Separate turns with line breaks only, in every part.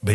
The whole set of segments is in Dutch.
Ben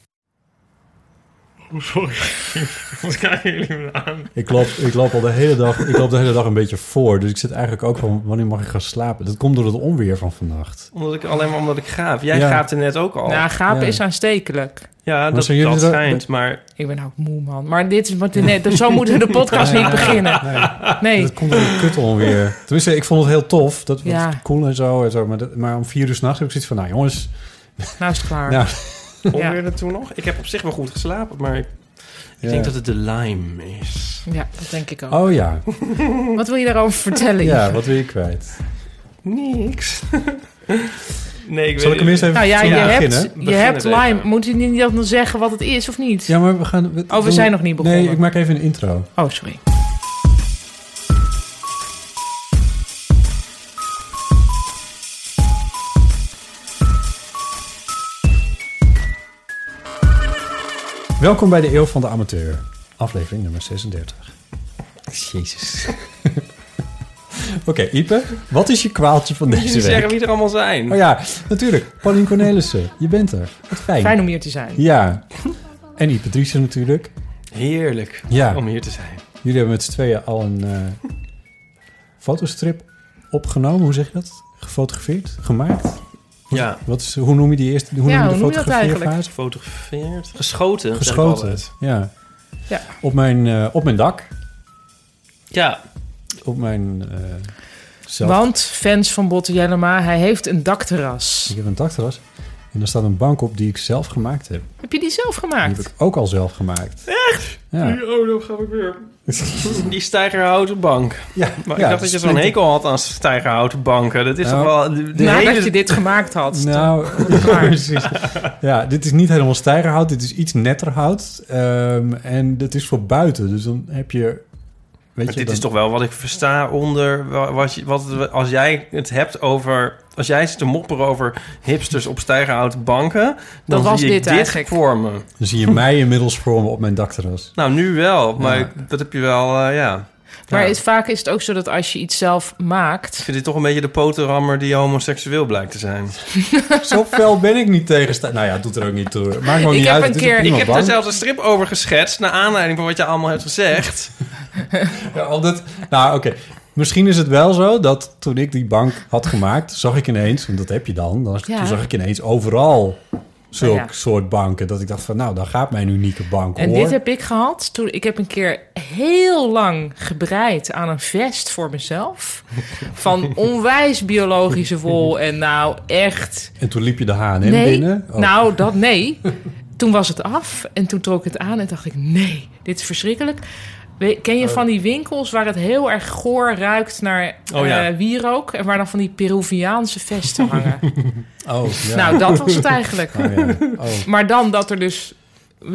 Sorry. Wat kijken jullie me aan?
Ik loop, ik loop al de hele dag, ik loop de hele dag een beetje voor. Dus ik zit eigenlijk ook van wanneer mag ik gaan slapen? Dat komt door het onweer van vannacht.
Omdat ik, alleen maar omdat ik gaaf. Jij
Ja.
gaat er net ook al.
Nou, gapen
Ja.
is aanstekelijk.
ja, dat,
zijn jullie
dat
er-
schijnt. Maar
Ik ben ook moe, man. Maar dit is wat... Nee, dus zo moeten we de podcast niet beginnen. Nee.
Dat komt door het kut onweer. Tenminste, ik vond het heel tof. Dat was
Ja.
cool en zo. En zo maar, dat- maar om vier uur s'nachts heb ik zoiets van, nou jongens.
Nou is het klaar.
Nou,
onweer er toen nog? Ik heb op zich wel goed geslapen, maar ik, ik
Ja.
denk dat het de lime is.
Ja, dat denk ik ook.
oh ja,
Wat wil je daarover vertellen?
ja,
Ivo?
wat wil je kwijt?
Niks. nee, ik
Zal
weet
ik hem eerst even
Nou ja, je
zullen we beginnen?
hebt, je
Beginnen
hebt
we even.
lime. Moet je niet dan zeggen wat het is of niet?
Ja, maar we gaan...
Oh, we
doen-
zijn nog niet begonnen.
Nee, ik maak even een intro.
Oh, sorry.
Welkom bij de Eeuw van de Amateur. Aflevering nummer 36. Jezus. Oké, Ipe, wat is je kwaaltje van
Jullie
deze week?
zeggen wie er allemaal zijn.
Oh ja, natuurlijk. Paulien Cornelissen, je bent er. Wat fijn.
Fijn om hier te zijn.
Ja. En die Patricia natuurlijk.
Heerlijk
Ja.
om hier te zijn.
Jullie hebben met z'n tweeën al een eh, fotostrip opgenomen. Hoe zeg je dat? Gefotografeerd? Gemaakt?
Ja.
Wat is, hoe noem je die eerste? Hoe
Ja,
noem je de
hoe noem je dat
fotografeerfase?
Gefotografeerd. Geschoten. zeg ik
Geschoten.
altijd.
Ja.
Ja.
Op, mijn, eh, op mijn dak.
Ja.
Op mijn... eh zelf.
Want, fans van Botte Jellema, hij heeft een dakterras.
Ik heb een dakterras. En daar staat een bank op die ik zelf gemaakt heb.
Heb je die zelf
Hm. Die
gemaakt?
heb ik ook al zelf gemaakt. Echt? Ja.
Oh, dan ga ik weer. Die stijgerhouten bank.
ja.
Maar
Ja,
ik dacht dat je zo'n
splinter-
hekel had aan stijgerhouten banken. Dat is
Nou,
toch wel... De, de
Nadat
hele-
je dit gemaakt had.
Nou,
klaar.
precies. Ja, dit is niet helemaal stijgerhout. Dit is iets netter hout. Ehm, en dit is voor buiten. Dus dan heb je... Weet
Maar
je
dit
dan-
is toch wel wat ik versta onder... wa- Wat, je- wat, als jij het hebt over... Als jij zit te mopperen over hipsters op stijgerhouten banken... Dan
was
zie ik
dit eigenlijk.
voor me.
Dan zie je mij inmiddels vormen op mijn dakterras.
Nou, nu wel. Maar dat heb je wel... eh, ja.
Maar
Ja.
het- vaak is het ook zo dat als je iets zelf
Ik
maakt...
vind dit toch een beetje de potenrammer die homoseksueel blijkt te zijn.
Zo fel ben ik niet tegen stij- Nou ja, doet er ook niet toe. Maakt me ook
Ik
niet
heb
uit.
dus een
het is
keer-
op
Ik
niemand
heb er
bang.
zelfs een strip over geschetst... naar aanleiding van wat je allemaal hebt gezegd.
Ja, omdat, nou, oké. Misschien is het wel zo dat toen ik die bank had gemaakt, zag ik ineens, want dat heb je dan, dan
Ja. Oh
toen zag ik ineens overal zulk
Ja.
soort banken. Dat ik dacht van, nou, dan gaat mijn unieke bank
En
hoor.
dit heb ik gehad toen ik heb een keer heel lang gebreid aan een vest voor mezelf. Van onwijs biologische wol. En nou echt.
En toen liep je de H&M
nee.
binnen. Oh.
Nou, dat nee. Toen was het af en toen trok ik het aan en dacht ik: nee, dit is verschrikkelijk. We- Ken
Oh.
je van die winkels waar het heel erg goor ruikt naar
Oh ja.
eh, wierook? En waar dan van die Peruviaanse vesten hangen?
Oh, ja.
Nou, dat was het eigenlijk.
Oh, ja. Oh,
Maar dan dat er dus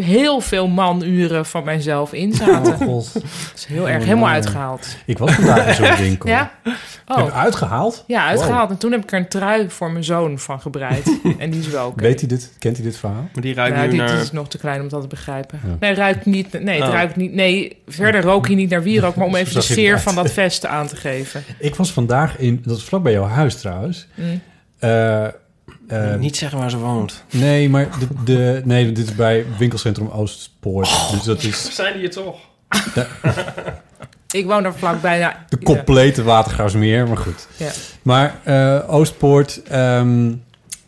heel veel manuren van mijzelf in
oh,
zaten.
god.
Dat is heel erg,
Oh,
helemaal
ja.
uitgehaald.
Ik was vandaag in zo'n winkel.
Ja?
Heb ik
Oh,
uitgehaald?
ja, uitgehaald. En toen heb ik er een trui voor mijn zoon van gebreid. En die is wel oké.
Weet hij dit? Kent hij dit verhaal?
Maar die ruikt
Nou,
nu
die,
naar...
die is nog te klein om dat te begrijpen.
Ja.
Nee, ruikt niet, nee, het
Oh.
ruikt niet. Nee, verder rook hij niet naar wierook, maar om even de
Zag je
sfeer
eruit.
van dat vest aan te geven.
Ik was vandaag in, dat is vlak bij jouw huis trouwens.
Mm.
Eh, eh,
Niet zeggen waar ze woont.
Nee, maar de, de, nee, dit is bij winkelcentrum Oostpoort.
Oh,
dus dat is
Zijn die toch?
Ik woon er vlakbij. Nou,
de complete watergraafsmeer, maar goed.
Ja.
Maar eh, Oostpoort, ehm,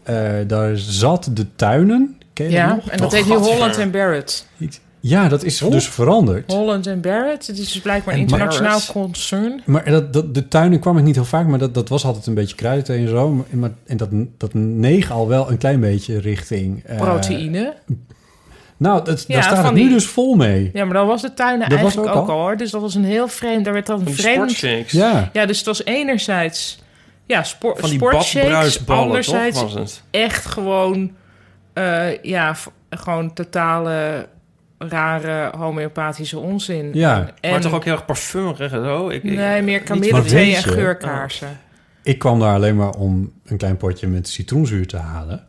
eh, daar zat de tuinen. Ken je
Ja,
dat
ja, Oh.
nog? Oh,
en dat heet nu Holland en Barrett.
Iets- Ja, dat is dus veranderd.
Holland en Barrett. Het is dus blijkbaar een
En
internationaal
Barrett.
concern.
Maar dat, dat, de tuinen kwam ik niet heel vaak, maar dat, dat was altijd een beetje kruiden en zo. Maar, maar- en dat, dat neeg al wel een klein beetje richting... eh,
Proteïne.
Nou, dat,
Ja,
daar staat
van
het nu
die-
dus vol mee.
Ja, maar dan was de tuinen
Dat was
eigenlijk
ook
ook al. hoor. Dus dat was een heel vreemd. Daar werd dan een
Van die
vreemd
sportshakes.
Ja,
Ja, dus het was enerzijds ja, spor,
Van die
sportshakes,
badbruisballen, toch?
anderzijds
Was het?
echt gewoon, eh, ja, v- gewoon totale rare homeopathische onzin.
ja.
En,
maar toch ook heel erg parfumerig en zo? Ik, ik-
Nee, meer
Maar
kamillethee en
weet je- Oh,
geurkaarsen.
Ik kwam daar alleen maar om een klein potje met citroenzuur te halen.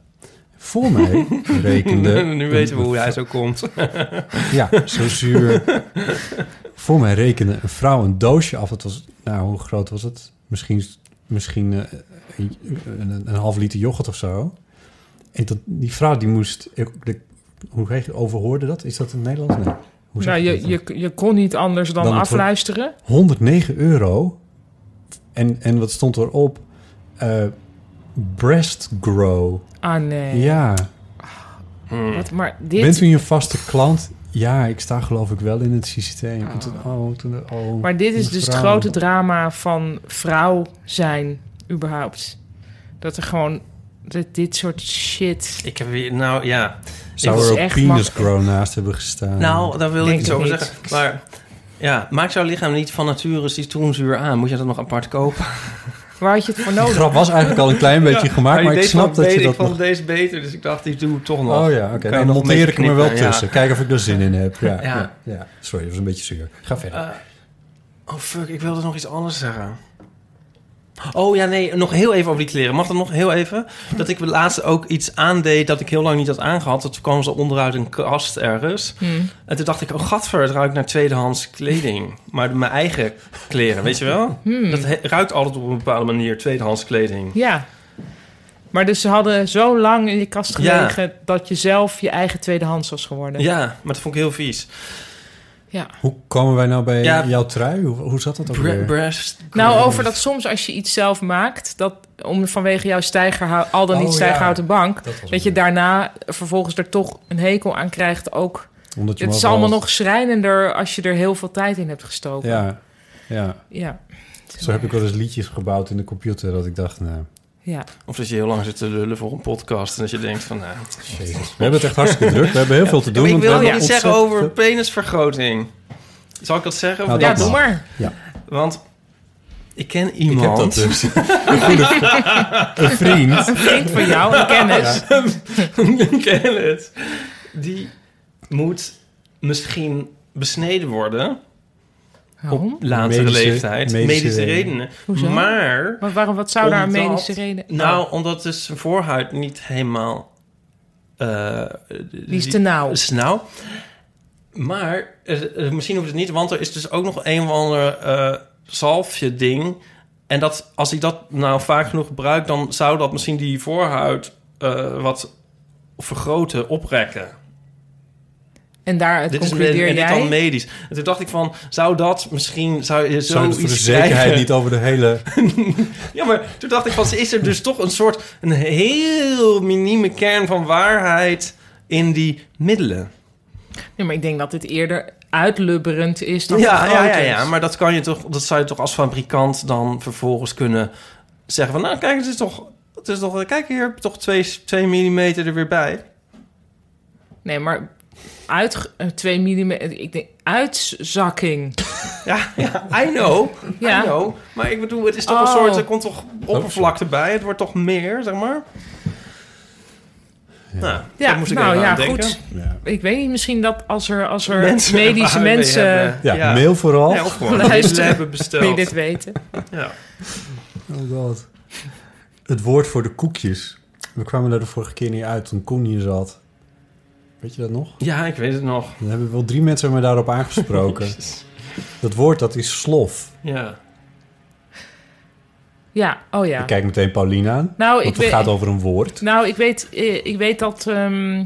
Voor mij rekende...
nu weten we hoe hij zo komt.
Ja, zo zuur. Voor mij rekende een vrouw een doosje af. Het was, nou, hoe groot was het? Misschien, misschien eh, een, een, een half liter yoghurt of zo. En dat, die vrouw die moest... ik- de- hoe heet overhoorde dat? Is dat in het Nederlands? Nee. Hoe zeg
Nou,
dat
je,
dan?
je, je kon niet anders dan,
Dan het-
afluisteren.
109 euro. En, en wat stond erop? Eh breast grow.
Ah, nee.
Ja. Hmm.
Wat, maar dit...
Bent u een vaste klant? Ja, ik sta geloof ik wel in het systeem. En toen, oh, toen, oh,
Maar dit is
die
dus het
vrouw.
grote drama van vrouw zijn, überhaupt. Dat er gewoon dat dit soort shit.
Ik heb weer, nou ja,
Zou
Het
er
is
ook
echt
penis
makkelijk.
grow naast hebben gestaan?
Nou, daar wil ik
Denk
iets
ik
over
niet.
zeggen. Maar ja, maakt jouw lichaam niet van nature citroenzuur aan? Moet je dat nog apart kopen?
Waar had je het voor
de
nodig?
grap was eigenlijk al een klein beetje gemaakt, maar ik snap dat je
Ik
dat
vond
nog...
deze beter, dus ik dacht, die doe ik toch nog.
Oh ja, oké.
Kan je
Dan
nog een
monteer ik
beetje
hem er wel
knippen, ja.
tussen. Kijken of ik er zin in heb. Ja,
Ja.
ja. ja. Sorry, dat was een beetje zuur. Ga verder.
Eh, oh fuck, ik wilde nog iets anders zeggen. Oh ja, nee, nog heel even over die kleren. Mag dat nog heel even? Dat ik laatst ook iets aandeed dat ik heel lang niet had aangehad. Dat kwam ze onderuit een kast ergens.
Hm.
En toen dacht ik, oh gadver, het ruikt naar tweedehands kleding. Maar mijn eigen kleren, weet je wel?
Hmm.
Dat he- ruikt altijd op een bepaalde manier, tweedehands kleding.
Ja. Maar dus ze hadden zo lang in je kast
Ja.
gelegen dat je zelf je eigen tweedehands was geworden.
Ja, maar dat vond ik heel vies.
Ja.
Hoe komen wij nou bij
Ja.
jouw trui? Hoe, hoe zat dat ook
Bre-
weer?
breast
Nou,
cream.
over dat soms als je iets zelf maakt, dat om vanwege jouw stijgerhou- al dan
Oh,
niet stijgerhouten bank,
Dat was
dat je
het.
daarna vervolgens er toch een hekel aan krijgt. Ook
Omdat je
het
hem
is allemaal
overal-
nog schrijnender als je er heel veel tijd in hebt gestoken.
Ja, ja.
ja.
Zo heb ik wel eens liedjes gebouwd in de computer dat ik dacht, nou...
Ja.
Of dat je heel lang zit te lullen voor een podcast. En dat je denkt van, nou...
Jezus. We hebben het echt hartstikke druk. We hebben heel veel te doen.
Maar ik
want we
wil
hebben
nog iets zeggen
ontzettend
over
veel-
penisvergroting. Zal ik dat zeggen?
Nou,
Of-
ja,
dat
doe
mag.
maar.
Want ik ken
Ik
iemand...
heb dat dus. Een goede- Een vriend.
Vriend van jou, een kennis.
ik ken het. Die moet misschien besneden worden
Waarom?
op latere
Medische-
leeftijd.
medische
Medische,
redenen.
redenen.
Hoezo?
Maar...
Maar waarom, wat zou daar een
Omdat-
medische reden... Oh.
Nou, omdat dus zijn voorhuid niet helemaal... eh,
die is te nauw.
is nou. Maar eh, eh, misschien hoeft het niet, want er is dus ook nog een of ander eh, zalfje ding. En dat, als ik dat nou vaak genoeg gebruik, dan zou dat misschien die voorhuid eh, wat vergroten, oprekken.
En daaruit
Dit is en
concludeer
dit
jij...
dan medisch. En toen dacht ik van, zou dat misschien, zou je
Zou je het voor de
zoiets
zekerheid
krijgen?
niet over de hele...
Ja, maar toen dacht ik van, is er dus toch een soort, een heel minieme kern van waarheid in die middelen?
Ja, maar ik denk dat dit eerder uitlubberend is dan
ja, ja,
vergrotend.
ja, ja, maar dat, kan je toch, dat zou je toch als fabrikant dan vervolgens kunnen zeggen van... nou, kijk, het is toch... Het is toch kijk, hier heb je toch 2 mm er weer bij.
Nee, maar uit 2 mm... Ik denk, uitzakking.
Ja, ja, I know,
Ja.
I know. Maar ik bedoel, het is toch een
Oh.
soort... Er komt toch oppervlakte bij, het wordt toch meer, zeg maar. Nou,
Ja,
daar moest ik
nou
even
ja,
aan denken.
goed.
Ja,
Ik weet niet, misschien dat als er, als er
Mensen
medische
waar we
mensen...
hebben-
ja,
Ja.
mail vooral.
Nee, of gewoon
Luister.
middelen hebben
Die
besteld.
dit weten.
Ja.
Oh god. Het woord voor de koekjes. We kwamen daar de vorige keer niet uit toen Kon hier zat. Weet je dat nog?
ja, ik weet het nog.
Dan hebben wel drie mensen me daarop aangesproken. dat woord dat is slof.
Ja.
Ja, oh ja.
Ik kijk meteen Pauline aan.
Nou,
want
ik
het
weet...
gaat over een woord.
Nou, ik weet, eh, ik weet dat, ehm,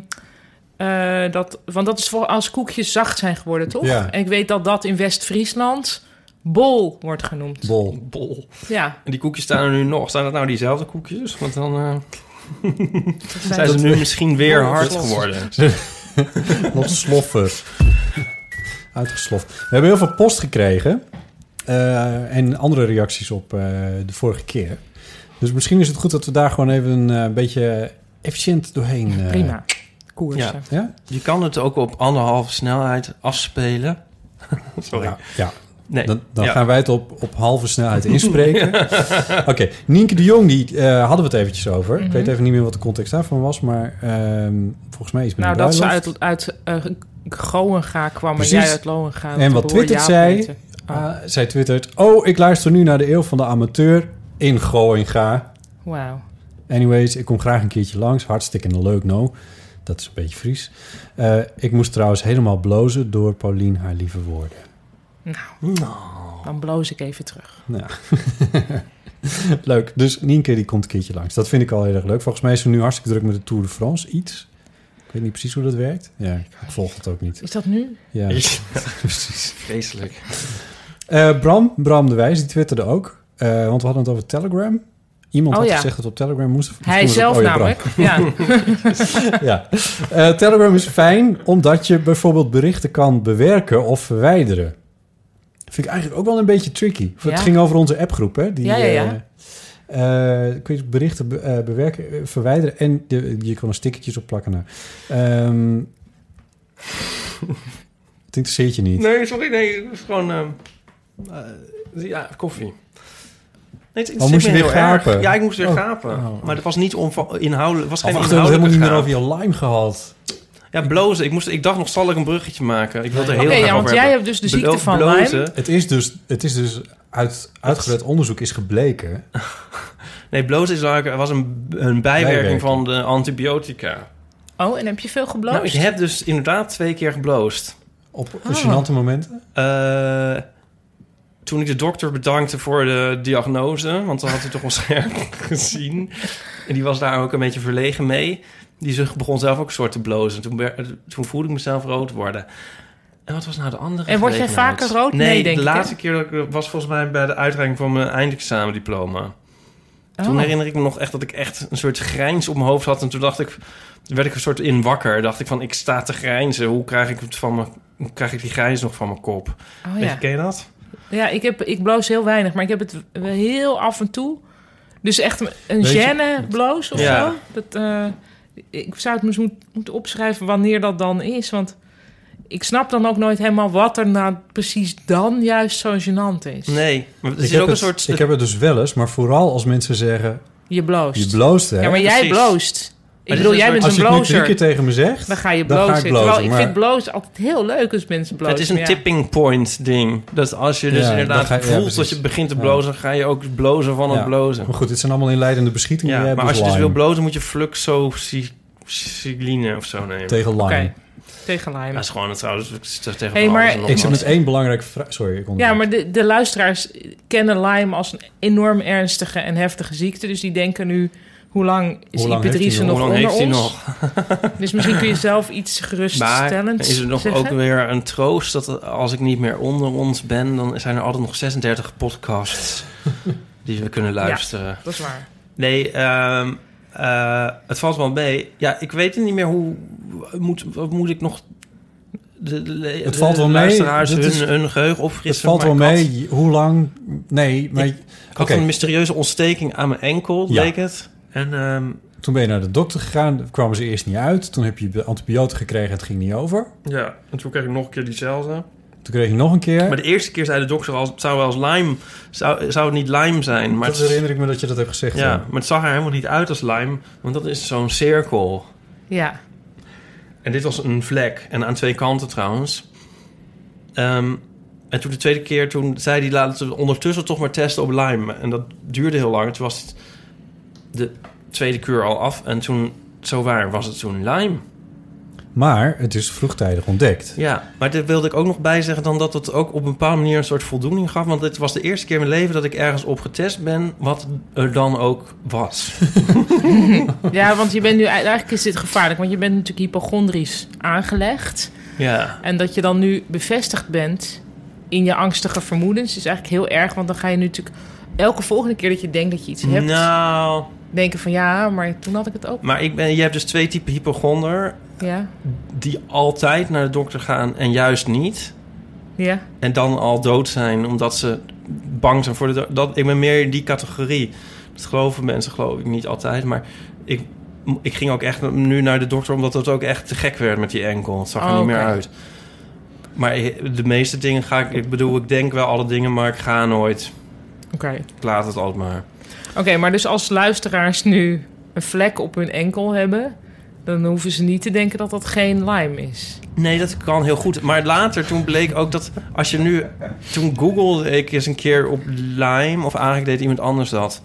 eh, dat. Want dat is voor als koekjes zacht zijn geworden, toch?
Ja.
En ik weet dat dat in West-Friesland bol wordt genoemd.
Bol.
Oh, Bol.
Ja,
En die koekjes staan er nu nog. Zijn dat nou diezelfde koekjes? Want dan... eh,
dat zijn
Zijn ze nu misschien weer
Oh,
hard
dat-
geworden?
Wat sloffer. uitgesloft. We hebben heel veel post gekregen. eh, en andere reacties op eh, de vorige keer. Dus misschien is het goed dat we daar gewoon even een eh, beetje efficiënt doorheen... eh,
Prima. Koersen.
Ja?
Je kan het ook op anderhalve snelheid afspelen. Sorry.
Ja, ja.
Nee.
Dan, dan
Ja.
gaan wij het op, op halve snelheid inspreken. Oké, Nienke de Jong, die eh, hadden we het eventjes over. Ik weet even niet meer wat de context daarvan was, maar ehm, volgens mij is het
Nou, dat ze uit, uit eh Groenga kwam en
Precies.
jij uit Lohenga.
En wat Twitter zei, Ah, zij twittert... Oh, ik luister nu naar de eeuw van de amateur in Groninga.
Wauw.
Anyways, ik kom graag een keertje langs. Hartstikke leuk, no. Dat is een beetje Fries. Eh, ik moest trouwens helemaal blozen door Paulien haar lieve woorden.
Dan bloos ik even terug.
Nou, leuk. Dus Nienke die komt een keertje langs. Dat vind ik al heel erg leuk. Volgens mij is ze nu hartstikke druk met de Tour de France. Iets. Ik weet niet precies hoe dat werkt. Ja, ik volg het ook niet.
Is dat nu?
Ja,
precies. Vreselijk.
Eh, Bram, Bram de Wijs, die twitterde ook. Eh, want we hadden het over Telegram. Iemand
Oh,
had
ja.
gezegd dat we op Telegram moesten.
Hij
moesten we-
zelf
oh, ja, Bram.
namelijk. Ja.
Ja. Eh, Telegram is fijn omdat je bijvoorbeeld berichten kan bewerken of verwijderen. Vind ik eigenlijk ook wel een beetje tricky. Het
Ja.
ging over onze appgroep, hè? Die,
Ja, ja, ja.
eh, eh, kun je berichten be- eh, bewerken, eh, verwijderen en de- je kan er stickertjes op plakken. Nou. Ehm, het interesseert je niet.
Nee, sorry. Nee, het is gewoon... ehm, eh, ja, koffie. Nee, het interesseert
Oh, moest je
me
weer
heel erg.
gapen?
Ja, ik moest weer
Oh.
gapen.
Oh.
Maar dat was niet onva- inhoudelijk. was geen
Of achter, we hebben het helemaal niet
inhoudelijke
meer
gaap.
over je lime gehad.
Ja, blozen. Ik, moest, ik dacht nog, zal ik een bruggetje maken? Ik wilde er heel
Oké,
graag
ja, want
over
jij
hebben.
hebt dus de
Blo-
ziekte van
blozen.
Lyme.
Het is dus, het is dus uit uitgebreid onderzoek is gebleken.
Nee, blozen is eigenlijk, was een, een bijwerking
Bijwerking.
van de antibiotica.
Oh, en heb je veel gebloosd?
Nou, ik heb dus inderdaad twee keer gebloost.
Op
Ah.
gênante momenten.
Eh, toen ik de dokter bedankte voor de diagnose, want dat had hij toch wel scherp gezien. En die was daar ook een beetje verlegen mee. Die zucht begon zelf ook een soort te blozen. Toen, wer- toen voelde ik mezelf rood worden. En wat was nou de andere
En word jij
gelegenheid?
vaker rood?
Nee,
Nee, denk
de
ik,
laatste keer dat ik, was volgens mij bij de uitreiking van mijn eindexamendiploma. Toen
Oh.
herinner ik me nog echt dat ik echt een soort grijns op mijn hoofd had. En toen dacht ik, toen werd ik een soort in wakker. Dacht ik van, ik sta te grijnzen. Hoe krijg ik, het van mijn, hoe krijg ik die grijns nog van mijn kop?
Oh,
Weet
ja.
je, ken je dat?
Ja, ik, heb, ik bloos heel weinig, maar ik heb het wel heel af en toe. Dus echt een- een
Weet je-
gêne bloos of
Ja.
zo. Dat, eh, ik zou het me eens moet- moeten opschrijven wanneer dat dan is. Want ik snap dan ook nooit helemaal wat er nou precies dan juist zo gênant is.
Dus Nee, maar er
Ik
zit
heb,
ook een
het,
soort...
ik heb het dus wel eens, maar vooral als mensen zeggen...
Je bloost.
je bloost, hè?
ja, maar jij
Precies.
bloost. Ik
dit
bedoel,
is
jij
een-
bent
als
een
je het nu drie keer
blozer.
tegen me zegt...
Dan ga je
dan ga
blozen.
ik blozen,
Terwijl ik
maar-
vind blozen altijd heel leuk als mensen blozen.
het is een
maar ja.
tipping point ding. Dat als je dus
Ja,
inderdaad
dan ga je- ja,
voelt dat
precies.
je begint te
Ja.
blozen, ga je ook blozen van
Ja.
het blozen.
Maar goed, dit zijn allemaal inleidende beschietingen.
Ja,
Jij
maar
hebt
als je dus
lime.
wil blozen, moet je fluxocycline of zo nemen.
Tegen lime.
Oké, tegen Lyme.
Dat is gewoon het trouwens. ik zeg tegen
Hey,
van
maar-
alles en nog
Ik zit
wat.
met één belangrijke vraag... Sorry, ik
Ja,
onderbreek.
maar de, de luisteraars kennen Lyme als een enorm ernstige en heftige ziekte. Dus die denken nu, hoe lang is
Hoe lang heeft
Ipatrice
hij
nog
Hoe lang
onder
heeft hij
ons?
nog?
Dus misschien kun je zelf iets
Maar
geruststellends
is er nog
zeggen.
ook weer een troost dat als ik niet meer onder ons ben, dan zijn er altijd nog 36 podcasts die we kunnen luisteren.
Dat is waar.
Nee, ehm, eh, het valt wel mee. Ja, ik weet niet meer hoe... Moet, wat moet ik nog... De, de- de-
Het valt
de
wel mee.
luisteraars
Dit
hun,
is-
hun geheugen
Het
opfrissen.
valt
maar
wel
ik had-
mee. Hoe lang... Nee, maar
Ik- Ik had
Oké.
een mysterieuze ontsteking aan mijn enkel,
Ja.
leek het. En ehm,
toen ben je naar de dokter gegaan. kwamen ze eerst niet uit. Toen heb je de antibiotica gekregen. Het ging niet over.
ja, en toen kreeg ik nog een keer diezelfde.
Toen kreeg je nog een keer.
Maar de eerste keer zei de dokter, al, het zou wel eens Lyme... Zou, zou het niet Lyme zijn? Maar
dat
het,
herinner ik me dat je dat hebt gezegd.
ja,
ja.
maar het zag er helemaal niet uit als Lyme. Want dat is zo'n cirkel.
Ja,
En dit was een vlek. En aan twee kanten trouwens. Ehm, en toen de tweede keer, toen zei hij... laten we ondertussen toch maar testen op Lyme. En dat duurde heel lang. Toen was het de tweede kuur al af. En toen, zo waar, was het toen Lyme.
Maar het is vroegtijdig ontdekt.
Ja, maar daar wilde ik ook nog bij zeggen... dan dat het ook op een bepaalde manier een soort voldoening gaf. Want dit was de eerste keer in mijn leven dat ik ergens op getest ben... wat er dan ook was.
ja want je bent nu, eigenlijk is dit gevaarlijk. Want je bent natuurlijk hypochondrisch aangelegd.
ja.
En dat je dan nu bevestigd bent in je angstige vermoedens... is eigenlijk heel erg. Want dan ga je nu natuurlijk elke volgende keer dat je denkt dat je iets hebt...
Nou,
denken van ja, maar toen had ik het ook.
maar ik ben, je hebt dus twee typen hypochonder.
Ja.
die altijd naar de dokter gaan en juist niet.
Ja.
en dan al dood zijn omdat ze bang zijn voor de dood. Dat, ik ben meer in die categorie. Dat geloven mensen, geloof ik niet altijd. Maar ik, ik ging ook echt nu naar de dokter omdat het ook echt te gek werd met die enkel. Het zag er
Oh,
niet meer
oké.
uit. Maar ik- de meeste dingen ga ik, ik bedoel, ik denk wel alle dingen, maar ik ga nooit.
Oké.
Ik laat het altijd maar.
Oké, maar dus als luisteraars nu een vlek op hun enkel hebben, dan hoeven ze niet te denken dat dat geen Lyme is.
Nee, dat kan heel goed. Maar later, toen bleek ook dat als je nu... Toen googelde ik eens een keer op Lyme... of eigenlijk deed iemand anders dat.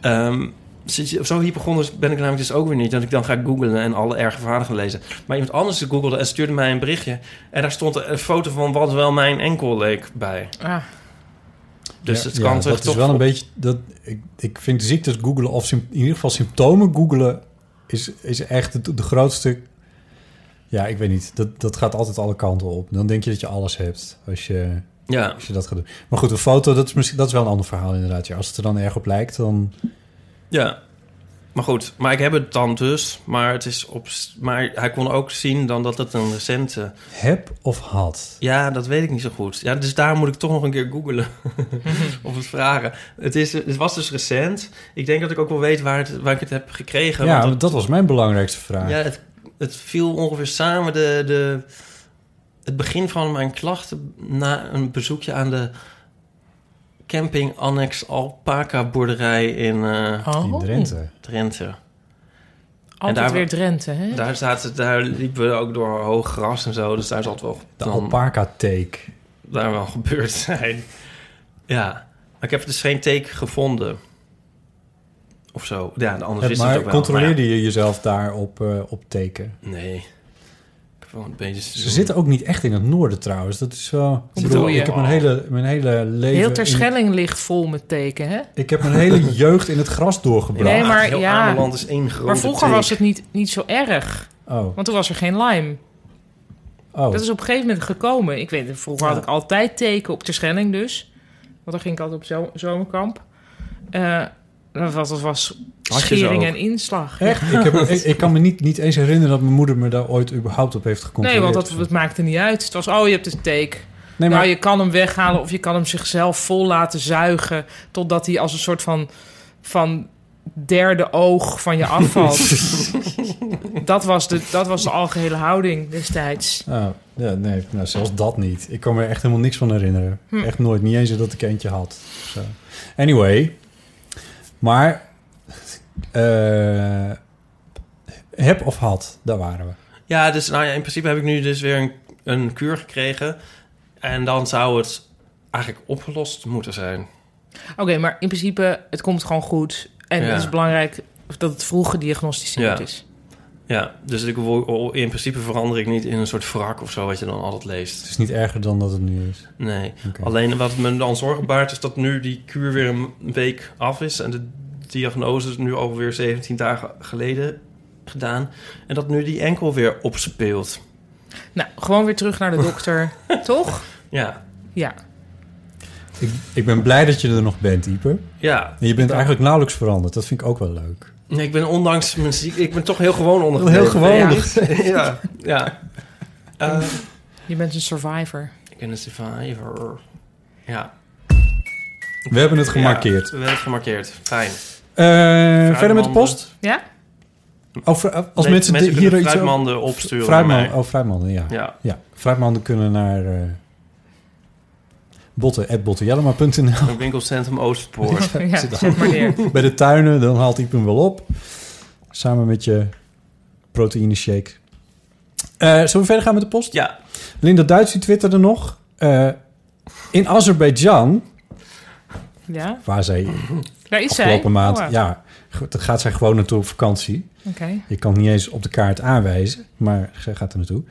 Ehm, zit je- zo hypochonders ben ik namelijk dus ook weer niet... dat ik dan ga googlen en alle erge verhalen gaan lezen. Maar iemand anders googelde en stuurde mij een berichtje... en daar stond een foto van wat wel mijn enkel leek bij.
Ah,
Dus
Ja,
het
ja,
kan zich
dat
toch...
is wel een beetje... Dat, ik, ik vind ziektes googelen of sym- in ieder geval symptomen googelen... is, is echt de, de grootste... Ja, ik weet niet. Dat, dat gaat altijd alle kanten op. Dan denk je dat je alles hebt als je,
Ja,
als je dat gaat doen. Maar goed, een foto, dat is, misschien, dat is wel een ander verhaal inderdaad. Ja, als het er dan erg op lijkt, dan...
ja. Maar goed, maar ik heb het dan dus. Maar, het is op, maar hij kon ook zien dan dat het een recente...
Heb of had?
Ja, dat weet ik niet zo goed. Ja, dus daar moet ik toch nog een keer googlen. of het vragen. Het, is, het was dus recent. Ik denk dat ik ook wel weet waar, het, waar ik het heb gekregen.
Ja,
want
want dat was mijn belangrijkste vraag.
ja het, het viel ongeveer samen de, de, het begin van mijn klachten... na een bezoekje aan de camping Annex Alpaca boerderij in eh,
Oh.
In Drenthe.
Drenthe.
Altijd
daar-
weer Drenthe, hè?
Daar, zaten, daar liepen we ook door hoog gras en zo. Dus daar zat wel...
De
dan-
alpaca-take.
daar wel gebeurd zijn. Ja, maar ik heb dus geen teken gevonden. Of zo. Ja, de anders
Het-
is het ook
maar
wel.
controleerde
maar
je jezelf daar op, eh, op teken?
ja, Nee. Ik heb wel een beetje...
Ze zitten ook niet echt in het noorden trouwens. Dat is wel... Ik bedoel,
bedoel je?
ik heb mijn hele, mijn hele leven...
Heel
in-
Terschelling ligt vol met teken, hè?
ik heb mijn hele jeugd in het gras doorgebracht.
Nee, maar
Heel
ja.
Ameland is één grote
Maar vroeger
teek.
was het niet, niet zo erg,
Oh,
want toen was er geen Lyme.
oh.
Dat is op een gegeven moment gekomen. Ik weet, het, vroeger had ik altijd teken op Terschelling dus. Want dan ging ik altijd op zo- zomerkamp. Eh, dat was, dat was
Had je ze
schering
ook?
en inslag.
Echt? Ik, heb, ik, ik kan me niet, niet eens herinneren dat mijn moeder me daar ooit überhaupt op heeft gecontroleerd.
Nee, want dat, dat maakte niet uit. Het was, oh, je hebt een teken.
Nee, maar
Nou, je kan hem weghalen of je kan hem zichzelf vol laten zuigen... totdat hij als een soort van, van derde oog van je afvalt. dat, was de, dat was de algehele houding destijds.
Oh, ja, nee, nou, zelfs dat niet. Ik kan me er echt helemaal niks van herinneren.
Hm.
Echt nooit, niet eens dat ik eentje had. of Zo. Anyway, maar eh, heb of had, daar waren we.
Ja, dus nou ja, in principe heb ik nu dus weer een, een kuur gekregen. En dan zou het eigenlijk opgelost moeten zijn.
Oké, maar in principe, het komt gewoon goed. En
Ja.
het is belangrijk dat het vroeg gediagnosticeerd
Ja.
is.
Ja, dus ik, wil- in principe verander ik niet in een soort wrak of zo... wat je dan altijd leest.
Het is niet erger dan dat het nu is.
Nee.
Oké.
Alleen wat me dan zorgen baart is dat nu die kuur weer een week af is. En de diagnose is nu alweer 17 dagen geleden gedaan. En dat nu die enkel weer opspeelt.
Nou, gewoon weer terug naar de dokter. Toch?
Ja,
Ja.
Ik, ik ben blij dat je er nog bent, Ieper.
ja.
En je bent eigenlijk nauwelijks veranderd. Dat vind ik ook wel leuk.
Nee, ik ben ondanks mijn ziek, ik ben toch heel gewoon onder.
Heel gewoon
Ja.
Ja, ja. Eh,
Je bent een survivor.
ik ben een survivor. Ja.
We hebben het gemarkeerd.
Ja, we hebben het gemarkeerd. Fijn.
Eh, verder met de post?
Ja?
Oh, fr- als
Nee, mensen
mensen, de- hier
kunnen
iets over...
fruitmanden opsturen naar
Fruitman-
mij.
oh, fruitmanden, ja.
Ja.
Ja, fruitmanden kunnen naar eh botten, botten.jellema.nl.
Een winkelcentrum Oostpoort.
Ja,
zit al.
zet maar neer.
Bij de tuinen, dan haalt Iep hem wel op. Samen met je proteïne shake. Eh, zullen we verder gaan met de post?
Ja.
Linda Duits, die twitterde nog. eh, in Azerbeidzjan,
Ja?
waar zij
Daar is zij.
afgelopen maand...
Oh, wow.
ja, ge- daar gaat zij gewoon naartoe op vakantie.
Oké.
Je kan het niet eens op de kaart aanwijzen, maar ze gaat er naartoe.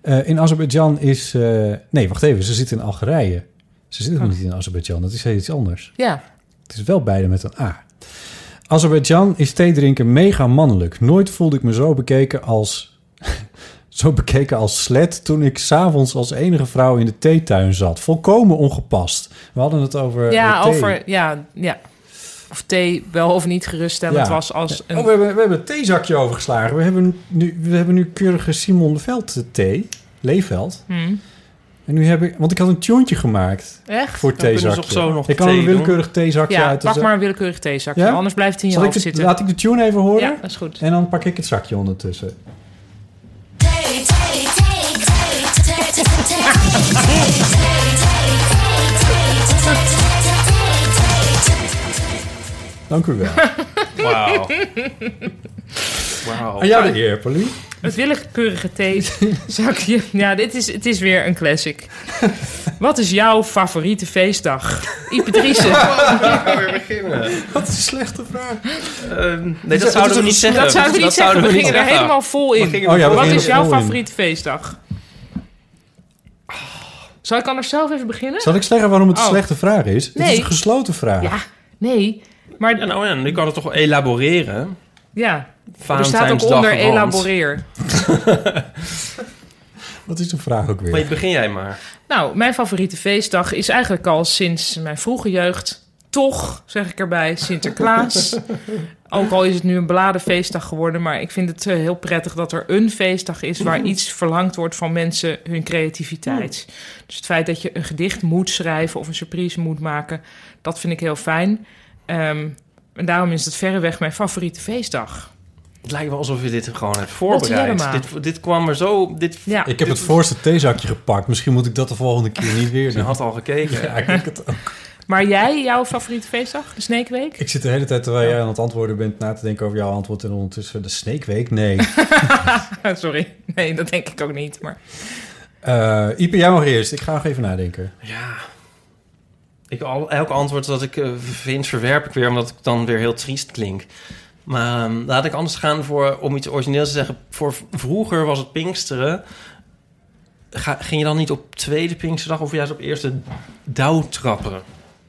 Eh, in Azerbeidzjan is... eh, nee, wacht even, ze zit in Algerije. Ze zit
Oh.
helemaal niet in Azerbeidzjan, dat is heel iets anders.
Ja.
Het is wel beide met een A. Azerbeidzjan is theedrinken mega mannelijk. Nooit voelde ik me zo bekeken als... zo bekeken als slet toen ik s'avonds als enige vrouw in de theetuin zat. Volkomen ongepast. We hadden het over
Ja,
eh, thee.
over... Ja, ja. Of thee wel of niet geruststellend
Ja.
was als een...
Oh, we hebben, we hebben het theezakje overgeslagen. We hebben nu, we hebben nu keurige Simon Veld thee. Leefveld.
Hmm.
En nu heb ik... Want ik had een tjontje gemaakt
Echt?
voor
kunnen ze
theezakje.
toch zo nog
ik kan
thee
een
doen?
willekeurig theezakje
Ja,
uit. de
pak
za-
maar een willekeurig theezakje.
Ja?
Anders blijft hij in je
Zal ik
hoofd
de,
zitten.
laat ik de tune even horen?
Ja, dat is goed.
En dan pak ik het zakje ondertussen. Dank u wel.
Wauw. Wauw.
Aan jou de eer, Pauline.
Het willekeurige theezakje. Ja, dit is, het is weer een classic. Wat is jouw favoriete feestdag? Ipatrice.
gaan weer beginnen.
Wat een slechte vraag.
Ehm, nee, dat zouden we niet zeggen.
Dat zouden we niet zeggen. We gingen er helemaal vol
We gingen
in.
er
Oh ja, we
Wat
gingen
is
er
jouw
vol in.
favoriete feestdag? Zal ik anders zelf even beginnen?
Zal ik zeggen waarom het een
Oh.
slechte vraag is? Het is
Nee.
een gesloten vraag.
Ja, nee. Maar
Ja, nou ja, ik kan het toch wel elaboreren.
ja, er staat ook
Valentijnsdag
onder
rond.
elaboreer.
Wat is de vraag ook weer?
Maar begin jij maar.
Nou, mijn favoriete feestdag is eigenlijk al sinds mijn vroege jeugd... toch, zeg ik erbij, Sinterklaas. ook al is het nu een beladen feestdag geworden... maar ik vind het eh, heel prettig dat er een feestdag is... waar iets verlangd wordt van mensen hun creativiteit. Dus het feit dat je een gedicht moet schrijven... of een surprise moet maken, dat vind ik heel fijn. Ehm, en daarom is het verreweg mijn favoriete feestdag.
Het lijkt wel alsof je dit gewoon hebt
Lotte
voorbereid.
Jellema.
Dit, dit kwam er zo... Dit,
Ja.
Ik heb het voorste theezakje gepakt. Misschien moet ik dat de volgende keer niet weer
Je
doen.
had al gekeken.
Ja, ik denk het ook.
Maar jij, jouw favoriete feestdag? De Sneekweek?
Ik zit de hele tijd terwijl jij aan het antwoorden bent na te denken over jouw antwoord. En ondertussen de sneekweek? Nee.
Sorry. Nee, dat denk ik ook niet. Maar
Eh Ipe, jij mag eerst. Ik ga nog even nadenken.
Ja. Ik, al, elk antwoord dat ik eh, vind, verwerp ik weer, omdat ik dan weer heel triest klink. Maar ehm, laat ik anders gaan voor, om iets origineels te zeggen. Voor v- vroeger was het Pinksteren. Ga, ging je dan niet op tweede Pinksterdag of juist op eerste douwtrappen?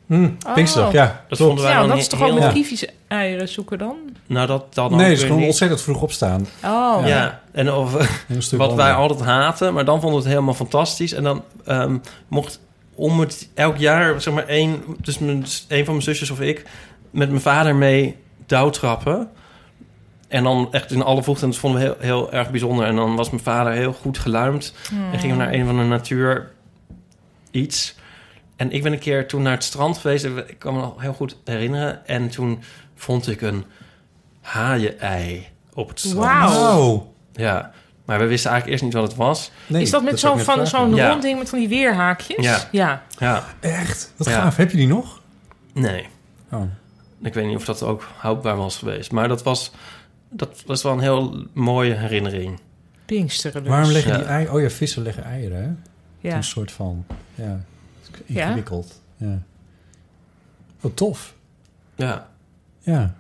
Hm,
Oh.
Pinksterdag, ja.
Dat
klopt.
vonden wij
ja,
dan
dat
he-
is toch ook met
Ja.
kievieseieren zoeken dan?
Nou, dat, dat dan
Nee,
ook
ze
weer
gewoon
niet.
ontzettend vroeg opstaan.
Oh.
Ja. en of,
Heel stuk
Wat wij
onder.
altijd haten, maar dan vonden we het helemaal fantastisch. En dan ehm, mocht om het elk jaar, zeg maar, één, dus mijn, één van mijn zusjes of ik, met mijn vader mee douwtrappen. En dan echt in alle vroegte, en dat vonden we heel, heel erg bijzonder. En dan was mijn vader heel goed geluimd. En gingen we naar een van de natuur iets. En ik ben een keer toen naar het strand geweest. en Ik kan me nog heel goed herinneren. En toen vond ik een haaien-ei op het strand.
Wauw.
Wauw.
Ja, maar we wisten eigenlijk eerst niet wat het was.
Oh, Nee,
is dat met
dat
zo'n
zou ik net
van-
vragen.
zo'n
Ja.
rond ding met van die weerhaakjes?
Ja. Ja,
Echt? Wat
Ja.
gaaf. Heb je die nog?
nee.
Oh.
Ik weet niet of dat ook houdbaar was geweest. Maar dat was, dat was wel een heel mooie herinnering.
Pinksteren dus.
Waarom leggen
Ja.
die eieren? Oh ja, vissen leggen eieren, hè?
ja.
Een soort van, ja,
Ja?
ingewikkeld. Ja. Oh, tof.
Ja,
Ja.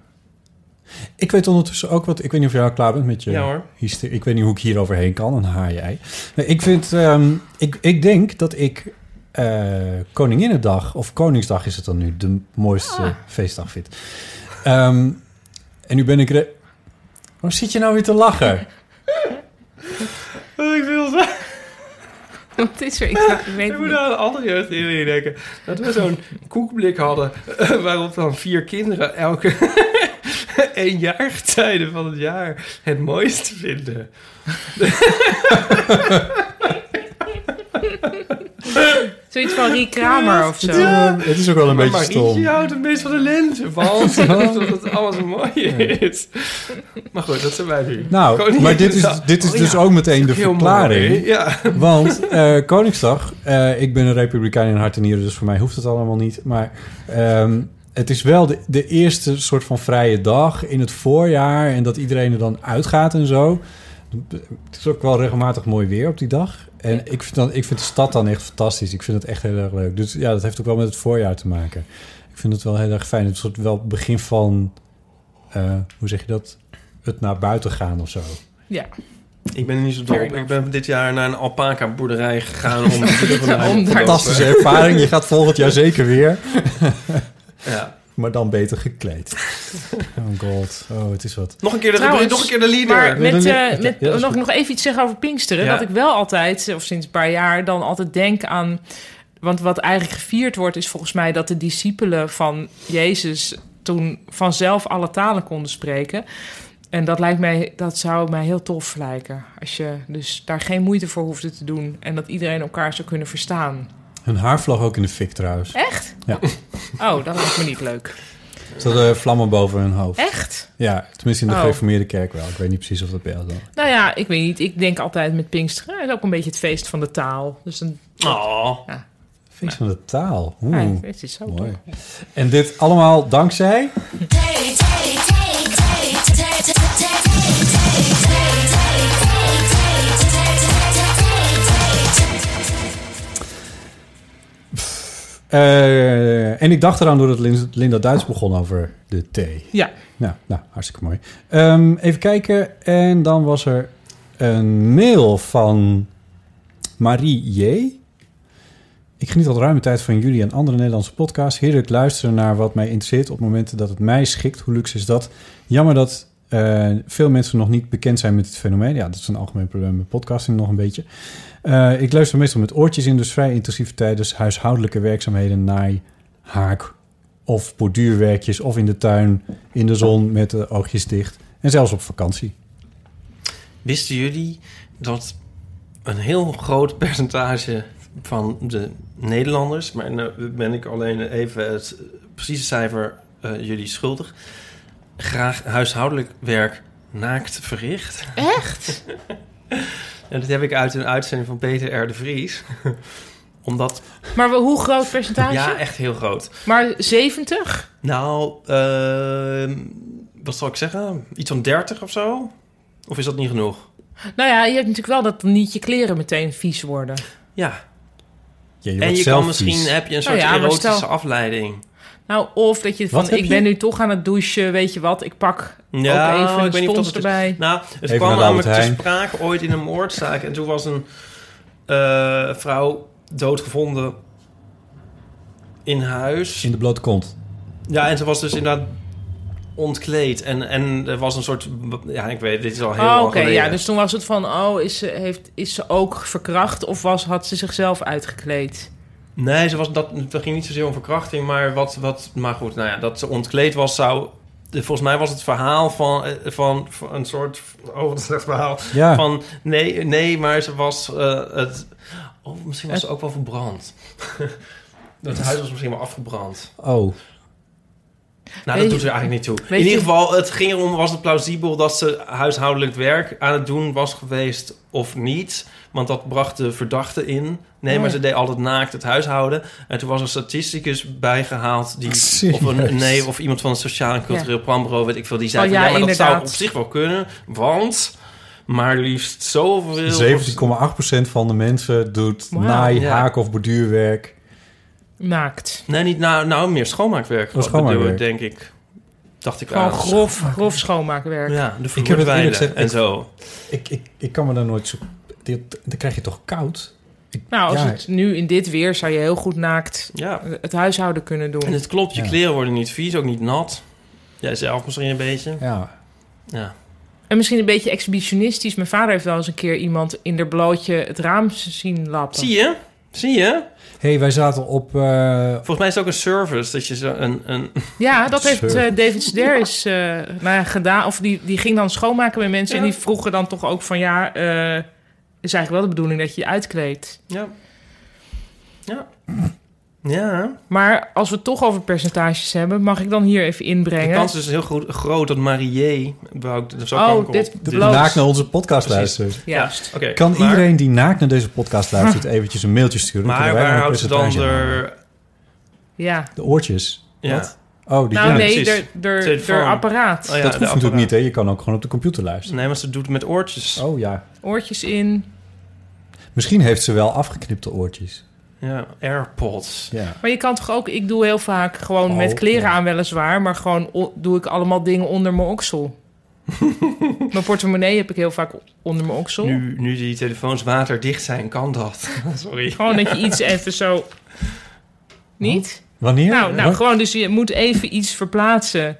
Ik weet ondertussen ook wat... Ik weet niet of jij al klaar bent met je...
ja hoor.
hyster- Ik weet niet hoe ik hier overheen kan, een haai-ei. Nee, ik vind... ehm, ik, ik denk dat ik eh, Koninginnedag, of Koningsdag is het dan nu, de mooiste
Ah.
feestdag vind. Ehm, en nu ben ik... re- Waarom zit je nou weer te lachen?
Ik wil zeggen,
Wat is er? Ik, ga- ik weet
ik
het
moet
niet.
aan een andere jeugdherinnering denken. Dat we zo'n koekblik hadden eh, waarop dan vier kinderen elke een jaargetijde van het jaar het mooiste vinden.
Zoiets van Rie Kramer of zo.
Eh, het is ook wel een beetje
maar
stom.
Marietje houdt het meest van de lente, want omdat het alles mooi is. Maar goed, dat zijn wij nu.
Nou,
Koningin-
maar dit is, dit is
Oh,
dus
ja.
ook meteen de
Heel mooi, hè?
verklaring.
Ja.
Want eh, Koningsdag, eh, ik ben een republikein in hart en nieren, dus voor mij hoeft het allemaal niet. Maar ehm, het is wel de, de eerste soort van vrije dag in het voorjaar en dat iedereen er dan uitgaat en zo. Het is ook wel regelmatig mooi weer op die dag. En ik vind, dan, ik vind de stad dan echt fantastisch. Ik vind het echt heel erg leuk. Dus ja, dat heeft ook wel met het voorjaar te maken. Ik vind het wel heel erg fijn. Het is soort wel het begin van, eh, hoe zeg je dat? Het naar buiten gaan of zo.
Ja.
Ik ben er niet zo dol op. Ik ben dit jaar naar een alpaca boerderij gegaan om
Om daar-
Fantastische ervaring. Je gaat volgend jaar zeker weer.
Ja.
Maar dan beter gekleed. Oh god. Oh, het is wat.
Nog een keer de
Trouwens,
rubriek, nog een keer de leader.
Maar
Wil
met,
je-
eh, met,
Ja, dat is
nog,
goed.
nog even iets zeggen over Pinksteren.
Ja.
Dat ik wel altijd, of sinds een paar jaar, dan altijd denk aan... Want wat eigenlijk gevierd wordt, is volgens mij dat de discipelen van Jezus... toen vanzelf alle talen konden spreken. Eh, En dat, lijkt mij, dat zou mij heel tof lijken. Als je dus daar geen moeite voor hoefde te doen. En dat iedereen elkaar zou kunnen verstaan.
Hun haar vloog ook in de fik trouwens.
Echt?
Ja.
Oh, dat lijkt me niet leuk.
Ze hadden vlammen boven hun hoofd.
Echt?
Ja, tenminste in de
Oh.
gereformeerde kerk wel. Ik weet niet precies of dat bij jou dan.
Nou ja, ik weet niet. Ik denk altijd met Pinksteren. Het is ook een beetje het feest van de taal. Dus dan...
Oh.
Feest van de taal. Oeh,
Ja, het is zo
mooi.
mooi.
En dit allemaal dankzij... Eh, en ik dacht eraan doordat Lin- Linda Duits begon over de thee.
Ja.
Nou, nou hartstikke mooi. Ehm, even kijken. En dan was er een mail van Marie J. Ik geniet al ruime tijd van jullie en andere Nederlandse podcasts. Heerlijk luisteren naar wat mij interesseert op momenten dat het mij schikt. Hoe luxe is dat? Jammer dat eh, veel mensen nog niet bekend zijn met het fenomeen. Ja, dat is een algemeen probleem met podcasting nog een beetje. Eh, ik luister meestal met oortjes in, dus vrij intensief tijdens huishoudelijke werkzaamheden, naai, haak of borduurwerkjes of in de tuin, in de zon met de oogjes dicht en zelfs op vakantie.
Wisten jullie dat een heel groot percentage van de Nederlanders, maar nu ben ik alleen even het precieze cijfer eh, jullie schuldig, graag huishoudelijk werk naakt verricht?
Echt?
En dat heb ik uit een uitzending van Peter R. de Vries. Omdat,
Maar we- hoe groot percentage?
ja, echt heel groot.
Maar 70?
Nou, ehm, wat zal ik zeggen? Iets van 30 of zo? Of is dat niet genoeg?
Nou ja, je hebt natuurlijk wel dat niet je kleren meteen vies worden.
Ja.
Ja,
en
wordt
je
zelf
kan misschien,
vies.
heb je een
Nou
soort
ja, maar
erotische
stel-
afleiding.
Nou, of dat je
Wat
van,
heb
ik
je?
ben nu toch aan het douchen, weet je wat, ik pak
Ja,
ook even
ik
een
weet niet of dat
spons
het is.
erbij.
Nou, het
Even naar
kwam
de
namelijk
Albert
ter
Heijn.
sprake ooit in een moordzaak. En toen was een eh, vrouw doodgevonden in huis.
In de blote kont.
Ja, en ze was dus inderdaad ontkleed. En, en er was een soort... Ja, ik weet dit is al heel
Oh,
lang
Oké,
geleden.
ja, dus toen was het van, oh, is ze, heeft, is ze ook verkracht of was, had ze zichzelf uitgekleed?
Nee, ze was, dat, het ging niet zozeer om verkrachting, maar wat, wat... Maar goed, nou ja, dat ze ontkleed was zou... Volgens mij was het verhaal van, eh, van, van een soort... Oh, wat een slecht verhaal.
Ja,
Van, nee, nee, maar ze was eh, het... Oh, misschien was ze ook wel verbrand. Dat huis was misschien wel afgebrand.
oh.
Nou,
Weet
dat
je-
doet er eigenlijk niet toe. In
weet je-
ieder geval, het ging erom, was het plausibel dat ze huishoudelijk werk aan het doen was geweest of niet? Want dat bracht de verdachte in. Nee, maar
Oh.
ze deed altijd naakt het huishouden. En toen was een statisticus bijgehaald die...
Serieus?
Of een, nee, of iemand van het Sociaal en Cultureel Planbureau, weet ik veel. Die zei
Oh,
van,
ja,
ja, maar dat zou op
inderdaad.
zich wel kunnen. Want maar liefst
Dus
zoveel...
17,8% van de mensen doet
Wauw.
naai,
Ja.
haak of borduurwerk.
Naakt.
Nee, niet nou, nou meer schoonmaakwerk.
Oh,
Wat bedoel ik,
schoonmaakwerk.
denk ik. Dacht ik
Gewoon
aan.
grof, grof schoonmaakwerk.
Ja, de
Ik heb het eerlijk gezegd-
verdwijnen en
ik-
zo.
Ik, ik, ik kan me daar nooit zo... Dit, dan krijg je toch koud? Ik-
Nou, als
ja,
het nu in dit weer zou je heel goed naakt eh,
Ja.
het huishouden kunnen doen.
En het klopt, je
Ja.
kleren worden niet vies, ook niet nat. Jij zelf misschien een beetje.
Ja.
Ja.
En misschien een beetje exhibitionistisch. Mijn vader heeft wel eens een keer iemand in der blootje het raam zien lappen.
Zie je? Zie je?
hey, wij zaten op... eh,
Volgens mij is het ook een service dat je zo een... een
Ja, dat heeft
Zo.
eh, David Sedaris eh, nou ja, gedaan. Of die, die ging dan schoonmaken bij mensen. En die vroegen dan toch ook van ja, eh, is eigenlijk wel de bedoeling dat je je uitkleedt.
ja. Ja. Ja.
Maar als we het toch over percentages hebben, mag ik dan hier even
De
inbrengen.
kans is dus heel groot, groot dat Marié... Wou ik, zo
Oh,
kwam ik op.
dit-
de
Bloos.
naakt naar onze podcast
Precies.
luistert.
Ja,
Ja.
oké.
Kan
maar-
iedereen die naakt naar deze podcast luistert eventjes een mailtje sturen? Dan
Maar
kunnen wij
waar
daar een
houdt ze dan eh?
percentage aan hangen.
er...
ja.
De oortjes.
Ja.
Wat? Oh, die
Nou
ja,
nee,
precies.
der, der,
Telefoon.
der apparaat.
Oh ja,
dat
de
hoeft natuurlijk niet,
apparaat. Mm.
hè? Je kan ook gewoon op de computer luisteren.
Nee, maar ze doet het met oortjes.
Oh ja.
Oortjes in.
Misschien heeft ze wel afgeknipte oortjes.
Ja, AirPods.
Ja.
Maar je kan toch ook, ik doe heel vaak gewoon
Oh,
met kleren
ja.
aan weliswaar, maar gewoon o- doe ik allemaal dingen onder mijn oksel. mijn portemonnee heb ik heel vaak onder mijn oksel.
Nu, nu die telefoons waterdicht zijn, kan dat. Sorry.
Gewoon dat je iets even zo. Niet?
Wanneer?
Nou, nou,
Wat?
gewoon, dus je moet even iets verplaatsen.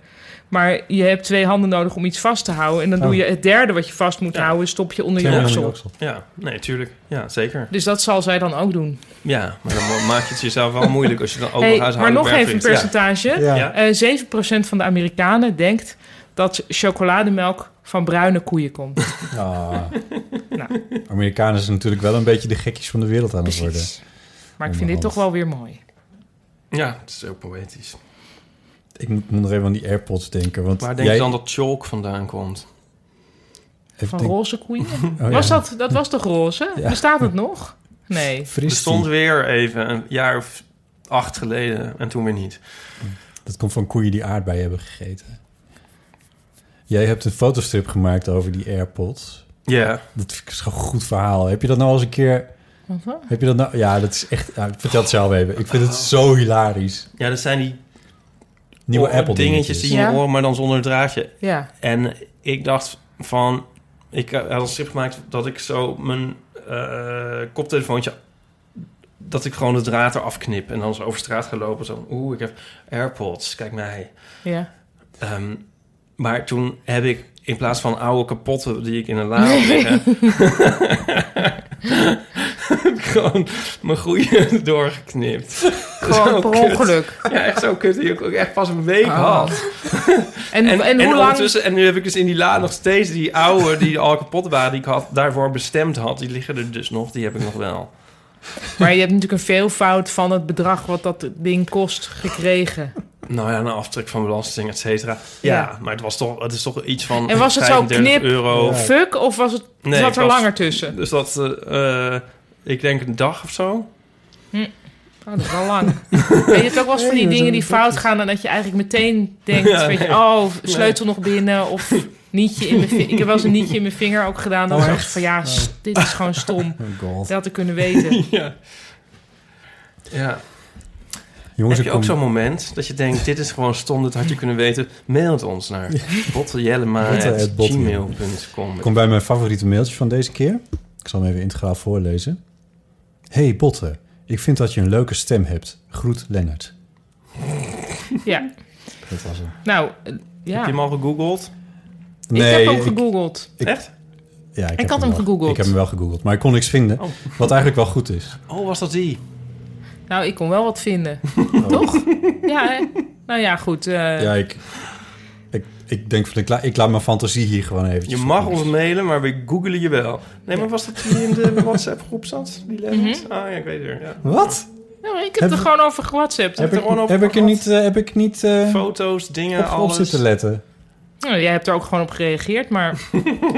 Maar je hebt twee handen nodig om iets vast te houden. En dan doe
Oh.
je het derde wat je vast moet
Ja.
houden, stop je onder je
Twee maanden
oksel.
oksel.
Ja, nee, tuurlijk. Ja, zeker.
Dus dat zal zij dan ook doen.
Ja, maar dan mo- maak je het jezelf wel moeilijk als je dan over
Hey,
huishoudelijk
maar nog
werk
even een
verricht.
percentage.
Ja.
Ja.
Eh, 7% van de Amerikanen denkt dat chocolademelk van bruine koeien komt.
Ah.
Nou.
Amerikanen zijn natuurlijk wel een beetje de gekjes van de wereld aan het worden.
Precies. Maar ik vind
Oh,
dit toch wel weer mooi.
Ja, het is ook poëtisch.
Ik moet, moet nog even aan die AirPods denken. Want
Waar denk
jij,
je dan dat chalk vandaan komt?
even
Van
denk- Oh,
roze koeien?
ja.
was dat, dat was toch roze?
Ja.
Bestaat het nog? Nee.
Fris
Er stond
die.
weer even een jaar of acht geleden en toen weer niet.
Dat komt van koeien die aardbeien hebben gegeten. Jij hebt een fotostrip gemaakt over die AirPods.
Ja,
Dat vind ik zo'n goed verhaal. Heb je dat nou eens een keer...
Wat dan?
Heb je dat nou... Ja, dat is echt... ja, vertel het zelf even. Ik vind het zo hilarisch.
ja dat zijn die
Nieuwe
oor-
Apple dingetjes.
Oh, dingetjes die in je
Ja.
oor, maar dan zonder het draadje.
Ja.
En ik dacht van... Ik eh, had een strip gemaakt dat ik zo mijn eh, koptelefoontje... Dat ik gewoon de draad eraf knip en dan zo over straat ga lopen. Zo, oeh, ik heb AirPods, kijk mij.
ja.
Ehm, maar toen heb ik in plaats van oude kapotten die ik in een la had liggen... heb ik gewoon mijn goede doorgeknipt.
Gewoon per
kut.
ongeluk.
Ja, echt zo kut die ik ook echt pas een week
Ah.
had.
En,
En,
en,
en,
hoe lang...
ondertussen, en nu heb ik dus in die la nog steeds die oude die al kapot waren, die ik had, daarvoor bestemd had. Die liggen er dus nog, die heb ik nog wel.
Maar je hebt natuurlijk een veelvoud van het bedrag wat dat ding kost gekregen.
Nou ja, een aftrek van belasting, et cetera. Ja,
Ja.
maar het, was toch, het is toch iets van
En was het zo
35
knip?
euro.
Ja.
Fuck, of was het,
Nee,
zat
ik
er
was-
langer tussen?
Dus dat, eh, eh, ik denk een dag of zo.
Oh, dat is wel lang. Weet je hebt ook wel eens van die dingen die fout gaan... en dat je eigenlijk meteen denkt, weet je... oh, sleutel nog binnen of nietje in mijn vinger. Ik heb wel eens een nietje in mijn vinger ook gedaan. Dan
Oh,
was ik
echt?
van, ja, s- dit is gewoon stom.
Oh god.
Dat had ik kunnen weten.
ja. Ja.
Jongens,
Heb
ik
je ook
kom-
zo'n moment dat je denkt, dit is gewoon stom, dit had je kunnen weten. Mail het ons naar
Bottejellema.
botteljellema.gmail.com.
kom bij mijn favoriete mailtje van deze keer. Ik zal hem even integraal voorlezen. Hey Botte, ik vind dat je een leuke stem hebt. Groet Lennart.
Ja,
Dat was hem.
nou, eh,
Heb
ja.
je hem al gegoogeld?
ik heb hem
ik-
gegoogeld.
Echt?
Ja, ik,
had hem
wel-
gegoogeld.
Ik heb hem wel gegoogeld, maar ik kon niks vinden.
Oh.
Wat eigenlijk wel goed is.
Oh, was dat die?
Nou, ik kon wel wat vinden. Toch? Ja, hè? Nou ja, goed. eh,
Ja, ik, ik, ik denk van, ik, la- ik laat mijn fantasie hier gewoon eventjes.
Je mag
op.
ons mailen, maar we googelen je wel. Nee, maar was dat die in de WhatsApp-groep zat? Die Lennart?
Mhm.
Ah ja, ik weet het. Ja.
Wat?
Nou, ik heb
Heb-
er gewoon over gewhatsappt.
Heb
er
ik,
gewoon over
heb ik er
gehad?
niet, eh, heb ik niet eh, op,
Foto's, dingen,
op
alles.
zitten letten?
Nou, jij hebt er ook gewoon op gereageerd, maar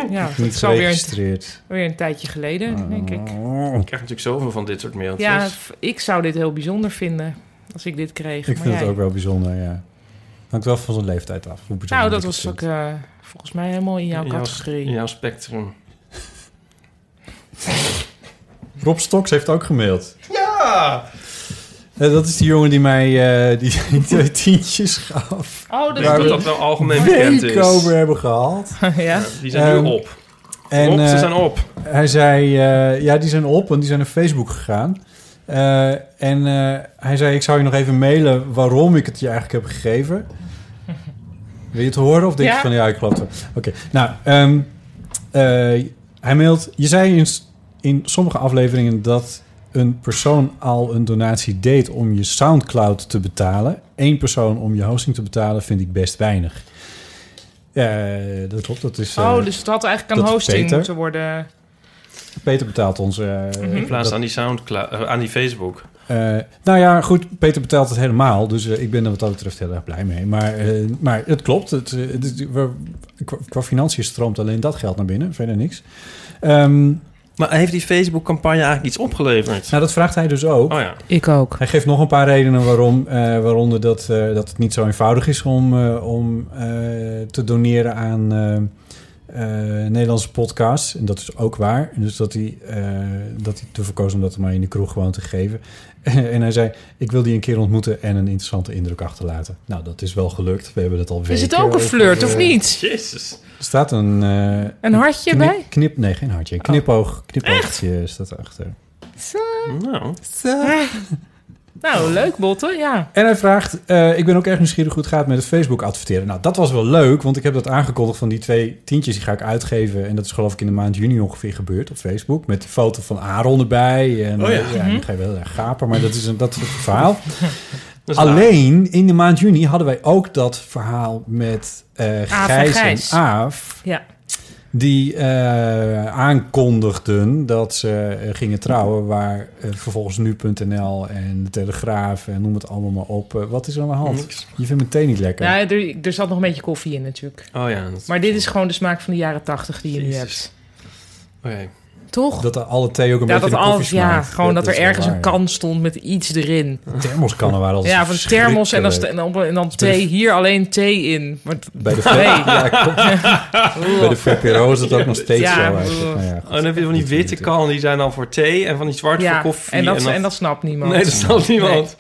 ja, het
Niet
is alweer een,
geregistreerd.
weer een tijdje geleden, denk ik.
Oh,
Ik krijg natuurlijk zoveel van dit soort mailtjes.
Ja, f- ik zou dit heel bijzonder vinden als ik dit kreeg.
Ik
maar
vind het
jij-
ook wel bijzonder, ja. Hangt wel van zijn leeftijd af. Hoe
Nou,
bijzonder
dat
ik het
was ook
vind.
eh, volgens mij helemaal in jouw
In jouw-
categorie.
In jouw spectrum.
Rob Stoks heeft ook gemaild.
Ja!
Eh, dat is die jongen die mij eh, die, die twee tientjes gaf.
Oh, dat
Dus Ik
is
denk dat
die.
dat wel algemeen bekend
Week
is.
over hebben gehaald.
ja.
Die zijn
Ehm,
nu op.
En,
op, ze
eh,
zijn op.
Hij zei, eh, ja, die zijn op, want die zijn naar Facebook gegaan. Eh, en eh, hij zei, ik zou je nog even mailen waarom ik het je eigenlijk heb gegeven. Wil je het horen? Of denk
Ja.
je van, ja, ik geloof het wel. Oké, nou, ehm, eh, hij mailt, je zei in, s- in sommige afleveringen dat een persoon al een donatie deed om je Soundcloud te betalen. Eén persoon om je hosting te betalen vind ik best weinig. Eh, dat klopt, dat is... eh,
Oh, dus het had eigenlijk aan
dat is
hosting
beter.
moeten worden.
Peter betaalt ons... eh,
Mhm.
In plaats
dat-
aan die Soundcloud, eh, aan die Facebook.
Eh, nou ja, goed, Peter betaalt het helemaal. Dus eh, ik ben er wat dat betreft heel erg blij mee. Maar, eh, maar het klopt. Het, eh, het is- we- qua, qua financiën stroomt alleen dat geld naar binnen. Verder niks. Ehm,
Maar heeft die Facebook-campagne eigenlijk iets opgeleverd?
nou, dat vraagt hij dus ook.
Oh ja.
Ik ook.
Hij geeft nog een paar redenen waarom. eh, waaronder dat, eh, dat het niet zo eenvoudig is om, eh, om eh, te doneren aan eh, eh, Nederlandse podcasts. En dat is ook waar. En Dus dat hij, eh dat hij ervoor koos om dat maar in de kroeg gewoon te geven. en hij zei, ik wil die een keer ontmoeten en een interessante indruk achterlaten. Nou, dat is wel gelukt. We hebben het al
Is het
weken
ook een
over,
flirt of
eh,
niet?
Jezus.
Er staat een... eh,
Een hartje
knip-
bij?
Knip, nee, geen hartje.
Oh.
Een knipoog, knipoogje staat erachter.
Nou,
Nou, leuk, Botte, ja.
En hij vraagt, eh, ik ben ook erg nieuwsgierig hoe het gaat met het Facebook adverteren. Nou, dat was wel leuk, want ik heb dat aangekondigd van die twee tientjes die ga ik uitgeven. En dat is geloof ik in de maand juni ongeveer gebeurd op Facebook. Met die foto van Aaron erbij. En,
Oh ja.
en dan ga je wel erg gapen, maar dat is een, dat is het verhaal.
dat is waar.
Alleen in de maand juni hadden wij ook dat verhaal met eh
en
Gijs en
Gijs.
Aaf.
Ja.
die eh, aankondigden dat ze eh, gingen trouwen... waar eh, vervolgens nu.nl en de Telegraaf en noem het allemaal maar op... eh, wat is er aan de hand?
Niks.
Je vindt meteen niet lekker.
Nou, er, er zat nog een beetje koffie in natuurlijk.
Oh ja. dat-
Maar dit is gewoon de smaak van de jaren tachtig die je nu
Jezus.
hebt.
Oké.
Toch?
Dat er alle thee ook een
Ja,
beetje naar
dat
koffie
alles, ja,
smaakt.
gewoon dat,
is
er
wel
ergens een
waar.
kan stond met iets erin.
Thermoskannen waren altijd
ja, van de thermos en dan, st- en
verschrikkelijk.
dan, en dan thee. Hier alleen thee in. Maar t-
Bij de,
nee.
ja, klopt. bij de VPRO is het ook nog steeds
Ja,
zo. eigenlijk.
broer.
Nou ja,
Oh, dan heb je van die witte kan, die zijn dan voor thee. En van die zwarte
ja,
voor koffie.
en, dat, en, dat, snapt niemand.
Nee, dat snapt niemand.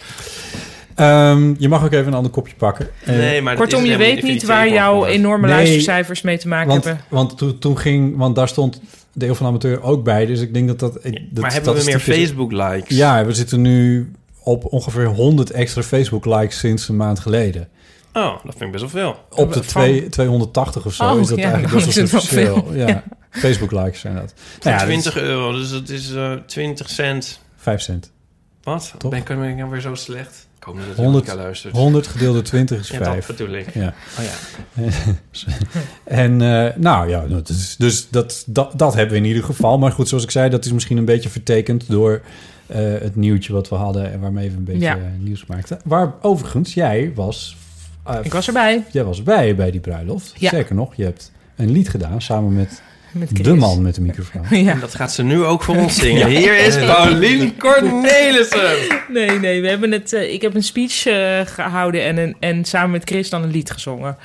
Ehm, je mag ook even een ander kopje pakken. Eh,
Nee, maar dat
Kortom,
is
je
het
weet
helemaal
niet
Ik
waar
vind het
jouw
tegenwoordig.
enorme
Nee,
luistercijfers mee te maken
want
hebben.
want toen, toen ging, want daar stond deel van de amateur ook bij. Dus ik denk dat dat. ik- dat
maar hebben we meer
statistiek is-
Facebook-likes?
Ja, we zitten nu op ongeveer 100 extra Facebook-likes sinds een maand geleden.
Oh, dat vind ik best wel veel.
Op de
Van-
twee- 280 of zo
Oh,
is dat
ja,
eigenlijk
dan
best wel
is het wel
substantieel. Ja, Facebook-likes zijn dat.
Voor
Nou ja,
20 euro, dus dat is eh 20 cent.
5 cent.
Wat?
Toch?
Ben, ben ik nou weer zo slecht? Ik hoop niet dat
100
Monica luistert.
100 gedeeld door 20 is
ja, dat
5.
bedoel ik.
Ja.
Oh ja.
En eh, nou ja, dat is- dus dat, dat, dat hebben we in ieder geval. Maar goed, zoals ik zei, dat is misschien een beetje vertekend door eh, het nieuwtje wat we hadden en waarmee we een beetje
Ja.
eh, nieuws maakten. Waar overigens, jij was, eh,
Ik was erbij
jij was bij bij die bruiloft.
Ja.
Zeker nog, je hebt een lied gedaan samen met
met Chris.
de man met de microfoon.
Ja.
En dat gaat ze nu ook voor ons zingen. Hier is Paulien Cornelissen.
Nee, nee, we hebben het, eh, ik heb een speech eh, gehouden en, een, en samen met Chris dan een lied gezongen.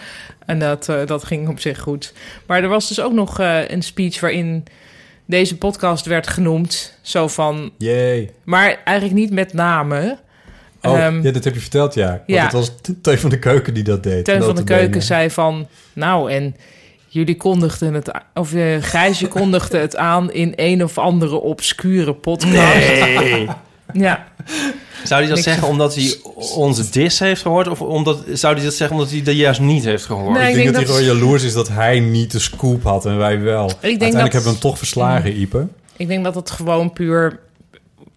En dat, eh, dat ging op zich goed. Maar er was dus ook nog eh, een speech waarin deze podcast werd genoemd. Zo van,
Jee.
maar eigenlijk niet met namen.
Oh,
Ehm,
ja, dat heb je verteld, ja. Want
ja.
het was Teun van de Keuken die dat deed.
Teun van de
notabene.
Keuken zei van... Nou, en jullie kondigden het... a- Of eh Gijsje kondigde het aan in een of andere obscure podcast.
Nee.
Ja,
Zou hij dat
Niks.
zeggen omdat hij onze dis heeft gehoord? Of omdat, zou hij dat zeggen omdat hij dat juist niet heeft gehoord?
Nee.
Ik
Ik
denk
denk
dat hij
dat-
gewoon jaloers is dat hij niet de scoop had en wij wel. Uiteindelijk
dat-
hebben we hem toch verslagen, Ipe.
ik denk dat het gewoon puur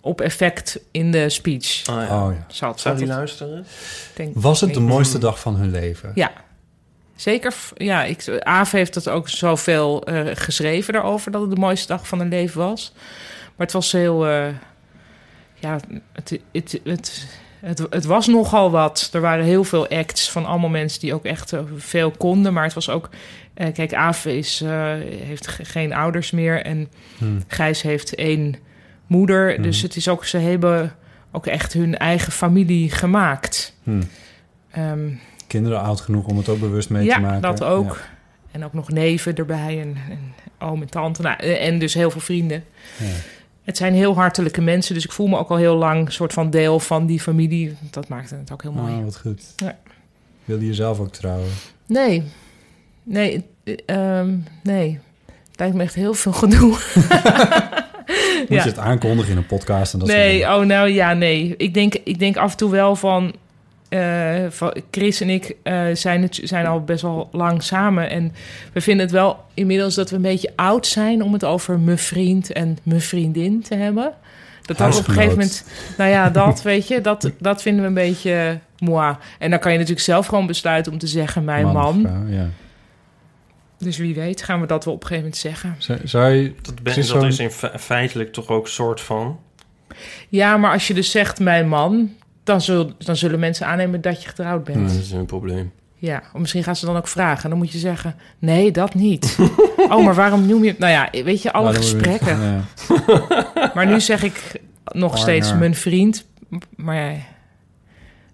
op effect in de speech
Oh, ja.
Oh ja.
zat.
Zou hij
Dat-
luisteren?
denk-
Was het de
ik-
mooiste dag van hun leven?
Ja. Zeker, f- ja, ik, Aaf heeft dat ook zoveel eh, geschreven daarover... dat het de mooiste dag van hun leven was. Maar het was heel... eh, ja, het, het, het, het, het was nogal wat. Er waren heel veel acts van allemaal mensen die ook echt eh, veel konden. Maar het was ook... eh, kijk, Aaf is, eh, heeft ge- geen ouders meer. En
Hmm.
Gijs heeft één moeder. Dus het is ook... Ze hebben ook echt hun eigen familie gemaakt.
Hmm.
Ehm,
Kinderen oud genoeg om het ook bewust mee
ja,
te maken.
dat ook. En ook nog neven erbij en, en oom en tante. Nou, en dus heel veel vrienden.
Ja.
Het zijn heel hartelijke mensen, dus ik voel me ook al heel lang soort van deel van die familie. Dat maakte het ook heel
Ja.
mooi.
Ah, wat goed.
Ja.
Wilde je zelf ook trouwen?
Nee, nee, eh, ehm, nee. Het lijkt me echt heel veel gedoe.
Moet
Ja.
je het aankondigen in een podcast en dat soort
nee,
dingen?
oh nou ja, nee. Ik denk, ik denk af en toe wel van... eh, van Chris en ik eh, zijn, het, zijn al best wel lang samen. En we vinden het wel inmiddels dat we een beetje oud zijn... om het over mijn vriend en mijn vriendin te hebben. Dat dat op een
Huisgenoot.
gegeven moment... Nou ja, dat weet je, dat, dat vinden we een beetje moi. En dan kan je natuurlijk zelf gewoon besluiten om te zeggen oh, mijn
of
man.
vrouw, ja.
Dus wie weet gaan we dat wel op een gegeven moment zeggen.
Zou, zou je...
Dat,
ben- Precies dat zo. is
is in feitelijk toch ook soort van...
Ja, maar als je dus zegt mijn man... dan, zul, dan zullen mensen aannemen dat je getrouwd bent.
Dat
dus-
is een probleem.
Ja, of misschien gaan ze dan ook vragen. En dan moet je zeggen, nee, dat niet. oh, maar waarom noem je het? Nou ja, weet je, alle
Nou, dan moet je-
gesprekken.
Ja.
Maar nu zeg ik nog
Partner.
steeds mijn vriend. Maar ja,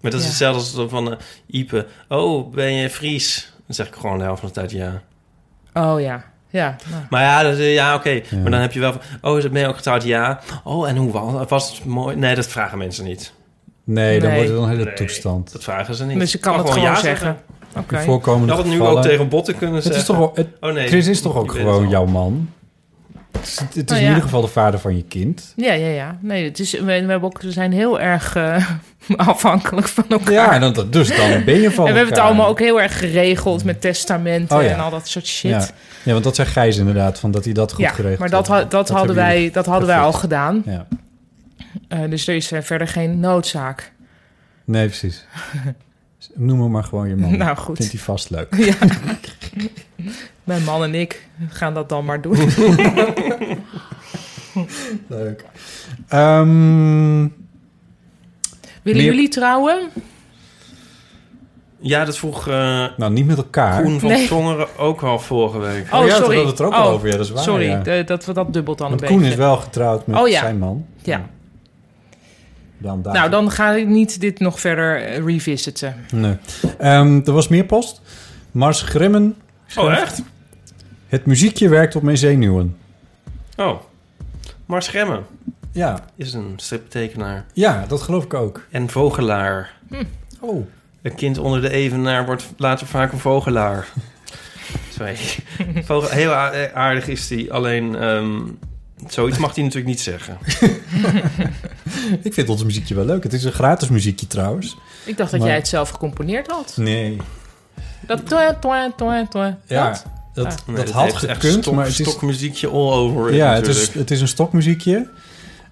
Maar dat is
Ja.
hetzelfde als dan van eh, Ipe. Oh, ben je Fries? Dan zeg ik gewoon de helft van de tijd ja.
oh ja, ja. nou.
Maar ja, dat, is- ja oké.
Ja.
Maar dan heb je wel van... Oh, is- ben je ook getrouwd? Ja. Oh, en hoe was, was het mooi? Nee, dat vragen mensen niet.
Nee, dan
Nee.
wordt het een hele
Nee,
toestand.
Dat vragen ze niet.
Dus ik kan het
Mag
gewoon zeggen. Oké.
In voorkomende
Dat had het nu
gevallen-
ook tegen botten kunnen
Het
zeggen.
is toch wel- het,
Oh nee.
Chris is toch ook
ik weet het
gewoon
al.
jouw man? Het is, het is
Nou
in
ja.
ieder geval de vader van je kind.
Ja, ja, ja. Nee, het is, we, we, hebben ook, we zijn heel erg eh, afhankelijk van elkaar.
Ja, en dan, dus dan ben je van
en we hebben het
elkaar.
allemaal ook heel erg geregeld met testamenten
Oh ja.
en al dat soort shit.
Ja. ja, want dat zei Gijs inderdaad, van dat hij dat goed
Ja,
geregeld
maar dat,
had.
had- dat, hadden,
hebben
wij, dat hadden wij al
perfect.
gedaan.
jullie- Ja.
Eh, dus er is eh, verder geen noodzaak.
Nee, precies. Noem hem maar gewoon je man.
Nou, goed.
Vindt hij vast leuk.
Ja. Mijn man en ik gaan dat dan maar doen.
Leuk. Ehm,
Willen
Meer- Oh,
jullie trouwen?
Ja, dat vroeg eh
nou, niet met elkaar.
Koen van
Nee.
Tongeren ook al vorige week.
Oh, ja, we hadden het er ook al over. Ja, dat is waar,
Sorry,
ja.
eh, dat we dat dubbelt dan
Want
een
Koen
beetje.
is wel getrouwd met
Oh, ja.
zijn man.
Ja.
Dan daar.
Nou, dan ga ik niet dit nog verder eh, revisiten.
Nee. Ehm, er was meer post. Mars Grimmen.
Oh, echt?
Het muziekje werkt op mijn zenuwen.
Oh. Mars Gremmen
Ja,
is een striptekenaar
ja dat geloof ik ook.
en vogelaar.
Oh.
Een kind onder de evenaar wordt later vaak een vogelaar. Sorry. Vogel, heel a- eh, aardig is hij, alleen ehm, zoiets mag hij natuurlijk niet zeggen.
Ik vind ons muziekje wel leuk. Het is een gratis muziekje trouwens.
Ik dacht dat
Maar-
jij het zelf gecomponeerd had.
Nee.
Dat toin, toin, toin, toin.
Ja,
Dat?
dat,
Ah.
dat had
heeft echt
gekund,
stok-
maar het is...
stokmuziekje all over.
Ja, het
natuurlijk.
is, het is een stokmuziekje.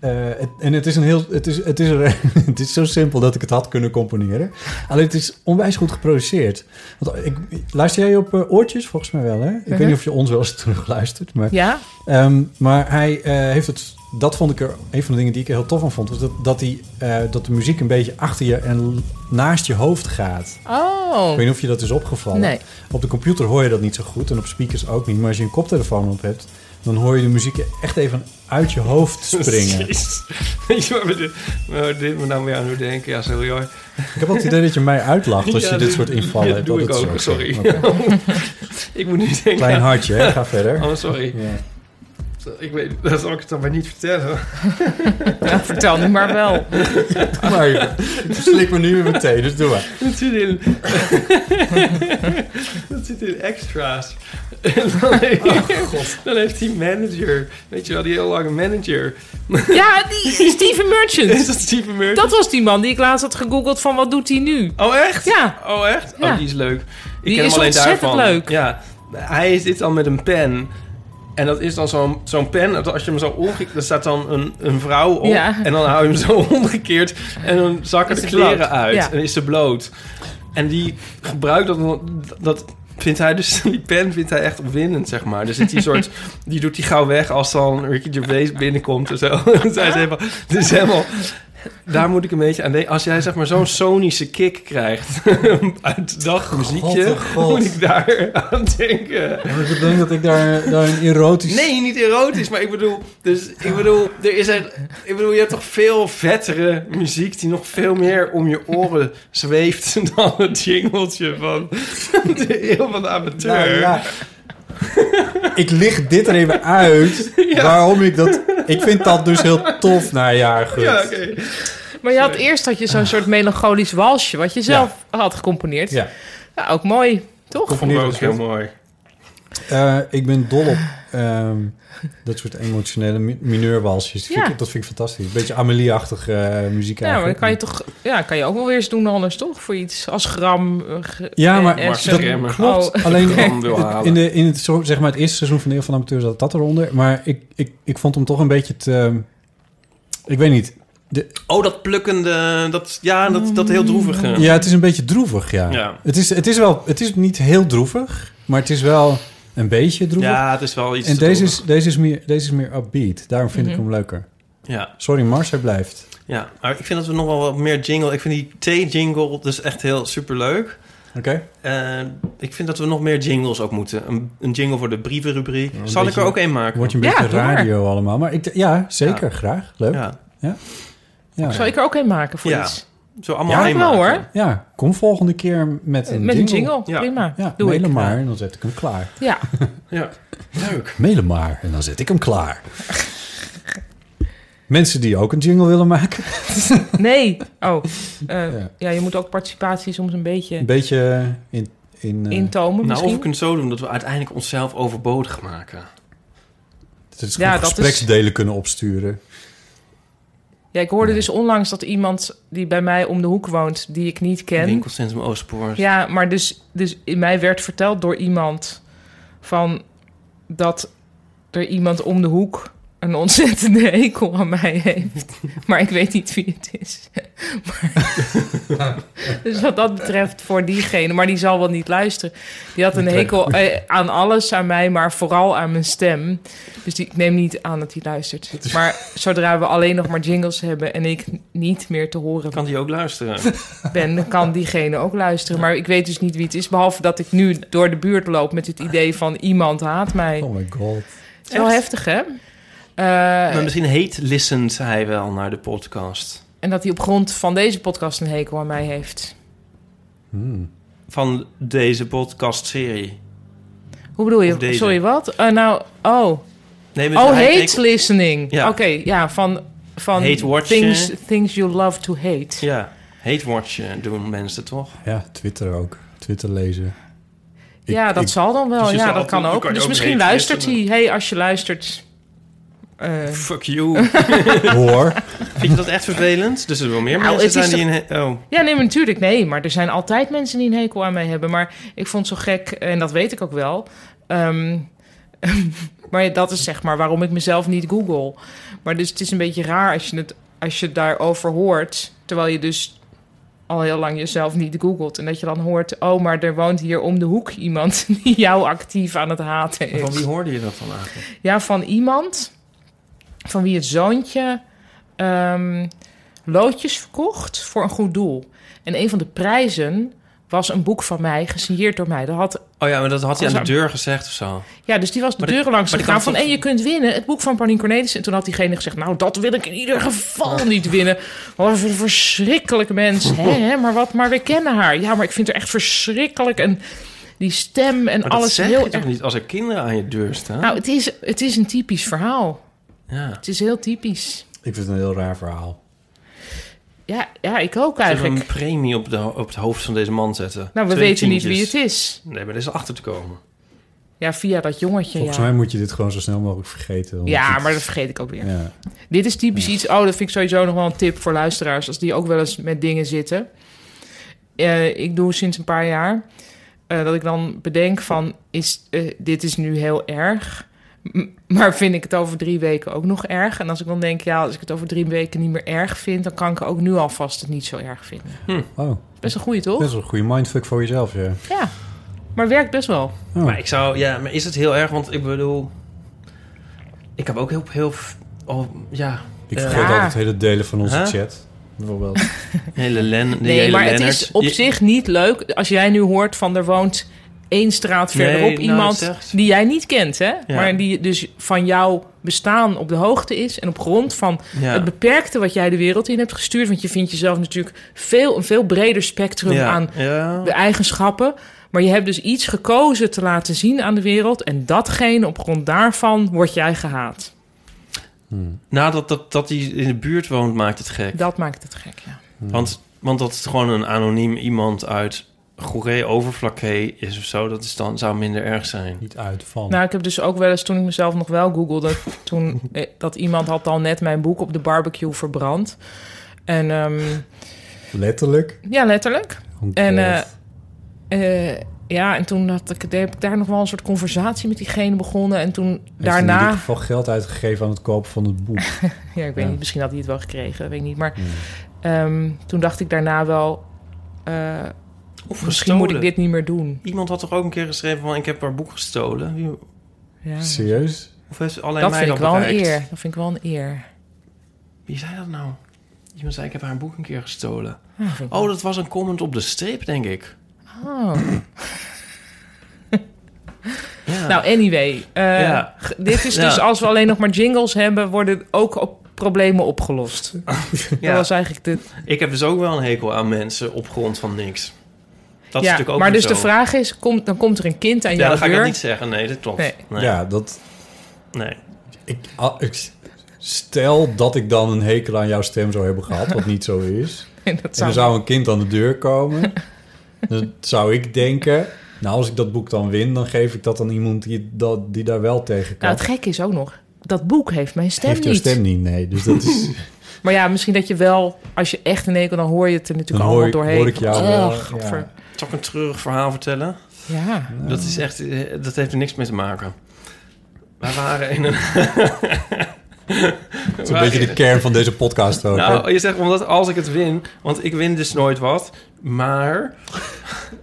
Eh, het, en het is, een heel, het, is, het, is er, het is zo simpel dat ik het had kunnen componeren. Alleen het is onwijs goed geproduceerd. Want ik, luister jij op eh, oortjes? Volgens mij wel, hè? Ik weet
Mhm.
niet of je ons wel eens terugluistert. Maar,
Ja?
Ehm, maar hij eh, heeft het... Dat vond ik er... Een van de dingen die ik er heel tof aan vond... was dat, dat, die, eh, dat de muziek een beetje achter je en l- naast je hoofd gaat.
Oh.
Ik weet niet of je dat is opgevallen.
Nee.
Op de computer hoor je dat niet zo goed en op speakers ook niet. Maar als je een koptelefoon op hebt, dan hoor je de muziek echt even uit je hoofd springen. ik
Jezus. Weet je waar we dit- waar dit me nou weer aan doen denken? Ja, sorry hoor.
heb ook het idee dat je mij uitlacht als
Ja,
je dit soort invallen
ja,
hebt.
doe
dat
ik
het
ook,
zo zit.
sorry.
Oké.
Ik moet nu denken...
Klein hartje, hè? ga verder.
Oh, sorry.
Ja.
Ik weet, dat zal ik het dan maar niet vertellen.
Nou, vertel nu maar wel.
Maar ik verslik me nu weer meteen, dus doe maar.
Dat zit in... dat zit in extra's. En dan, heeft,
Oh,
dan heeft die manager... Weet je wel, die heel lange manager.
Ja, die Steven
Is
Merchant.
dat Steven Merchant?
Dat was die man die ik laatst had gegoogeld van wat doet hij nu?
Oh, echt?
Ja.
Oh, echt?
Ja.
Oh, die is leuk. Ik
Die
ken
is
hem alleen
ontzettend
daarvan.
leuk.
Ja. Hij zit dan met een pen. En dat is dan zo'n zo'n pen. dat Als je hem zo omgekeerd... Er staat dan een, een vrouw op.
Ja.
En dan hou je hem zo omgekeerd. En dan zakken
Is
de
ze bloot.
kleren uit.
Ja.
En is ze bloot. En die gebruikt dat... dan- dat Vindt hij dus, die pen vindt hij echt opwindend, zeg maar. Dus het die soort, die doet hij gauw weg als dan Ricky Gervais binnenkomt en zo. Dus hij is helemaal, dus helemaal daar moet ik een beetje aan denken. Als jij zeg maar zo'n sonische kick krijgt uit dagmuziekje,
God, oh God.
moet ik daar aan denken.
Ik denk dat ik daar, daar een erotisch...
Nee, niet erotisch, maar ik bedoel, dus ik bedoel, er is echt, ik bedoel, je hebt toch veel vettere muziek die nog veel meer om je oren zweeft dan het jingeltje van de eeuw van de amateur.
Nou, ja. Ik licht dit er even uit waarom ik dat... Ik vind dat dus heel tof. Nou ja, goed.
Ja,
Ja,
oké.
Maar je had eerst dat je zo'n soort melancholisch walsje wat je zelf had gecomponeerd. Ja. ook mooi, toch?
Vond ik ook heel mooi.
Eh, ik ben dol op ehm, dat soort emotionele mi- mineurwalsjes. Dat,
Ja.
vind ik, dat vind ik fantastisch. Beetje Amelie-achtige eh, muziek
Ja, maar dan
eigenlijk.
kan je toch, ja, kan je ook wel weer eens doen anders, toch? Voor iets als gram. eh, ge-
Ja,
eh,
maar
eh,
Mars
zo-
Remmen.
Klopt.
Oh.
Alleen
Gram wil halen.
in, de, in het, zo, zeg maar het eerste seizoen van de Eeuw van de Amateur zat dat eronder. Maar ik, ik, ik vond hem toch een beetje te... ehm, ik weet niet.
Oh, dat plukkende, dat, ja, dat, dat heel droevige.
Ja, het is een beetje droevig, ja.
Ja.
Het, is, het, is wel, het is niet heel droevig, maar het is wel een beetje droevig.
Ja, het is wel iets
en
te
deze
droevig.
is, deze, is meer, deze is meer upbeat. Daarom vind
Mhm.
ik hem leuker.
Ja,
Sorry, Mars, hij blijft.
ja, maar ik vind dat we nog wel wat meer jingle... Ik vind die thee-jingle dus echt heel superleuk.
Oké?
Eh, ik vind dat we nog meer jingles ook moeten. Een, een jingle voor de brievenrubriek.
een
Zal ik
beetje-
er ook één maken?
Word je een
Ja,
beetje
doe maar.
radio allemaal. Maar ik, d- ja, zeker. Graag. Leuk. Ja.
Ja,
Ja.
Zal ik er ook een maken voor
Ja.
iets?
zo allemaal
Ja,
één
wel,
maken.
hoor.
kom volgende keer met
Eh,
een
Met een
jingle.
jingle,
Ja.
prima.
Ja,
Doe
mailen
ik.
maar en dan zet ik hem klaar.
Ja,
Ja. Leuk.
Mailen maar en dan zet ik hem klaar. Mensen die ook een jingle willen maken.
nee. Oh, eh,
Ja.
ja. je moet ook participatie soms een beetje
Een beetje in... in eh,
intomen
Nou, of
misschien.
we kunnen het zo doen dat we uiteindelijk onszelf overbodig maken.
het is
Ja,
gewoon
dat is-
gespreksdelen kunnen opsturen.
Ja, ik hoorde dus onlangs dat iemand die bij mij om de hoek woont, die ik niet ken...
Winkelcentrum Oostpoort.
Ja, maar dus, dus in mij werd verteld door iemand van dat er iemand om de hoek een ontzettende hekel aan mij heeft. Maar ik weet niet wie het is. Maar, Dus wat dat betreft voor diegene, maar die zal wel niet luisteren. Die had een hekel eh, aan alles, aan mij, maar vooral aan mijn stem. Dus die, ik neem niet aan dat hij luistert. Maar zodra we alleen nog maar jingles hebben en ik niet meer te horen
Kan die ook luisteren?
ben, dan kan diegene ook luisteren. Maar ik weet dus niet wie het is, behalve dat ik nu door de buurt loop met het idee van iemand haat mij.
Oh my god.
Het is wel
Echt?
heftig, hè?
Maar
Eh,
misschien heet listens hij wel naar de podcast.
en dat hij op grond van deze podcast een hekel aan mij heeft.
Hmm.
Van deze podcastserie.
Hoe bedoel
Of
je?
deze.
Sorry, wat? Eh, nou, oh.
Nee, maar
Oh,
hij-
hate
hij-
listening.
Ja.
Oké, ja, van, van
Hate watchen.
things, things you love to hate. Ja.
Ja, hate watchen doen mensen toch?
Ja, Twitter ook. Twitter lezen. Ik-
dat
ik-
zal dan wel.
Dus je
ja,
zal
dat kan
altijd-
ook.
kan je
dus
ook
misschien
hate
luistert hij.
listening.
hey, als je luistert... eh,
Fuck you.
hoor.
Vind je dat echt vervelend? Dus er wel meer
Nou,
mensen
het
zijn
is
die in... he- Oh,
Ja, nee, maar natuurlijk, nee. Maar er zijn altijd mensen die een hekel aan mij hebben. Maar ik vond het zo gek, en dat weet ik ook wel. ehm, maar dat is zeg maar waarom ik mezelf niet google. Maar dus het is een beetje raar als je het als je daarover hoort... terwijl je dus al heel lang jezelf niet googelt. En dat je dan hoort, oh, maar er woont hier om de hoek iemand... die jou actief aan het haten
maar van
is.
wie hoorde je dat dan eigenlijk?
Ja, van iemand van wie het zoontje ehm, loodjes verkocht voor een goed doel. En een van de prijzen was een boek van mij, gesigneerd door mij. Dat had,
Oh ja, maar dat had hij aan
Als
de
aan-
deur gezegd of zo.
ja, dus die was de
Maar die-
deuren langs
maar die
gegaan
kan
van...
toch-
en je kunt winnen, het boek van Paulien Cornelis. En toen had diegene gezegd, nou, dat wil ik in ieder geval niet winnen. Wat een verschrikkelijk mens. hè, hè, maar, wat, maar we kennen haar. Ja, maar ik vind haar echt verschrikkelijk. En die stem en
Maar dat
alles
zeg
heel
je toch
erg...
niet als er kinderen aan je deur staan?
Nou, het is, het is een typisch verhaal.
ja.
Het is heel typisch.
Ik vind het een heel raar verhaal.
Ja, ja ik
Zullen
ook
we
eigenlijk.
een premie op, de, ho- op het hoofd van deze man zetten?
Nou, we
Twee
weten niet wie
tientjes.
het is.
Nee, maar er is achter te komen.
Ja, via dat jongetje.
Volgens
ja.
mij moet je dit gewoon zo snel mogelijk vergeten. omdat
ja,
het-
maar dat vergeet ik ook weer.
Ja.
Dit is typisch iets. Oh, dat vind ik sowieso nog wel een tip voor luisteraars. Als die ook wel eens met dingen zitten. Eh, ik doe sinds een paar jaar. eh, dat ik dan bedenk van. Is, eh, dit is nu heel erg. m- Maar vind ik het over drie weken ook nog erg? En als ik dan denk, ja, als ik het over drie weken niet meer erg vind, dan kan ik ook nu alvast het niet zo erg vinden.
Oh,
Best een goeie, toch?
best wel een goede mindfuck voor jezelf, ja.
Ja. Maar werkt best wel.
Oh.
Maar ik zou, ja, maar is het heel erg? Want ik bedoel, ik heb ook heel, heel, oh, ja,
Ik
eh,
vergeet
Ja.
altijd hele delen van onze
Huh?
chat. Bijvoorbeeld.
hele Len, die
Nee,
hele
maar
Lennart.
het is op
Je-
zich niet leuk als jij nu hoort van er woont één straat
Nee,
verderop
nou,
iemand
dat zegt-
die jij niet kent, hè? Maar die dus van jouw bestaan op de hoogte is en op grond van
Ja.
het beperkte wat jij de wereld in hebt gestuurd, want je vindt jezelf natuurlijk veel een veel breder spectrum
ja,
aan
ja.
de eigenschappen. Maar je hebt dus iets gekozen te laten zien aan de wereld. En datgene op grond daarvan word jij gehaat.
Nadat dat, dat hij in de buurt woont, maakt het gek.
Dat maakt het gek, ja.
Want, want dat het gewoon een anoniem iemand uit Goeree Overflakkee is of zo, dat is dan, zou minder erg zijn.
Niet uit van.
Nou, ik heb dus ook wel eens toen ik mezelf nog wel googelde, toen eh, dat iemand had al net mijn boek op de barbecue verbrand. En ehm,
Letterlijk.
ja, letterlijk.
Oh
En,
God.
eh, Eh, ja, en toen had ik, heb ik daar nog wel een soort conversatie met diegene begonnen. En toen
Heeft hij in
daarna. Ah.
ieder geval geld uitgegeven aan het kopen van het boek.
Ja, ik weet
Ja. Hmm.
niet, misschien had hij het wel gekregen, weet ik niet. Maar ehm, toen dacht ik daarna wel. eh,
Of
misschien moet ik
gestolen.
dit niet meer doen.
Iemand had toch ook een keer geschreven van, ik heb haar boek gestolen? Wie-
Ja.
Serieus?
Of heeft ze alleen
Dat
mij
vind ik
dat
wel een
bereikt?
eer. Dat vind ik wel een eer.
Wie zei dat nou? Iemand zei, ik heb haar boek een keer gestolen.
Ja, dat vind ik
Oh, dat was een comment op de strip, denk ik.
wel- Oh.
Ja.
Nou, anyway. eh,
Ja.
g- Dit is
Ja.
dus als we alleen nog maar jingles hebben, worden ook op problemen opgelost. Dat
Ja.
was eigenlijk de.
Ik heb dus ook wel een hekel aan mensen op grond van niks. Dat is
ja,
natuurlijk ook
maar
weer
dus de
zo.
vraag is: komt, dan komt er een kind aan
Ja,
jouw
dan ga ik
deur?
dat niet zeggen. Nee, dat klopt.
Nee.
Nee.
Ja, dat...
nee.
Ik, ah, ik- stel dat ik dan een hekel aan jouw stem zou hebben gehad, wat niet zo is.
En dat
En
zou-
er zou een kind aan de deur komen. dan zou ik denken... Nou, als ik dat boek dan win, dan geef ik dat aan iemand die, dat, die daar wel tegen kan.
Nou, het gekke is ook nog: dat boek heeft mijn stem
heeft
niet.
jouw stem niet, nee. Dus dat is,
Maar ja, misschien dat je wel, als je echt een hekel, dan hoor je het er
dan
natuurlijk allemaal
hoor, ik-
doorheen.
hoor ik jou wel.
Oh, gadver.
Ja.
Zal ik een treurig verhaal vertellen?
Ja.
Dat, is echt, eh, dat heeft er niks mee te maken. Wij waren in een...
Dat is een beetje de kern van deze podcast ook. hè?
Nou, je zegt omdat als ik het win, want ik win dus nooit wat. Maar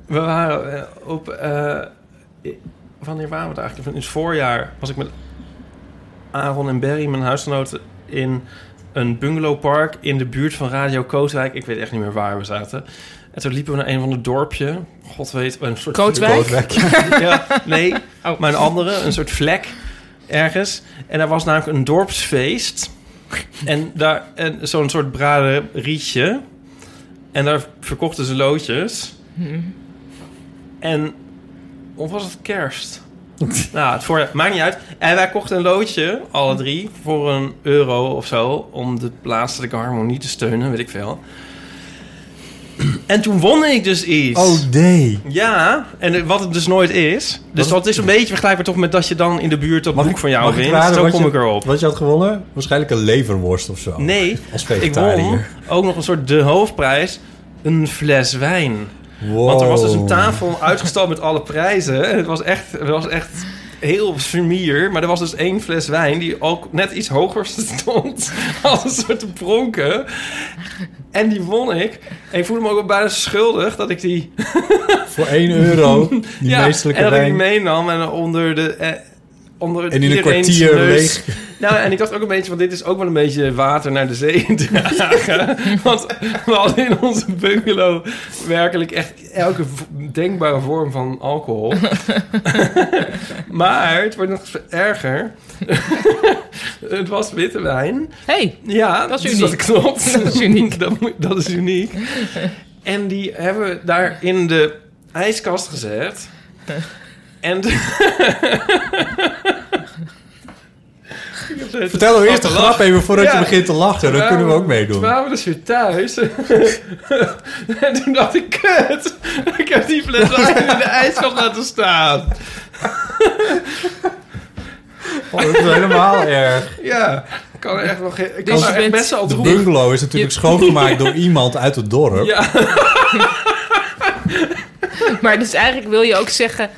we waren eh, op. eh, i- wanneer waren we het eigenlijk? In het voorjaar was ik met Aaron en Barry, mijn huisgenoten, in een bungalowpark in de buurt van Radio Kootwijk. Ik weet echt niet meer waar we zaten. En toen liepen we naar een van de dorpje. God weet, een soort
Kootwijk?
ja, nee,
Oh.
maar een andere, een soort vlek ergens. En daar was namelijk een dorpsfeest. En, daar- en zo'n soort braderietje. En daar verkochten ze loodjes. En, of was het kerst? nou, het voorjaar, maakt niet uit. En wij kochten een loodje, alle drie, voor een euro of zo... om de plaatselijke harmonie te steunen, weet ik veel. En toen won ik dus iets.
Oh
Nou,
nee.
Ja, en eh, wat het dus nooit is. Dus dat is een beetje vergelijkbaar toch met dat je dan in de buurt dat boek van jou
mag ik
wint.
raden
Zo
wat
kom
je-
ik erop.
Wat je had gewonnen? Waarschijnlijk een leverworst of zo.
Nee,
Als
ik won
vegetariër.
ook nog een soort de hoofdprijs. Een fles wijn.
Wow.
Want er was dus een
Oh.
tafel uitgestald met alle prijzen. En het was echt, het was echt heel sumier. Maar er was dus één fles wijn die ook net iets hoger stond. Als een soort pronken. En die won ik. En ik voelde me ook wel bijna schuldig dat ik die
Voor 1 euro. Die meestelijke
en dat ik
wijn.
die meenam en onder de... Eh, onder
en in een
iedereen's
kwartier
neus.
leeg.
Nou, en ik dacht ook een beetje, want dit is ook wel een beetje water naar de zee dragen. want we hadden in onze bungalow werkelijk echt elke v- denkbare vorm van alcohol. maar het wordt nog erger. het was witte wijn.
hey,
Ja,
Dat
dus
is uniek.
Dat klopt.
Dat is uniek.
dat, moet- dat is uniek. En die hebben we daar in de ijskast gezet. En...
Vertel nou eerst de
lachen.
grap even voordat je
Ja.
begint te lachen. Dan
Toen
kunnen we
waren
ook meedoen.
Toen waren Dus we dus weer thuis. en toen dacht ik, kut. Ik heb die fles wijn in de ijskast laten staan.
Oh, dat is helemaal erg.
Ja, ik kan er echt nog... geen- Ik kan
Dus
er
je
echt
bent
best wel op
De
roepen.
bungalow is natuurlijk schoongemaakt door iemand uit het dorp.
Ja.
maar dus eigenlijk wil je ook zeggen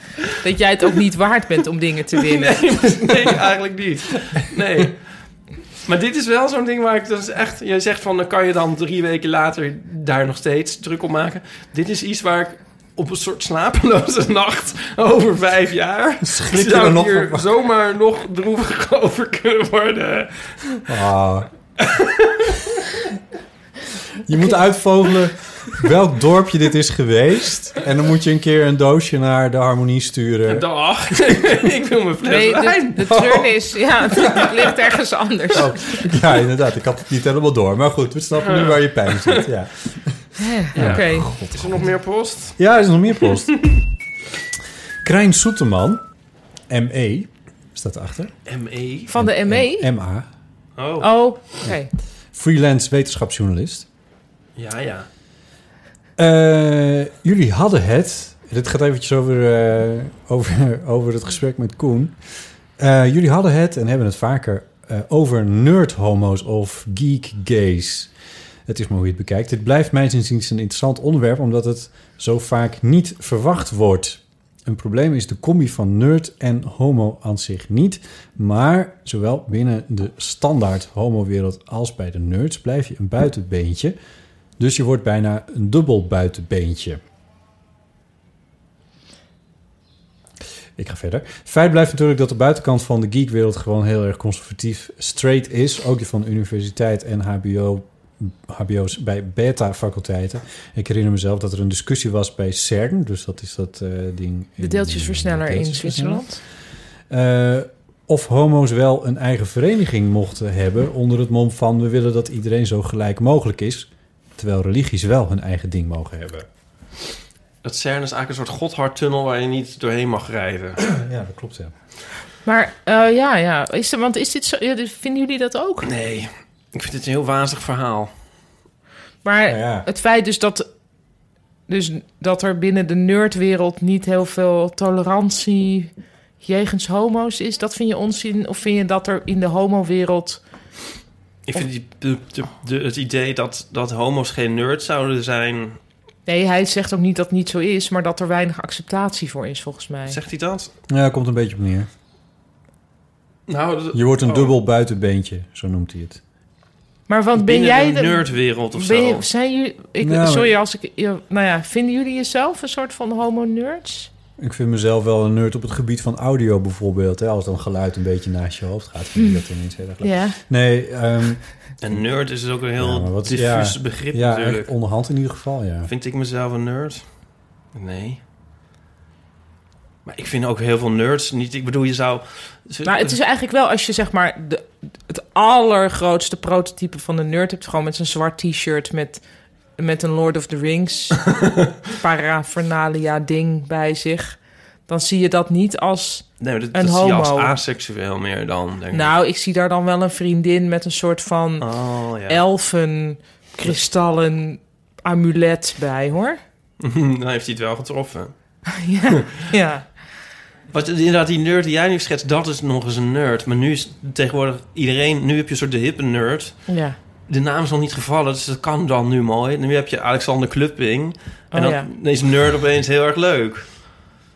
dat jij het ook niet waard bent om dingen te winnen.
Nee, nee, eigenlijk niet. Nee. Maar dit is wel zo'n ding waar ik dus echt... Je zegt van, dan kan je dan drie weken later daar nog steeds druk op maken. Dit is iets waar ik op een soort slapeloze nacht over vijf jaar...
Schrik je
zou
er nog
hier
van?
zomaar nog droevig over kunnen worden.
Ah. Je moet uitvogelen welk dorpje dit is geweest. En dan moet je een keer een doosje naar de harmonie sturen.
Dag. ik wil mijn fles
Nee, de,
wijn.
de turn is, ja, het ligt ergens anders.
Oh, ja, inderdaad. Ik had het niet helemaal door. Maar goed, we snappen nu waar je pijn zit. Ja,
Oké.
Is er nog meer post?
ja er is nog meer post. Krijn Soeteman, ME, staat erachter.
ME.
Van de E? ME?
MA,
Oh,
Oh, oké.
freelance wetenschapsjournalist.
ja, ja.
Eh, jullie hadden het. Dit gaat eventjes over, eh, over, over het gesprek met Koen. Eh, jullie hadden het en hebben het vaker eh, over nerd-homo's of geek-gays. Het is maar hoe je het bekijkt. Dit blijft mij inziens een interessant onderwerp, omdat het zo vaak niet verwacht wordt. Een probleem is de combi van nerd en homo aan zich niet. Maar zowel binnen de standaard homo-wereld als bij de nerds blijf je een buitenbeentje. Dus je wordt bijna een dubbel buitenbeentje. Ik ga verder. Feit blijft natuurlijk dat de buitenkant van de geekwereld gewoon heel erg conservatief straight is. Ook die van de universiteit en HBO, HBO's bij beta-faculteiten. Ik herinner mezelf dat er een discussie was bij CERN. Dus dat is dat eh, ding.
De deeltjesversneller in
Zwitserland.
Zwitserland.
Eh, of homo's wel een eigen vereniging mochten hebben onder het mom van we willen dat iedereen zo gelijk mogelijk is, terwijl religies wel hun eigen ding mogen hebben.
Dat CERN is eigenlijk een soort godhardtunnel waar je niet doorheen mag rijden.
Ja, dat klopt ja.
Maar eh, ja, ja. Is, er- want is dit zo, ja, dus vinden jullie dat ook?
Nee, ik vind dit een heel wazig verhaal.
Maar
Ja, ja.
het feit dus dat, dus dat er binnen de nerdwereld niet heel veel tolerantie jegens homo's is, dat vind je onzin? Of vind je dat er in de homowereld...
Ik vind die, de, de, de- het idee dat, dat homo's geen nerds zouden zijn...
Nee, hij zegt ook niet dat het niet zo is, maar dat er weinig acceptatie voor is, volgens mij.
Zegt hij dat?
Ja, komt een beetje op neer.
Nou, dat-
Je wordt een
oh.
dubbel buitenbeentje, zo noemt hij het.
Maar want ben
Binnen
jij
de nerdwereld of
ben je-
zo.
zijn jullie, ik,
Nou,
sorry als ik... je- Nou ja, vinden jullie jezelf een soort van homo-nerds?
Ik vind mezelf wel een nerd op het gebied van audio bijvoorbeeld. Hè? Als dan geluid een beetje naast je hoofd gaat, vind je dat ineens heel erg leuk.
Ja.
Nee, ehm,
Een nerd is ook een
Ja,
heel
maar wat-
diffuus
ja.
begrip
ja,
natuurlijk.
echt onderhand in ieder geval, ja.
Vind ik mezelf een nerd? Nee. Maar ik vind ook heel veel nerds niet... Ik bedoel, je zou... Dus
Nou, het is eigenlijk wel als je zeg maar de, het allergrootste prototype van de nerd hebt. Gewoon met zijn zwart t-shirt met, met een Lord of the Rings paraphernalia ding bij zich. Dan zie je dat niet als...
Nee, maar dat,
een
dat zie je als
homo.
asexueel meer dan, denk ik.
Nou, ik zie daar dan wel een vriendin met een soort van
Oh, ja.
elfen, kristallen, amulet bij, hoor.
dan Nou, heeft hij het wel getroffen.
ja, ja.
Wat, inderdaad, die nerd die jij nu schetst, dat is nog eens een nerd. Maar nu is tegenwoordig iedereen... Nu heb je een soort de hippe nerd.
ja.
De naam is nog niet gevallen, dus dat kan dan nu mooi. Nu heb je Alexander Klupping. En
Oh,
dan
ja.
is nerd opeens heel erg leuk.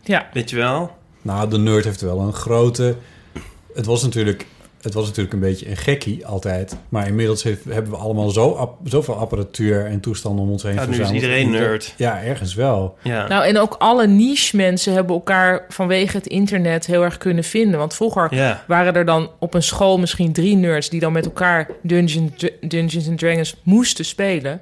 Ja.
Weet je wel?
Nou, de nerd heeft wel een grote... Het was natuurlijk, het was natuurlijk een beetje een gekkie altijd. Maar inmiddels heeft- hebben we allemaal zo ap- zoveel apparatuur en toestanden om ons heen
Ja, nu is
verzameld.
iedereen nerd.
Ja, ergens wel.
Ja.
Nou, en ook alle niche-mensen hebben elkaar vanwege het internet heel erg kunnen vinden. Want vroeger
ja.
waren er dan op een school misschien drie nerds die dan met elkaar Dungeon, Dr- Dungeons and Dragons moesten spelen.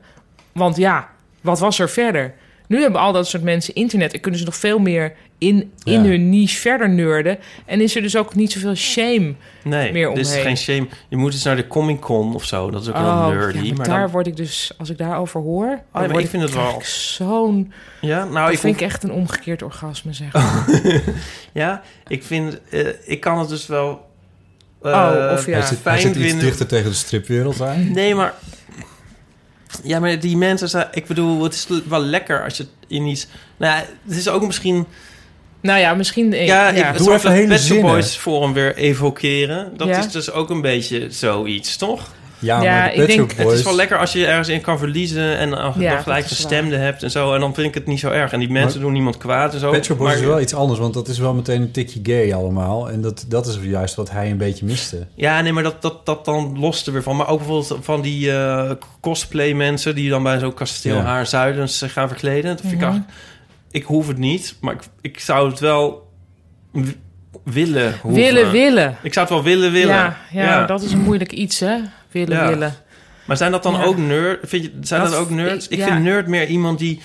Want ja, wat was er verder? Nu hebben al dat soort mensen internet en kunnen ze nog veel meer in, in
Ja.
hun niche verder nerden. En is er dus ook niet zoveel shame.
Nee,
meer
dit is
omheen.
geen shame. Je moet eens naar de Comic Con of zo. Dat is ook
Oh, ja,
wel nerdy.
maar
maar
daar
dan- Oh,
word ik dus, als ik daarover hoor, dan
maar
word
ik vind het wel-
krijg ik zo'n...
ja, nou,
dat
ik,
vind
hoef- Oh.
ik echt een omgekeerd orgasme, zeg.
ja, ik vind, eh, ik kan het dus wel. eh,
Oh, of ja.
hij zit, hij
fijn
zit iets
vinden.
dichter tegen de stripwereld aan.
Nee, maar. Ja, maar die mensen zijn. Ik bedoel, het is wel lekker als je in iets. Nou, ja, het is ook misschien.
nou ja, misschien...
Ja, ik
Doe
zou
even
dat
hele
Pet Shop
zinnen.
Boys Forum weer evokeren. Dat
Ja.
is dus ook een beetje zoiets, toch?
Ja,
Ja,
maar de
ik
Pet
denk-
Shop
het
Het
Boys-
is wel lekker als je ergens in kan verliezen en dan
Ja,
dan gelijk
dat is waar.
gestemde hebt en zo. En dan vind ik het niet zo erg. En die mensen doen niemand kwaad en zo.
Pet Shop Boys
maar-
is wel iets anders, want dat is wel meteen een tikje gay allemaal. En dat, dat is juist wat hij een beetje miste.
Ja, nee, maar dat, dat, dat dan lost er weer van. Maar ook bijvoorbeeld van die eh, cosplay mensen... die dan bij zo'n kasteel
Ja.
haar zuidens zich gaan verkleden. Dat vind
Mhm.
ik eigenlijk... Ik hoef het niet, maar ik, ik zou het wel w- willen hoeven.
Willen, willen.
Ik zou het wel willen willen.
Ja, ja, dat is een moeilijk iets, hè? Willen,
Ja.
willen.
Maar zijn dat dan
Ja.
ook nerd? Vind je, zijn dat,
Dat-
ook nerds?
ik-
Ik
ja.
vind nerd meer iemand die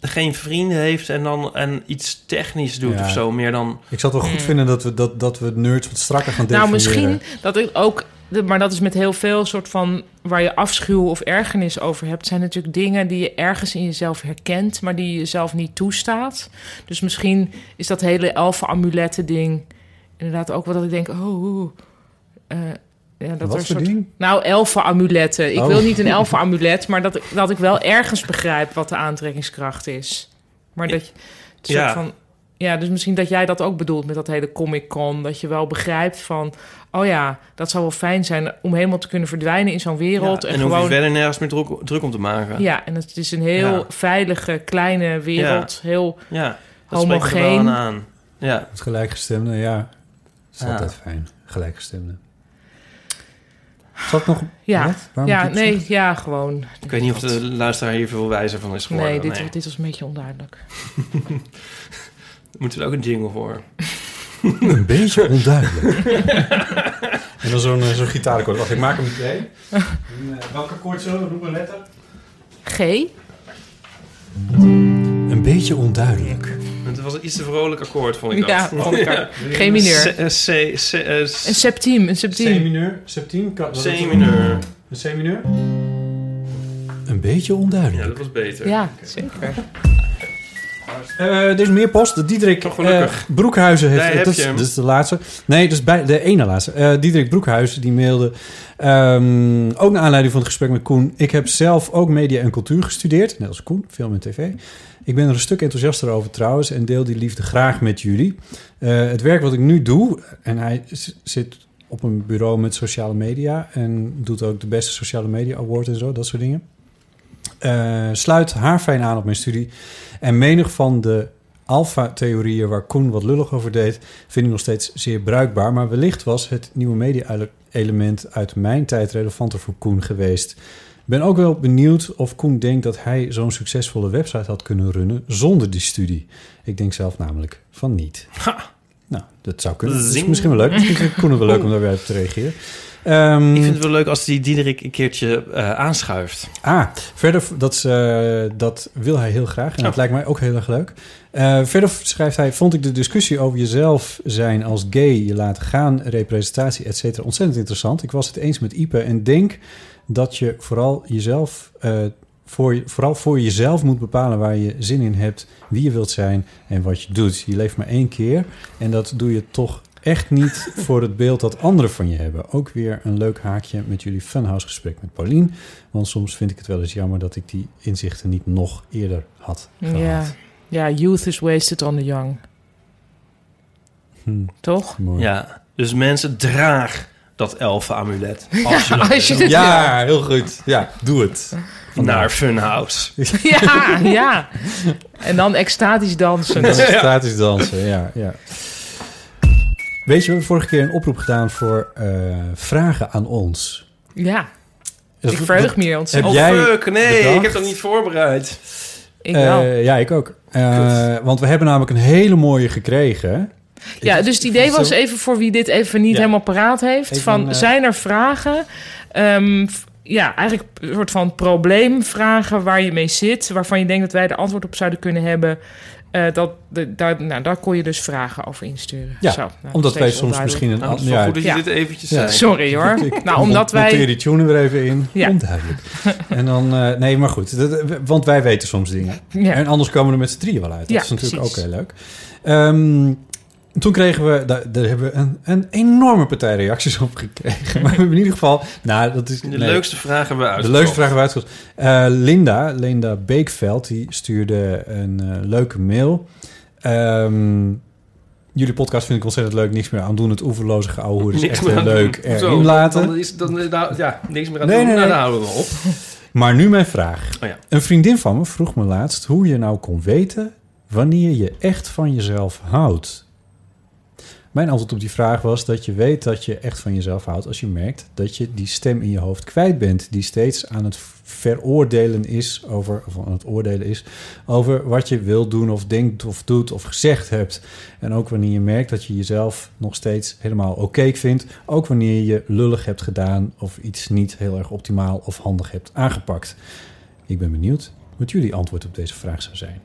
geen vrienden heeft... en dan en iets technisch doet
Ja.
of zo. Meer dan...
Ik zou het wel goed vinden dat we, dat, dat we nerds wat strakker gaan
Mm. Nou,
definiëren.
misschien dat ik ook... de- Maar dat is met heel veel soort van... waar je afschuw of ergernis over hebt... zijn natuurlijk dingen die je ergens in jezelf herkent... maar die je zelf niet toestaat. Dus misschien is dat hele elfen-amuletten ding... inderdaad ook wel dat ik denk... oh, oeh, eh, ja, dat
Wat
er
voor
een soort...
ding?
Nou, elfen-amuletten. Ik
Oh.
wil niet een elfen-amulet... maar dat, ik- dat ik wel ergens begrijp wat de aantrekkingskracht is. Maar dat je... het soort
Ja.
van, ja, dus misschien dat jij dat ook bedoelt met dat hele Comic-Con. Dat je wel begrijpt van... oh ja, dat zou wel fijn zijn om helemaal te kunnen verdwijnen in zo'n wereld.
Ja,
en
en hoef je
gewoon...
verder nergens meer druk, druk om te maken.
Ja, en het is een heel
Ja.
veilige, kleine wereld. Heel...
Ja, dat spreekt er wel
Homogeen.
aan aan. Ja.
Het gelijkgestemde, ja. Dat is
Ja.
altijd fijn. Gelijkgestemde. Zat nog...
Ja,
Wat? Waarom
ja
heb je
nee,
gezegd?
ja, gewoon.
Ik weet niet of de luisteraar hier veel wijzer van is geworden.
Nee,
Nee,
dit, dit was een beetje onduidelijk.
Moeten we er ook een jingle voor?
Een beetje onduidelijk. en dan zo'n eh, zo'n gitaarkoord. Wacht, ik maak hem meteen. En, eh, Welke koord zullen we doen? Een letter?
G?
Een beetje onduidelijk.
Het was een iets te vrolijk akkoord, vond ik
Ja,
dat.
vond ik ook. G mineur.
C, eh, C, C, eh,
Een
C,
septiem, een septiem.
C-mineur. Septiem. kan- dat is-
mineur.
Een C-mineur. Een beetje onduidelijk.
Ja, dat was beter.
Ja, zeker.
Eh, er is meer post. Diederik
Toch gelukkig.
eh, Broekhuizen heeft...
Daar
dat,
heb
is-
je hem.
dat is de laatste. Nee, dat is bij de ene laatste. Eh Diederik Broekhuizen die mailde... ehm, ook naar aanleiding van het gesprek met Koen... Ik heb zelf ook media en cultuur gestudeerd. Net als Koen, film en tv. Ik ben er een stuk enthousiaster over trouwens... en deel die liefde graag met jullie. Eh, het werk wat ik nu doe... en hij z- zit op een bureau met sociale media... en doet ook de beste sociale media award en zo, dat soort dingen... Eh, sluit haar fijn aan op mijn studie... En menig van de alfa-theorieën waar Koen wat lullig over deed, vind ik nog steeds zeer bruikbaar. Maar wellicht was het nieuwe media-element uit mijn tijd relevanter voor Koen geweest. Ik ben ook wel benieuwd of Koen denkt dat hij zo'n succesvolle website had kunnen runnen zonder die studie. Ik denk zelf namelijk van niet. Nou, dat zou kunnen. Dat is
Zing. Oh.
misschien wel leuk. Misschien vindt Koen het wel leuk om daar weer op te reageren. Ehm,
Ik vind het wel leuk als die Diederik een keertje eh, aanschuift.
Ah, verder, dat, is, eh, dat wil hij heel graag. En dat
Oh.
lijkt mij ook heel erg leuk. Eh, verder schrijft hij... Vond ik de discussie over jezelf zijn als gay... je laten gaan, representatie, et cetera... ontzettend interessant. Ik was het eens met Ipe en denk dat je vooral jezelf... eh, voor, je- vooral voor jezelf moet bepalen waar je zin in hebt... wie je wilt zijn en wat je doet. Je leeft maar één keer en dat doe je toch... Echt niet voor het beeld dat anderen van je hebben. Ook weer een leuk haakje met jullie Funhouse-gesprek met Paulien. Want soms vind ik het wel eens jammer dat ik die inzichten niet nog eerder had gehad.
Ja. ja, youth is wasted on the young.
Hm,
Toch?
mooi.
Ja. Dus mensen, draag dat elfen-amulet. Als je dat
Als je
wil.
het wil.
heel goed. Ja, doe het.
Naar Funhouse.
Ja, ja. En dan extatisch dansen.
En dan statisch dansen, ja, ja. Weet je, we hebben vorige keer een oproep gedaan voor eh, vragen aan ons.
Ja,
Dus
ik
dat-
verheug me hier
Heb
ontzettend.
Oh
jij
fuck, nee, ik
bedacht?
heb dat niet voorbereid.
Ik wel.
eh, ja, ik ook. Eh, want we hebben namelijk een hele mooie gekregen.
Ja, dus het idee
Zo-
was even voor wie dit even niet
Ja.
helemaal paraat heeft.
Even
van,
een, eh,
Zijn er vragen? Ehm, f- ja, eigenlijk een soort van probleemvragen waar je mee zit. Waarvan je denkt dat wij de antwoord op zouden kunnen hebben. Eh, dat, de, daar, nou, daar kon je dus vragen over insturen.
Ja,
Zo, nou,
omdat wij
steeds
soms
onduidelijk.
misschien een...
Nou, het is wel
ja,
goed dat je
Ja.
dit eventjes
Ja.
zei.
Sorry hoor.
Ik
nou, omdat
monteer
wij...
die tune er even in.
Ja.
Onduidelijk. En dan... eh, nee, maar goed. Dat- want wij weten soms dingen.
Ja,
En anders komen we er met z'n drieën wel uit. Dat
Ja,
is natuurlijk
precies.
ook heel leuk. Ehm, toen kregen we, daar, daar hebben we een, een enorme partij reacties op gekregen. Maar we hebben in ieder geval, nou, dat is
De
nee,
leukste vragen hebben we
de
uitgezocht.
leukste vraag hebben we uitgezocht. Eh, Linda, Linda Beekveld, die stuurde een eh, leuke mail. Ehm, jullie podcast vind ik ontzettend leuk. Niks meer aan doen. Het oeverloze geouwehoer is
Niks
echt
meer
heel
aan
leuk.
doen. Zo,
Erin laten.
Dan is, dan, eh, nou, ja, niks meer aan
Nee,
doen.
nee,
Nou,
nee.
daar houden we op.
Maar nu mijn vraag.
Oh ja.
Een vriendin van me vroeg me laatst hoe je nou kon weten wanneer je echt van jezelf houdt. Mijn antwoord op die vraag was dat je weet dat je echt van jezelf houdt als je merkt dat je die stem in je hoofd kwijt bent, die steeds aan het veroordelen is over, of aan het oordelen is over wat je wil doen of denkt of doet of gezegd hebt. En ook wanneer je merkt dat je jezelf nog steeds helemaal oké vindt. Ook wanneer je lullig hebt gedaan of iets niet heel erg optimaal of handig hebt aangepakt. Ik ben benieuwd wat jullie antwoord op deze vraag zou zijn.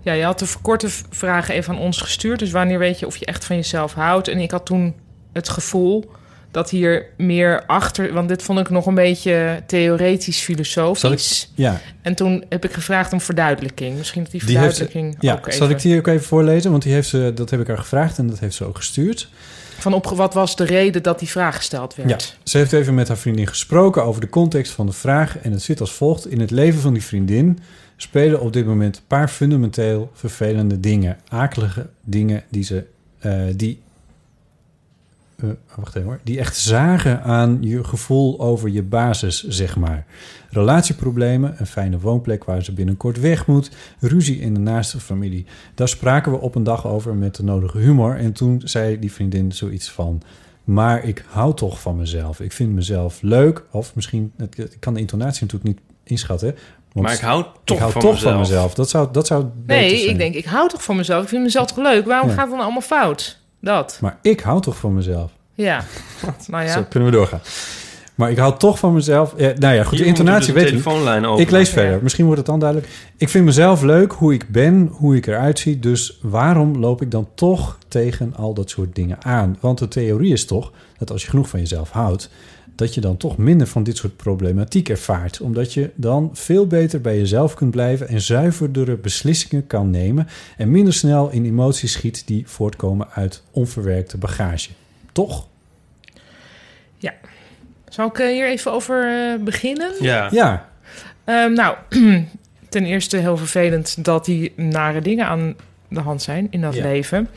ja, je had de verkorte v- vragen even aan ons gestuurd. Dus wanneer weet je of je echt van jezelf houdt? En ik had toen het gevoel dat hier meer achter... Want dit vond ik nog een beetje theoretisch
Zal ik-
filosofisch.
Ja,
En toen heb ik gevraagd om verduidelijking. Misschien dat die
Die heeft-
verduidelijking
ja. zal
ook even...
ik die ook even voorlezen? Want die heeft ze, dat heb ik haar gevraagd en dat heeft ze ook gestuurd.
Van op, wat was de reden dat die vraag gesteld werd?
Ja, ze heeft even met haar vriendin gesproken over de context van de vraag. En het zit als volgt. In het leven van die vriendin spelen op dit moment een paar fundamenteel vervelende dingen. Akelige dingen die ze... eh, die, eh, wacht even hoor. Die echt zagen aan je gevoel over je basis, zeg maar. Relatieproblemen, een fijne woonplek waar ze binnenkort weg moet. Ruzie in de naaste familie. Daar spraken we op een dag over met de nodige humor. En toen zei die vriendin zoiets van... Maar ik hou toch van mezelf. Ik vind mezelf leuk. Of misschien, het- ik kan de intonatie natuurlijk niet inschatten. hè, want
Maar ik hou toch,
ik hou
van,
toch
mezelf.
van mezelf. Dat zou, dat zou beter
Nee,
zijn.
ik denk, ik hou toch van mezelf. Ik vind mezelf toch leuk. Waarom
eh, Ja.
gaat het dan allemaal fout? Dat.
Maar ik hou toch van mezelf.
Ja. nou
Zo
ja.
kunnen we doorgaan. Maar ik hou toch van mezelf. Ja, nou ja, goed, de
Hier moeten we
intonatie
dus de
weet ik. niet.
telefoonlijn open.
Ik lees
Ja.
verder. Misschien wordt het dan duidelijk. Ik vind mezelf leuk hoe ik ben, hoe ik eruit zie. Dus waarom loop ik dan toch tegen al dat soort dingen aan? Want de theorie is toch dat als je genoeg van jezelf houdt, dat je dan toch minder van dit soort problematiek ervaart. Omdat je dan veel beter bij jezelf kunt blijven en zuiverdere beslissingen kan nemen. En minder snel in emoties schiet die voortkomen uit onverwerkte bagage. Toch?
Zal ik eh, hier even over eh, beginnen?
Ja.
Ja.
Ehm, nou, ten eerste heel vervelend dat die nare dingen aan de hand zijn in dat
Ja.
leven.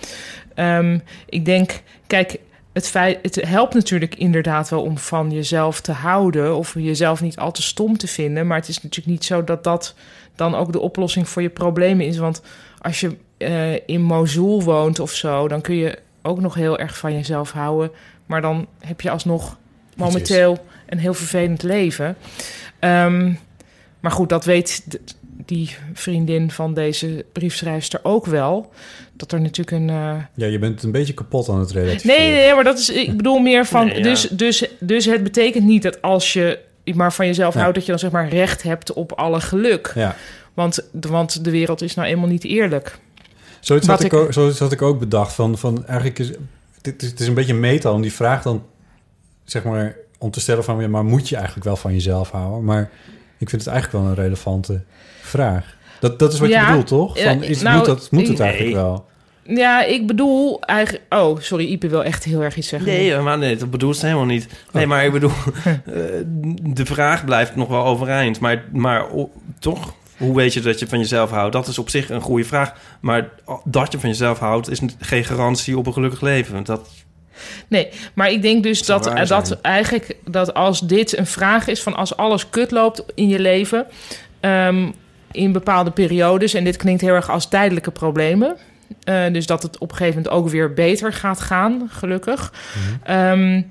Ehm, ik denk, kijk, het, feit, het helpt natuurlijk inderdaad wel om van jezelf te houden of jezelf niet al te stom te vinden. Maar het is natuurlijk niet zo dat dat dan ook de oplossing voor je problemen is. Want als je eh, in Mosul woont of zo, dan kun je ook nog heel erg van jezelf houden. Maar dan heb je alsnog momenteel een heel vervelend leven. Ehm, maar goed, dat weet d- die vriendin van deze briefschrijfster ook wel. Dat er natuurlijk een. eh,
Ja, je bent een beetje kapot aan het relativeren.
Nee, nee, maar dat is. Ik bedoel meer van.
Nee, ja.
dus, dus, dus het betekent niet dat als je maar van jezelf
Ja.
houdt, dat je dan zeg maar recht hebt op alle geluk.
Ja.
Want, de- want de wereld is nou eenmaal niet eerlijk.
Zoiets
Wat
had ik,
ik-
ook, zoiets had ik ook bedacht. Van, van eigenlijk is, dit is, het is een beetje meta om die vraag dan, zeg maar, om te stellen van, ja, maar moet je eigenlijk wel van jezelf houden? Maar ik vind het eigenlijk wel een relevante vraag. Dat, dat is wat
Ja.
je bedoelt, toch?
Ja,
Van, is,
nou,
moet, dat, moet het
nee.
eigenlijk wel?
Ja, ik bedoel eigenlijk. Oh, sorry, Ipe wil echt heel erg iets zeggen.
Nee, eh, maar nee, dat bedoelt ze helemaal niet. Nee,
Oh.
maar ik bedoel, eh, de vraag blijft nog wel overeind. Maar, maar o- toch, hoe weet je dat je van jezelf houdt? Dat is op zich een goede vraag. Maar dat je van jezelf houdt, is geen garantie op een gelukkig leven. Dat,
Nee, maar ik denk dus
Zou
dat,
waar
dat
zijn.
eigenlijk dat als dit een vraag is van als alles kut loopt in je leven ehm, in bepaalde periodes en dit klinkt heel erg als tijdelijke problemen, eh, dus dat het op een gegeven moment ook weer beter gaat gaan, gelukkig.
Mhm.
Ehm,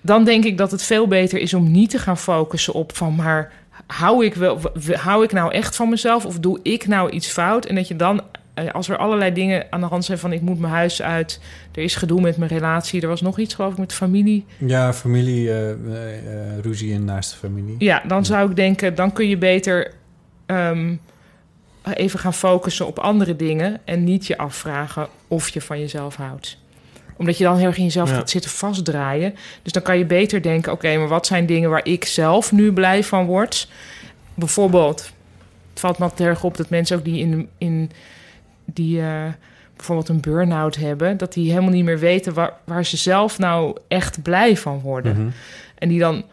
dan denk ik dat het veel beter is om niet te gaan focussen op van maar hou ik wel w- hou ik nou echt van mezelf of doe ik nou iets fout en dat je dan eh, als er allerlei dingen aan de hand zijn van ik moet mijn huis uit, er is gedoe met mijn relatie, er was nog iets geloof ik met familie.
Ja, familie, eh, eh, eh, ruzie en naaste familie.
Ja, dan zou ik denken, dan kun je beter ehm, even gaan focussen op andere dingen en niet je afvragen of je van jezelf houdt omdat je dan heel erg in jezelf
Ja.
gaat zitten vastdraaien. Dus dan kan je beter denken: oké, maar wat zijn dingen waar ik zelf nu blij van word? Bijvoorbeeld, het valt me altijd erg op dat mensen ook die in, in die eh, bijvoorbeeld een burn-out hebben, dat die helemaal niet meer weten waar, waar ze zelf nou echt blij van worden.
Mhm.
En die dan.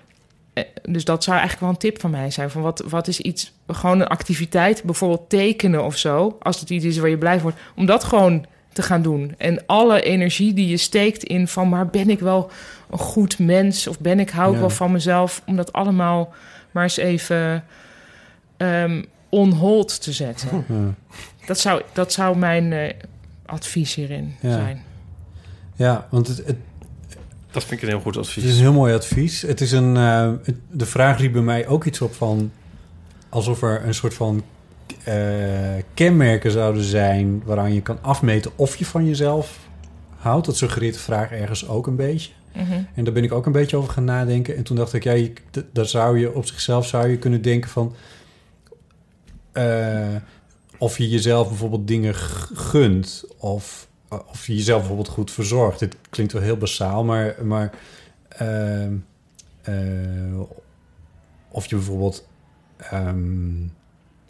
eh, Dus dat zou eigenlijk wel een tip van mij zijn. Van wat, wat is iets, gewoon een activiteit, bijvoorbeeld tekenen of zo. Als het iets is waar je blij van wordt. Om dat gewoon te gaan doen. En alle energie die je steekt in van... maar ben ik wel een goed mens? Of ben ik, hou ik
Ja.
wel van mezelf? Om dat allemaal maar eens even ehm on hold te zetten.
Ja.
Dat zou, dat zou mijn eh, advies hierin
Ja.
zijn.
Ja, want het, het,
dat vind ik een heel goed
het
advies.
is een heel mooi advies. Het is een, eh, het- de vraag riep bij mij ook iets op van... alsof er een soort van eh, kenmerken zouden zijn... waaraan je kan afmeten of je van jezelf houdt. Dat suggereert de vraag ergens ook een beetje.
Mhm.
En daar ben ik ook een beetje over gaan nadenken. En toen dacht ik, ja, je, d- daar zou je op zichzelf zou je kunnen denken van... eh, of je jezelf bijvoorbeeld dingen g- gunt. Of, eh, of je jezelf bijvoorbeeld goed verzorgt. Dit klinkt wel heel basaal, maar... maar ehm, eh, of je bijvoorbeeld... ehm,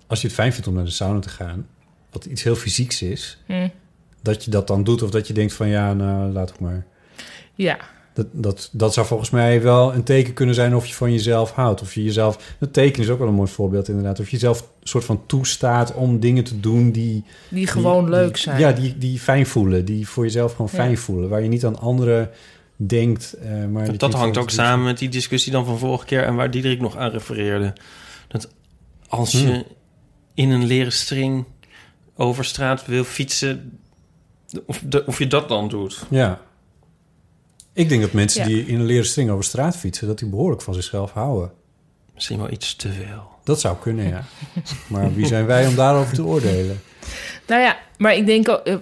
als je het fijn vindt om naar de sauna te gaan... wat iets heel fysieks is...
Hm.
dat je dat dan doet. Of dat je denkt van, ja, nou, laat ik maar...
Ja,
Dat, dat, dat zou volgens mij wel een teken kunnen zijn of je van jezelf houdt. Of je jezelf. Dat teken is ook wel een mooi voorbeeld, inderdaad. Of je jezelf een soort van toestaat om dingen te doen die.
die gewoon
die-
leuk
die-
zijn.
Ja, die, die fijn voelen. Die voor jezelf gewoon
Ja.
fijn voelen. Waar je niet aan anderen denkt. eh, maar
Dat,
je kunt
hangt
gewoon-
ook samen met die discussie dan van vorige keer... en waar Diederik nog aan refereerde. Dat als je in een leren string over straat wil fietsen... Of, de- of je dat dan doet.
Ja. Ik denk dat mensen
Ja.
die in een leren string over straat fietsen, dat die behoorlijk van zichzelf houden.
Misschien wel iets te veel.
Dat zou kunnen, ja. maar wie zijn wij om daarover te oordelen?
Nou ja, maar ik denk, ook, eh, eh,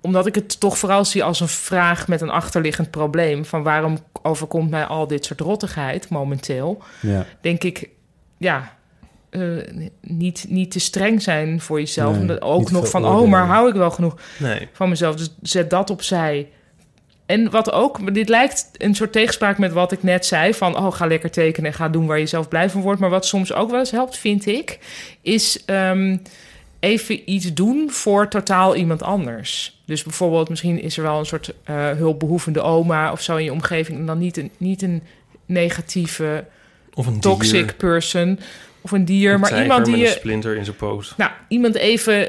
omdat ik het toch vooral zie als een vraag met een achterliggend probleem: van waarom overkomt mij al dit soort rottigheid momenteel?
Ja.
Denk ik, ja. eh, niet, niet te streng zijn voor jezelf.
Nee,
Omdat
niet
ook
te
nog
veel
van, oh,
oordelen.
maar hou ik wel genoeg
Nee.
van mezelf. Dus zet dat opzij. En wat ook, maar dit lijkt een soort tegenspraak met wat ik net zei: van oh, ga lekker tekenen en ga doen waar je zelf blij van wordt. Maar wat soms ook wel eens helpt, vind ik, is ehm, even iets doen voor totaal iemand anders. Dus bijvoorbeeld, misschien is er wel een soort eh, hulpbehoevende oma of zo in je omgeving. En dan niet een, niet een negatieve,
Of een
toxic
dier.
person of een dier,
Een
maar
tijger dus
iemand die
met een
je
splinter in zijn poot.
nou, iemand even,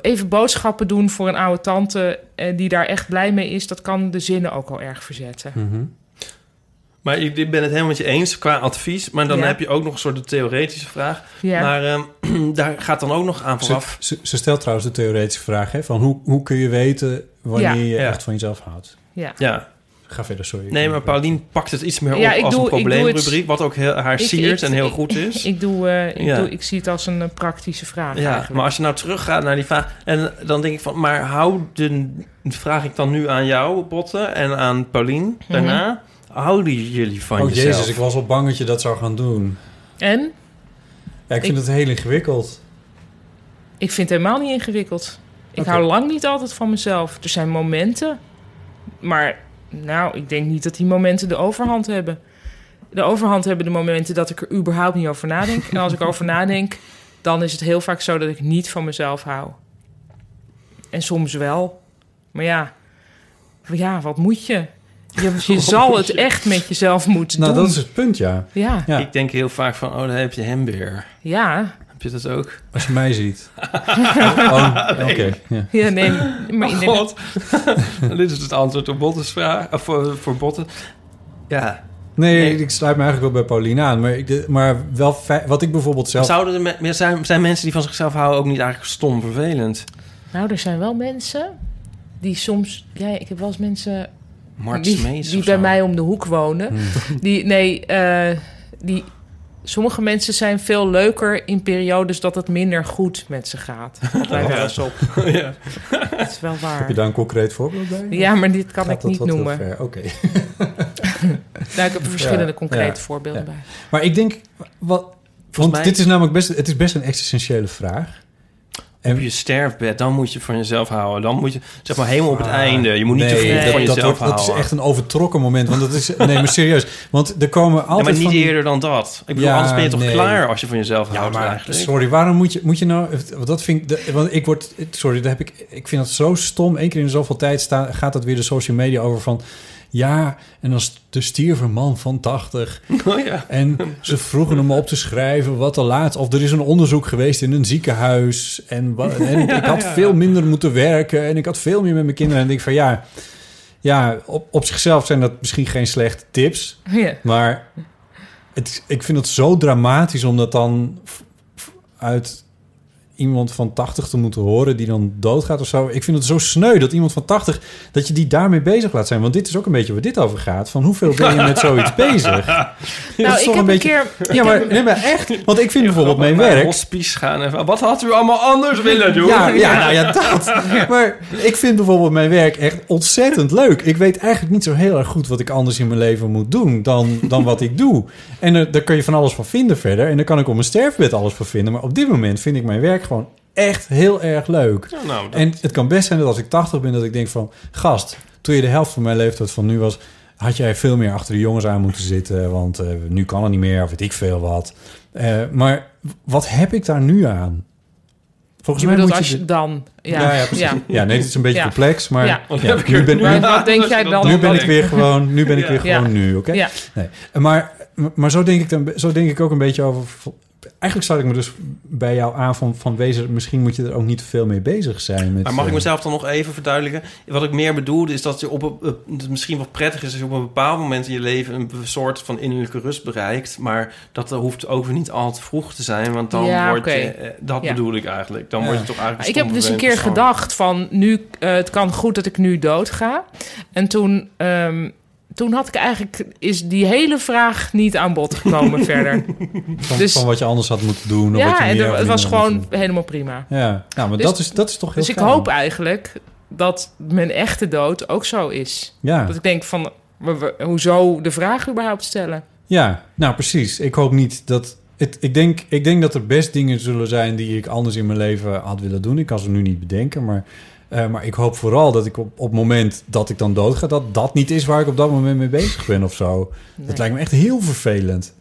even boodschappen doen voor een oude tante eh, die daar echt blij mee is, dat kan de zinnen ook al erg verzetten.
Mhm.
Maar ik ik ben het helemaal met je eens qua advies. Maar dan
Ja.
heb je ook nog een soort theoretische vraag.
Ja.
Maar ehm, daar gaat dan ook nog aan
Ze,
vooraf.
ze, ze stelt trouwens de theoretische vraag, hè, van hoe, hoe kun je weten wanneer
Ja.
je
Ja.
echt van jezelf houdt?
Ja.
Ja,
Ga verder, sorry.
nee, maar Paulien pakt het iets meer
Ja,
op
ik
als
doe-
een
ik doe het-
probleemrubriek, wat ook heel, haar
Ik-
siert
ik-
en heel
ik-
goed is.
Ik, doe, eh, ik,
Ja.
doe, ik zie het als een eh, praktische vraag
Ja,
eigenlijk.
maar als je nou teruggaat naar die vraag... en dan denk ik van, maar houden... vraag ik dan nu aan jou, Botte, en aan Paulien
Mhm.
daarna... houden jullie van
Oh
jezelf?
jezus, ik was al bang dat je dat zou gaan doen.
En?
Ja, ik vind
Ik-
het heel ingewikkeld.
Ik vind het helemaal niet ingewikkeld. Ik
Oké.
hou lang niet altijd van mezelf. Er zijn momenten, maar nou, ik denk niet dat die momenten de overhand hebben. De overhand hebben de momenten dat ik er überhaupt niet over nadenk. En als ik over nadenk, dan is het heel vaak zo dat ik niet van mezelf hou. En soms wel. Maar ja, ja wat moet je? Je, je zal het echt met jezelf moeten
Nou,
doen.
dat is het punt, ja.
Ja,
Ja.
Ik denk heel vaak van, oh, daar heb je hem weer.
ja.
Heb je dat ook?
Als je mij ziet. Oh, Oké. ja.
Ja, nee, maar
Oh,
ik denk dat-
Dit is het antwoord op Botte's vraag. Of eh, voor Botte. Ja.
nee,
Nee.
ik sluit me eigenlijk wel bij Pauline aan. Maar, ik, de- maar wel fijn- wat ik bijvoorbeeld zelf...
Zouden er me- meer zijn, zijn mensen die van zichzelf houden ook niet eigenlijk stom vervelend?
Nou, er zijn wel mensen die soms... Ja, ik heb wel eens mensen
Mart
die,
Smeets
die
of
bij
zo.
mij om de hoek wonen.
Hmm.
Die, nee, eh, die, sommige mensen zijn veel leuker in periodes dat het minder goed met ze gaat. Dat lijkt wel eens op.
ja.
Dat is wel
Heb je
waar.
daar een concreet voorbeeld bij?
Ja, maar dit kan
Gaat
ik
dat
niet
wat heel
noemen.
ver? Oké.
Daar heb ik verschillende
Ja,
concrete
ja,
voorbeelden bij.
Maar ik denk... Wat, want
mij-
dit is namelijk best, het is best een existentiële vraag.
Op je sterfbed, dan moet je van jezelf houden. Dan moet je, zeg maar, helemaal op het
Ah,
einde. Je moet niet te
nee,
veel
dat-
van
dat,
jezelf
wordt-
houden.
dat is echt een overtrokken moment. Want dat is... Nee, maar serieus. Want er komen
Ja,
altijd
maar niet
van die-
eerder dan dat. Ik bedoel,
Ja,
anders ben je toch
nee.
klaar als je van jezelf
Ja,
houdt
maar
eigenlijk.
sorry, waarom moet je, moet je nou... Want dat vind ik... de- Want ik word... Sorry, daar heb ik, ik vind dat zo stom. Eén keer in zoveel tijd sta, gaat dat weer de social media over van... Ja, en als de stierf een man van 80.
Oh, ja.
En ze vroegen hem op te schrijven wat er laatst... Of er is een onderzoek geweest in een ziekenhuis. En, wa- en ik had veel minder moeten werken. En ik had veel meer met mijn kinderen. En ik denk van ja... Ja, op, op zichzelf zijn dat misschien geen slechte tips.
Ja.
Maar het, is- ik vind het zo dramatisch om dat dan f- f- uit iemand van 80 te moeten horen die dan doodgaat of zo. Ik vind het zo sneu dat iemand van 80 dat je die daarmee bezig laat zijn. Want dit is ook een beetje waar dit over gaat. Van hoeveel ben je met zoiets bezig?
Nou, ik
toch
heb
een
een
beetje-
keer...
Ja, maar, nee, maar echt. Want ik vind bijvoorbeeld mijn
Naar
werk.
hospice gaan en van, wat had u allemaal anders willen doen?
Ja, ja, nou ja, dat. Maar ik vind bijvoorbeeld mijn werk echt ontzettend leuk. Ik weet eigenlijk niet zo heel erg goed wat ik anders in mijn leven moet doen dan, dan wat ik doe. En er- daar kun je van alles van vinden verder. En daar kan ik op mijn sterfbed alles van vinden. Maar op dit moment vind ik mijn werk gewoon echt heel erg leuk.
Ja, nou, dat-
En het kan best zijn dat als ik 80 ben, dat ik denk van... Gast, toen je de helft van mijn leeftijd van nu was... had jij veel meer achter de jongens aan moeten zitten. Want eh, nu kan het niet meer, of weet ik veel wat. Eh, maar wat heb ik daar nu aan? Volgens
Je
mij
bedoelt
moet
als
je...
je dan... Ja,
Ja,
ja,
ja, precies. Ja, nee, dit is een beetje
Ja.
complex, maar
Ja.
ja,
heb ik
nu
er
ben,
nu
nu,
Maar wat denk
Als
jij
je dat
dan?
doet,
nu ben
dat
ik weer gewoon, nu ben ik
Ja.
weer gewoon
Ja.
nu, oké?
Ja.
Nee. Maar, maar zo denk ik dan, zo denk ik ook een beetje over. Eigenlijk sluit ik me dus bij jou aan van, van wezen. Misschien moet je er ook niet te veel mee bezig zijn. Met,
Maar mag ik
eh,
mezelf dan nog even verduidelijken? Wat ik meer bedoelde is dat je op een, op- dat het misschien wel prettig is... als je op een bepaald moment in je leven een soort van innerlijke rust bereikt. Maar dat hoeft ook weer niet al te vroeg te zijn. Want dan
Ja,
word je...
oké.
eh, Dat
Ja.
bedoel ik eigenlijk. Dan
Ja.
word je toch eigenlijk
Ik heb
stom
dus een keer
vervelend persoon.
gedacht van nu, eh, het kan goed dat ik nu doodga. En toen, ehm, toen had ik eigenlijk, is die hele vraag niet aan bod gekomen verder.
van,
dus-
van wat je anders had moeten doen. Of wat
Ja,
je
en
meer
er-
of
het was
minder had moeten
gewoon helemaal prima.
doen. Ja, nou, maar
Dus-
dat, is, dat is toch heel
Dus ik
fijn.
hoop eigenlijk dat mijn echte dood ook zo is.
Ja.
Dat ik denk van, we- we- hoezo de vraag überhaupt stellen?
Ja, nou precies. Ik hoop niet dat. Het, ik, denk, ik denk dat er best dingen zullen zijn die ik anders in mijn leven had willen doen. Ik kan ze nu niet bedenken, maar, eh, maar ik hoop vooral dat ik op, op het moment dat ik dan doodga, dat dat niet is waar ik op dat moment mee bezig ben of zo. Dat
Nee.
lijkt me echt heel vervelend.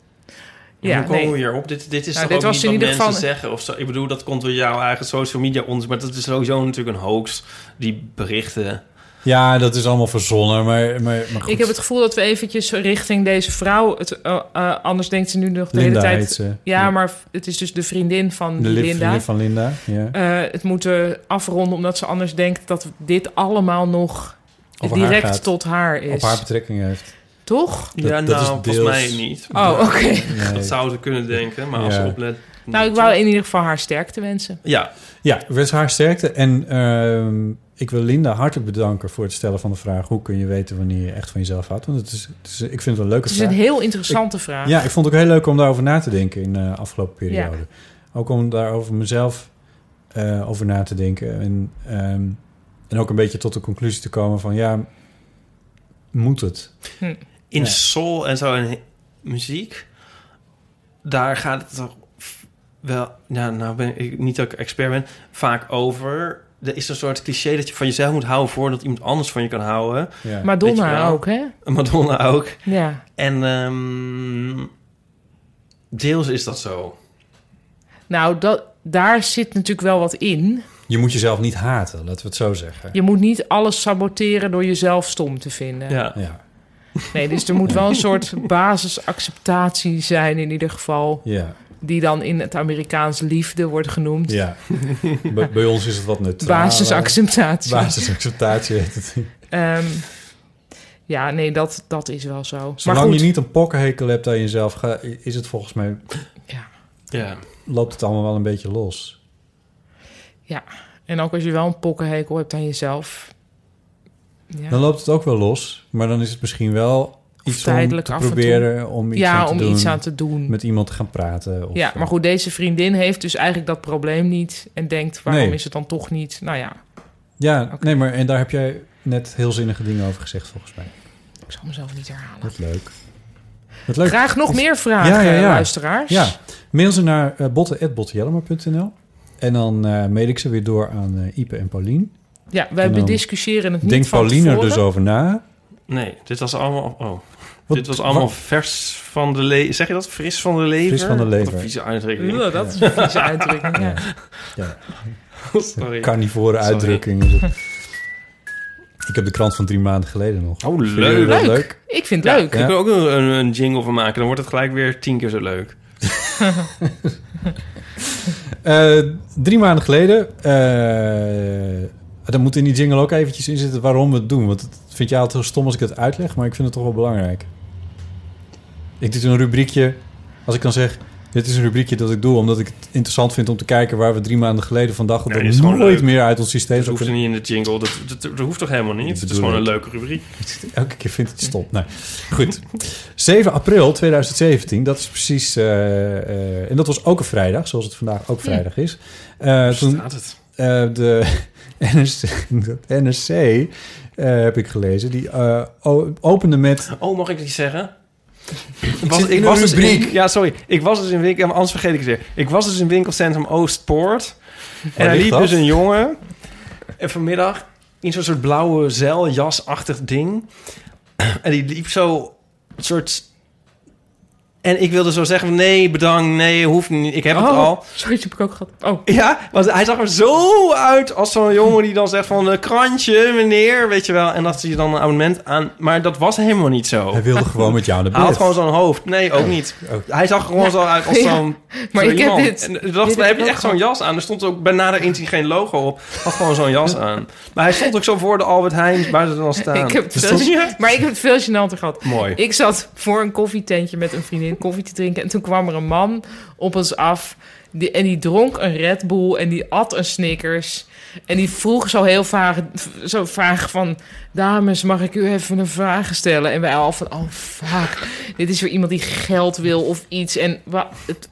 Ja,
Hoe komen
nee.
we hierop? Dit, dit is
Nou,
toch
dit
ook
was
niet
in
wat
ieder
mensen
geval-
zeggen of zo? Ik bedoel, dat komt door jouw eigen social media ons, maar dat is sowieso natuurlijk een hoax. Die berichten.
Ja, dat is allemaal verzonnen, maar, maar, maar goed.
Ik heb het gevoel dat we eventjes richting deze vrouw... Het, eh, eh, anders denkt ze nu nog de
Linda
hele tijd...
heet ze.
Ja, maar het is dus de vriendin van
de
die
lip
Linda.
vriendin van Linda. Ja.
eh, het moeten afronden, omdat ze anders denkt dat dit allemaal nog
Over haar
direct
gaat.
tot haar is.
Op haar betrekking heeft.
Toch?
Ja,
dat
nou,
is
volgens
deels-
mij niet.
Oh, oké.
Nee.
Dat zouden ze kunnen denken, maar als
Ja.
ze oplet...
Nou, ik wou in ieder geval haar sterkte wensen.
Ja,
Ja, wens haar sterkte. En ehm, ik wil Linda hartelijk bedanken voor het stellen van de vraag... hoe kun je weten wanneer je echt van jezelf houdt? Want het is, het is- ik vind het een leuke
Het is
vraag.
een heel interessante vraag.
Ja, ik vond het ook heel leuk om daarover na te denken in de afgelopen periode.
Ja.
Ook om daarover mezelf eh, over na te denken. En, ehm, en ook een beetje tot de conclusie te komen van... ja, moet het?
in
Ja.
soul en zo en he- muziek, daar gaat het toch f- wel, nou, nou ben ik niet dat ik expert ben, vaak over. Er is een soort cliché dat je van jezelf moet houden voordat iemand anders van je kan houden.
Ja.
Weet je
Madonna
wel.
ook, hè?
Madonna ook.
Ja.
En ehm, deels is dat zo.
Nou, dat, daar zit natuurlijk wel wat in.
Je moet jezelf niet haten, laten we het zo zeggen.
Je moet niet alles saboteren door jezelf stom te vinden.
Ja.
Ja,
Nee, dus er moet wel een soort basisacceptatie zijn in ieder geval.
ja,
Die dan in het Amerikaans liefde wordt genoemd.
ja. bij, bij ons is eh, het wat neutraal.
Basisacceptatie.
Basisacceptatie heet het.
Ehm, ja, nee, dat, dat is wel zo.
Zolang
maar goed,
je niet een pokkenhekel hebt aan jezelf, ga- is het volgens mij,
ja.
loopt het allemaal wel een beetje los.
en ook als je wel een pokkenhekel hebt aan jezelf. Ja,
Dan loopt het ook wel los, maar dan is het misschien wel iets
tijdelijk
om
af
te
en toe.
proberen om iets
ja
aan te
om
doen.
iets aan te doen.
Met iemand te gaan praten. Of
ja, maar goed, deze vriendin heeft dus eigenlijk dat probleem niet. En denkt, waarom
Nee.
is het dan toch niet? Nou ja,
Ja,
Oké.
nee, maar en daar heb jij net heel zinnige dingen over gezegd volgens mij.
ik zal mezelf niet herhalen.
Wat leuk. Wat leuk.
Graag nog meer vragen,
Ja, ja, ja.
luisteraars.
Ja, mail ze naar eh, botten@bottejellema.nl en dan eh mail ik ze weer door aan eh, Ipe en Paulien.
Ja, wij
En dan
bediscussiëren het niet
Denk
van
Paulien er
tevoren.
dus over na.
Nee, dit was allemaal... Oh.
Wat-
dit was allemaal
wat-
vers van de lever. Zeg je dat? Fris van de lever?
Fris van de lever.
Wat een vieze uitdrukking.
Ja, dat is een vieze uitdrukking, ja.
Sorry.
carnivore
Sorry.
uitdrukking. is het. Ik heb de krant van drie maanden geleden nog.
Oh,
Vinden jullie
leuk.
dat
Leuk. Ik vind het leuk.
Ik wil ook een, een, een jingle van maken. Dan wordt het gelijk weer tien keer zo leuk.
Eh, drie maanden geleden. eh dan moet in die jingle ook eventjes in zitten waarom we het doen. Want het vind jij altijd heel stom als ik het uitleg, maar ik vind het toch wel belangrijk. Ik doe een rubriekje. Als ik dan zeg, dit is een rubriekje dat ik doe omdat ik het interessant vind om te kijken waar we drie maanden geleden vandaag dat
Nee,
er
is gewoon
nooit
leuk.
meer uit ons systeem
Dat
zou
hoeft
kunnen.
niet in de jingle. Dat, dat, dat hoeft toch helemaal niet?
Dat
Het is
bedoel
gewoon een
ik.
leuke rubriek.
Elke keer vindt het stop. Nou, goed. 7 april 2017, dat is precies. eh, eh, en dat was ook een vrijdag, zoals het vandaag ook vrijdag is. Eh, toen
Staat het.
eh, de NRC, dat NRC eh, heb ik gelezen, die eh, o- opende met.
Oh, mag ik iets zeggen?
zit in een
dus
rubriek.
in- ja, sorry. Ik was dus in winkel... ja, maar Anders vergeet ik het weer. Ik was dus in winkelcentrum Oostpoort. en er
Oh, ligt
liep
dat?
dus een jongen. En vanmiddag in zo'n soort blauwe zeiljasachtig ding. En die liep zo een soort... En ik wilde zo zeggen, van, nee, bedankt, nee, hoeft niet, ik heb het
Oh,
al.
zoiets heb ik ook gehad. Oh,
Ja, want hij zag er zo uit als zo'n jongen die dan zegt van... eh, krantje, meneer, weet je wel. En dat je dan een abonnement aan... Maar dat was helemaal niet zo.
Hij wilde gewoon met jou naar bed.
Hij had gewoon zo'n hoofd. Nee,
Oh.
ook niet. Hij zag er gewoon zo uit als zo'n...
maar
zo'n
ik heb
iemand.
dit.
En ik dacht,
Dit heb
heb je
ik
echt
ook
zo'n jas aan? Er stond ook bij nader inzien geen logo op. Hij had gewoon zo'n jas aan. Maar hij stond ook zo voor de Albert Heijn, waar ze dan staan.
Ik heb het
Dus
veel,
dat-
maar ik heb het veel gênanter gehad.
Mooi.
Ik zat voor een koffietentje met een vriendin koffie te drinken. En toen kwam er een man op ons af. Die, en die dronk een Red Bull en die at een Snickers. En die vroeg zo heel vaag, zo vaag van... Dames, mag ik u even een vraag stellen? En wij al van, oh fuck. Dit is weer iemand die geld wil of iets. En wa- het,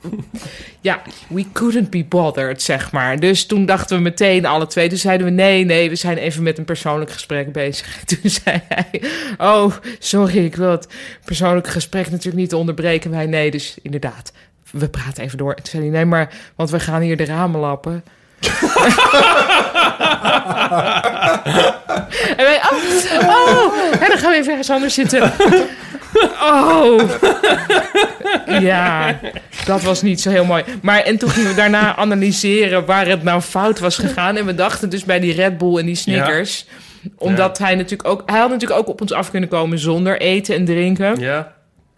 ja, we couldn't be bothered, zeg maar. Dus toen dachten we meteen alle twee. Toen zeiden we, nee, nee, we zijn even met een persoonlijk gesprek bezig. Toen zei hij, oh, sorry, ik wil het persoonlijk gesprek natuurlijk niet onderbreken. Wij, nee, dus inderdaad, we praten even door. Toen zei hij, nee, maar, want we gaan hier de ramen lappen. en wij, oh, oh, en dan gaan we even ergens anders zitten. Oh. Ja, dat was niet zo heel mooi. Maar en toen gingen we daarna analyseren waar het nou fout was gegaan. En we dachten dus bij die Red Bull en die Snickers. Omdat hij natuurlijk ook... Hij had natuurlijk ook op ons af kunnen komen zonder eten en drinken.
Ja,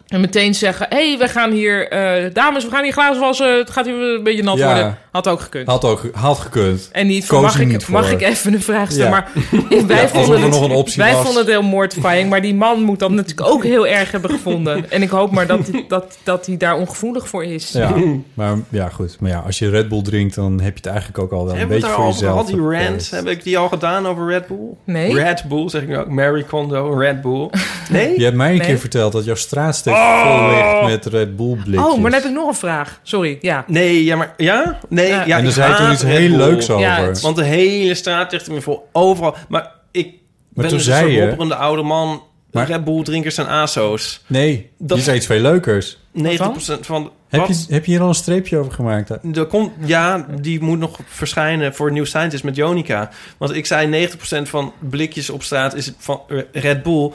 En meteen zeggen, hé, hey, we gaan hier... eh, dames, we gaan hier glazen wassen. Het gaat hier een beetje nat
Ja.
worden. Had ook gekund.
Had ook had gekund.
En niet van,
Koos
mag,
er
ik,
niet voor.
mag ik even een vraag
Ja.
stellen? Maar wij,
Ja, alsof
vonden,
er
het,
nog een optie
wij
was.
vonden het heel mortifying. Maar die man moet dat natuurlijk ook heel erg hebben gevonden. En ik hoop maar dat, dat, dat hij daar ongevoelig voor is.
Ja, maar ja, goed. Maar ja, als je Red Bull drinkt, dan heb je het eigenlijk ook al wel een
Hebben we
beetje
het
voor
daar al
jezelf. Eh,
gehad, die rant?
geprobeerd.
Heb ik die al gedaan over Red Bull?
Nee?
Red Bull, zeg ik nu ook. Mary Kondo, Red Bull. Nee? Oh!
Je hebt mij een
Nee.
keer verteld dat jouw straatsteek vol ligt met Red Bull blikjes.
Oh, maar dan heb ik nog een vraag. Sorry, ja.
Nee, ja, maar... Ja? Nee,
Ja.
ja,
en
ik
er zei toen
haat
iets
Red
heel
Bull.
leuks over.
Ja, het-
Want de hele straat ligt er weer vol. Overal. Maar ik ben
toen
dus
zei
een
je-
soort hopperende oude man.
Maar-
Red Bull drinkers zijn aso's.
nee,
Dat-
je zei iets veel leukers.
90% van...
Heb
wat?
je, heb je hier al een streepje over gemaakt?
Er komt, ja, die moet nog verschijnen voor New Scientist met Jonica. Want ik zei 90% van blikjes op straat is van Red Bull.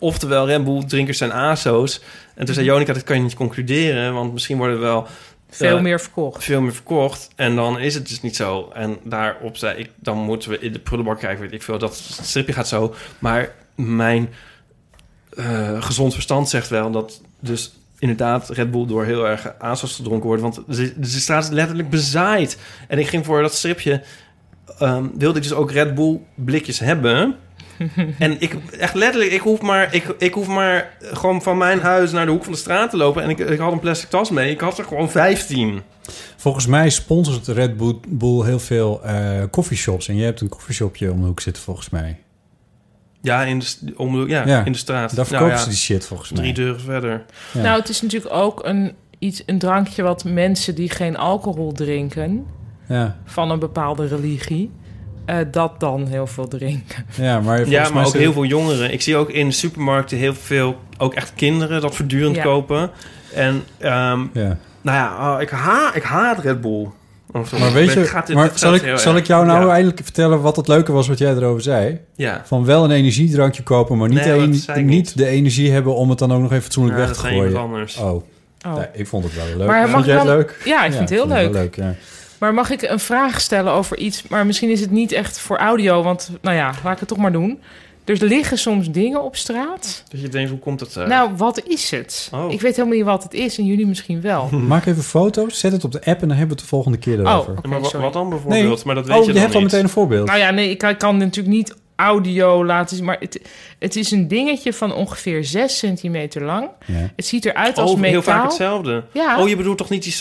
Oftewel, Red Bull drinkers zijn ASO's. En toen zei Jonica, dat kan je niet concluderen. Want misschien worden er wel
Veel
eh,
meer verkocht.
veel meer verkocht. En dan is het dus niet zo. En daarop zei ik, dan moeten we in de prullenbak kijken. Weet ik veel, dat stripje gaat zo. Maar mijn eh, gezond verstand zegt wel dat dus inderdaad Red Bull door heel erg ASOS gedronken wordt. Want de, de straat is letterlijk bezaaid. En ik ging voor dat stripje... ehm, wilde ik dus ook Red Bull blikjes hebben. en ik, echt letterlijk, ik hoef, maar, ik, ik hoef maar gewoon van mijn huis naar de hoek van de straat te lopen. En ik, ik had een plastic tas mee. Ik had er gewoon 15.
Volgens mij sponsort Red Bull- Bull heel veel eh coffeeshops. En je hebt een coffeeshopje om de hoek zitten, volgens mij.
Ja, in de, st- om de- ja,
Ja,
in de straat.
Daar
Nou
verkopen
ja,
ze die shit, volgens mij.
Drie deuren verder.
Ja.
Nou, het is natuurlijk ook een, iets, een drankje wat mensen die geen alcohol drinken...
Ja,
van een bepaalde religie... eh, dat dan heel veel drinken.
ja, maar volgens
Ja,
mij
maar ook
zit-
heel veel jongeren. Ik zie ook in de supermarkten heel veel, ook echt kinderen, dat voortdurend
Ja.
kopen. En, ehm,
Ja.
nou ja, oh, ik, ha ik haat Red Bull. Oh, sorry.
Maar weet
Ik
je,
gaat dit-
maar
dit
zal,
gaat heel
ik, zal
erg.
ik jou nou
Ja.
eindelijk vertellen wat het leuke was wat jij erover zei?
Ja,
Van wel een energiedrankje kopen, maar niet,
Nee, dat
een-
zei ik
niet.
niet.
de energie hebben om het dan ook nog even fatsoenlijk
Ja,
weg
dat
te
zijn iemand
gooien.
anders.
Oh,
Oh.
nee, ik vond het wel leuk.
Maar mag
vond jij het
dan-
leuk?
Ja, ik vind het heel leuk.
wel leuk ja.
Maar mag ik een vraag stellen over iets? Maar misschien is het niet echt voor audio, want nou ja, laat ik het toch maar doen. Er liggen soms dingen op straat.
Dat je denkt, hoe komt dat? eh?
Nou, wat is het?
Oh.
Ik weet helemaal niet wat het is en jullie misschien wel.
Hmm. Maak even foto's, zet het op de app en dan hebben we het de volgende keer
Oh,
erover.
oké,
maar wa-
sorry.
wat dan bijvoorbeeld?
Nee.
Maar dat weet
Oh,
je
je,
dan
hebt al
niet.
meteen een voorbeeld.
Nou ja, nee, ik kan, ik kan natuurlijk niet audio laten zien, maar het, het is een dingetje van ongeveer 6 centimeter lang.
Ja.
Het ziet eruit als
Oh, heel vaak
metaal.
hetzelfde.
Ja.
Oh, je bedoelt toch niet die
De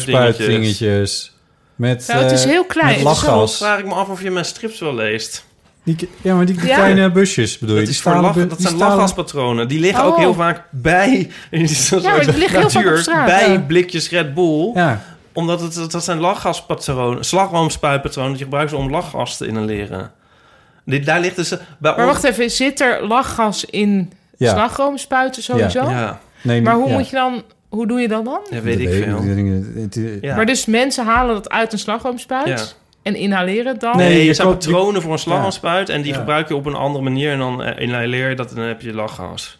slagroomspuitdingetjes?
slagroomspuitdingetjes. Met,
Nou, het is
eh,
heel klein.
Met
Het is
Dan
lachgas.
vraag ik me af of je mijn strips wel leest.
Die, ja, maar die die
Ja.
kleine busjes bedoel je.
Dat,
die
is voor
stalen
lach-
bu-
dat
die
zijn
stalen-
lachgaspatronen. Die liggen ook
Oh.
heel vaak bij... In die soort
maar die liggen heel vaak op straat,
Bij
ja.
blikjes Red Bull.
Ja,
Omdat het, dat- dat zijn lachgaspatronen. Slagroomspuitpatronen. Die gebruiken ze om lachgas te inhaleren. Dit, daar ligt dus... eh, Bij
Maar
ons-
wacht even, zit er lachgas in
Ja.
slagroomspuiten sowieso?
Ja,
nee,
Maar hoe
ja.
moet je dan, hoe doe je dat dan?
ja weet
Dat
ik veel.
niet. Het-
Ja.
Maar dus mensen halen dat uit een slagroomspuit
Ja.
en inhaleren het dan?
Nee,
Nee, je
er zijn
koopt-
patronen voor een slagroomspuit. En die
Ja.
gebruik je op een andere manier. En dan eh, inhaleer je dat en dan heb je lachgas.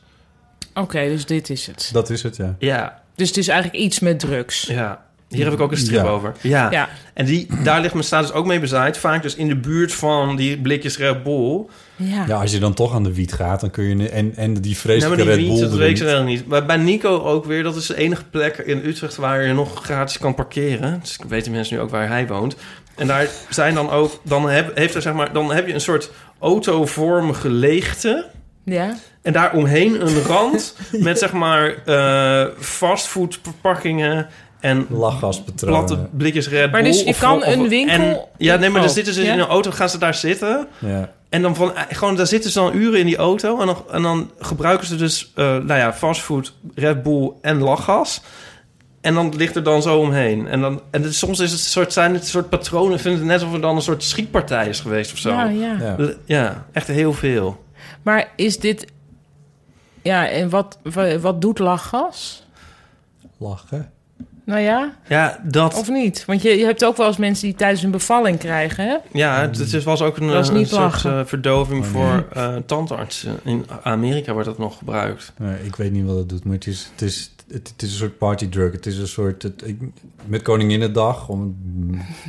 Oké, dus dit is het.
Dat is het, ja.
Ja,
Dus het is eigenlijk iets met drugs.
ja. Hier heb ik ook een strip
Ja.
over.
Ja,
En die, daar ligt mijn status ook mee bezaaid. Vaak dus in de buurt van die blikjes Red Bull.
ja.
Ja, als je dan toch aan de wiet gaat, dan kun je... ne- En, en die
Nee, maar
vreselijke
die
Red
wiet,
Bull
dat weet
drink.
ze helemaal niet. Maar bij Nico ook weer, dat is de enige plek in Utrecht waar je nog gratis kan parkeren. Dus weten mensen nu ook waar hij woont. En daar zijn dan ook, dan heb, heeft er, zeg maar, dan heb je een soort autovormige leegte.
ja.
En daaromheen een rand met zeg maar eh fastfoodverpakkingen en
Lachgaspatronen.
platte blikjes Red Bull.
Maar dus je
of-
kan
of-
een winkel-
En, ja, nee, maar dan
Oh,
zitten ze
ja?
in een auto, gaan ze daar zitten.
Ja.
En dan van, eh, gewoon, daar zitten ze dan uren in die auto. En dan, en dan gebruiken ze dus, eh nou ja, fastfood, Red Bull en lachgas. En dan ligt er dan zo omheen. En, dan, en het- soms is het een soort, zijn het een soort patronen. Ik vind het net alsof er dan een soort schietpartij is geweest of zo.
Nou, Ja,
Ja,
ja.
Ja.
echt heel veel.
Maar is dit... Ja, en wat, wa- wat doet lachgas?
Lachen.
Nou ja,
Ja, dat.
of niet? Want je, je hebt ook wel eens mensen die tijdens een bevalling krijgen, hè?
ja, het, het was ook een,
Dat is
eh,
niet
een soort
lachen.
eh, verdoving
Oh,
voor eh, tandartsen. In Amerika wordt dat nog gebruikt.
Nee, ik weet niet wat het doet, maar het is, het is, het, het is een soort partydrug. Het is een soort... Het, ik, met Koninginnedag, om,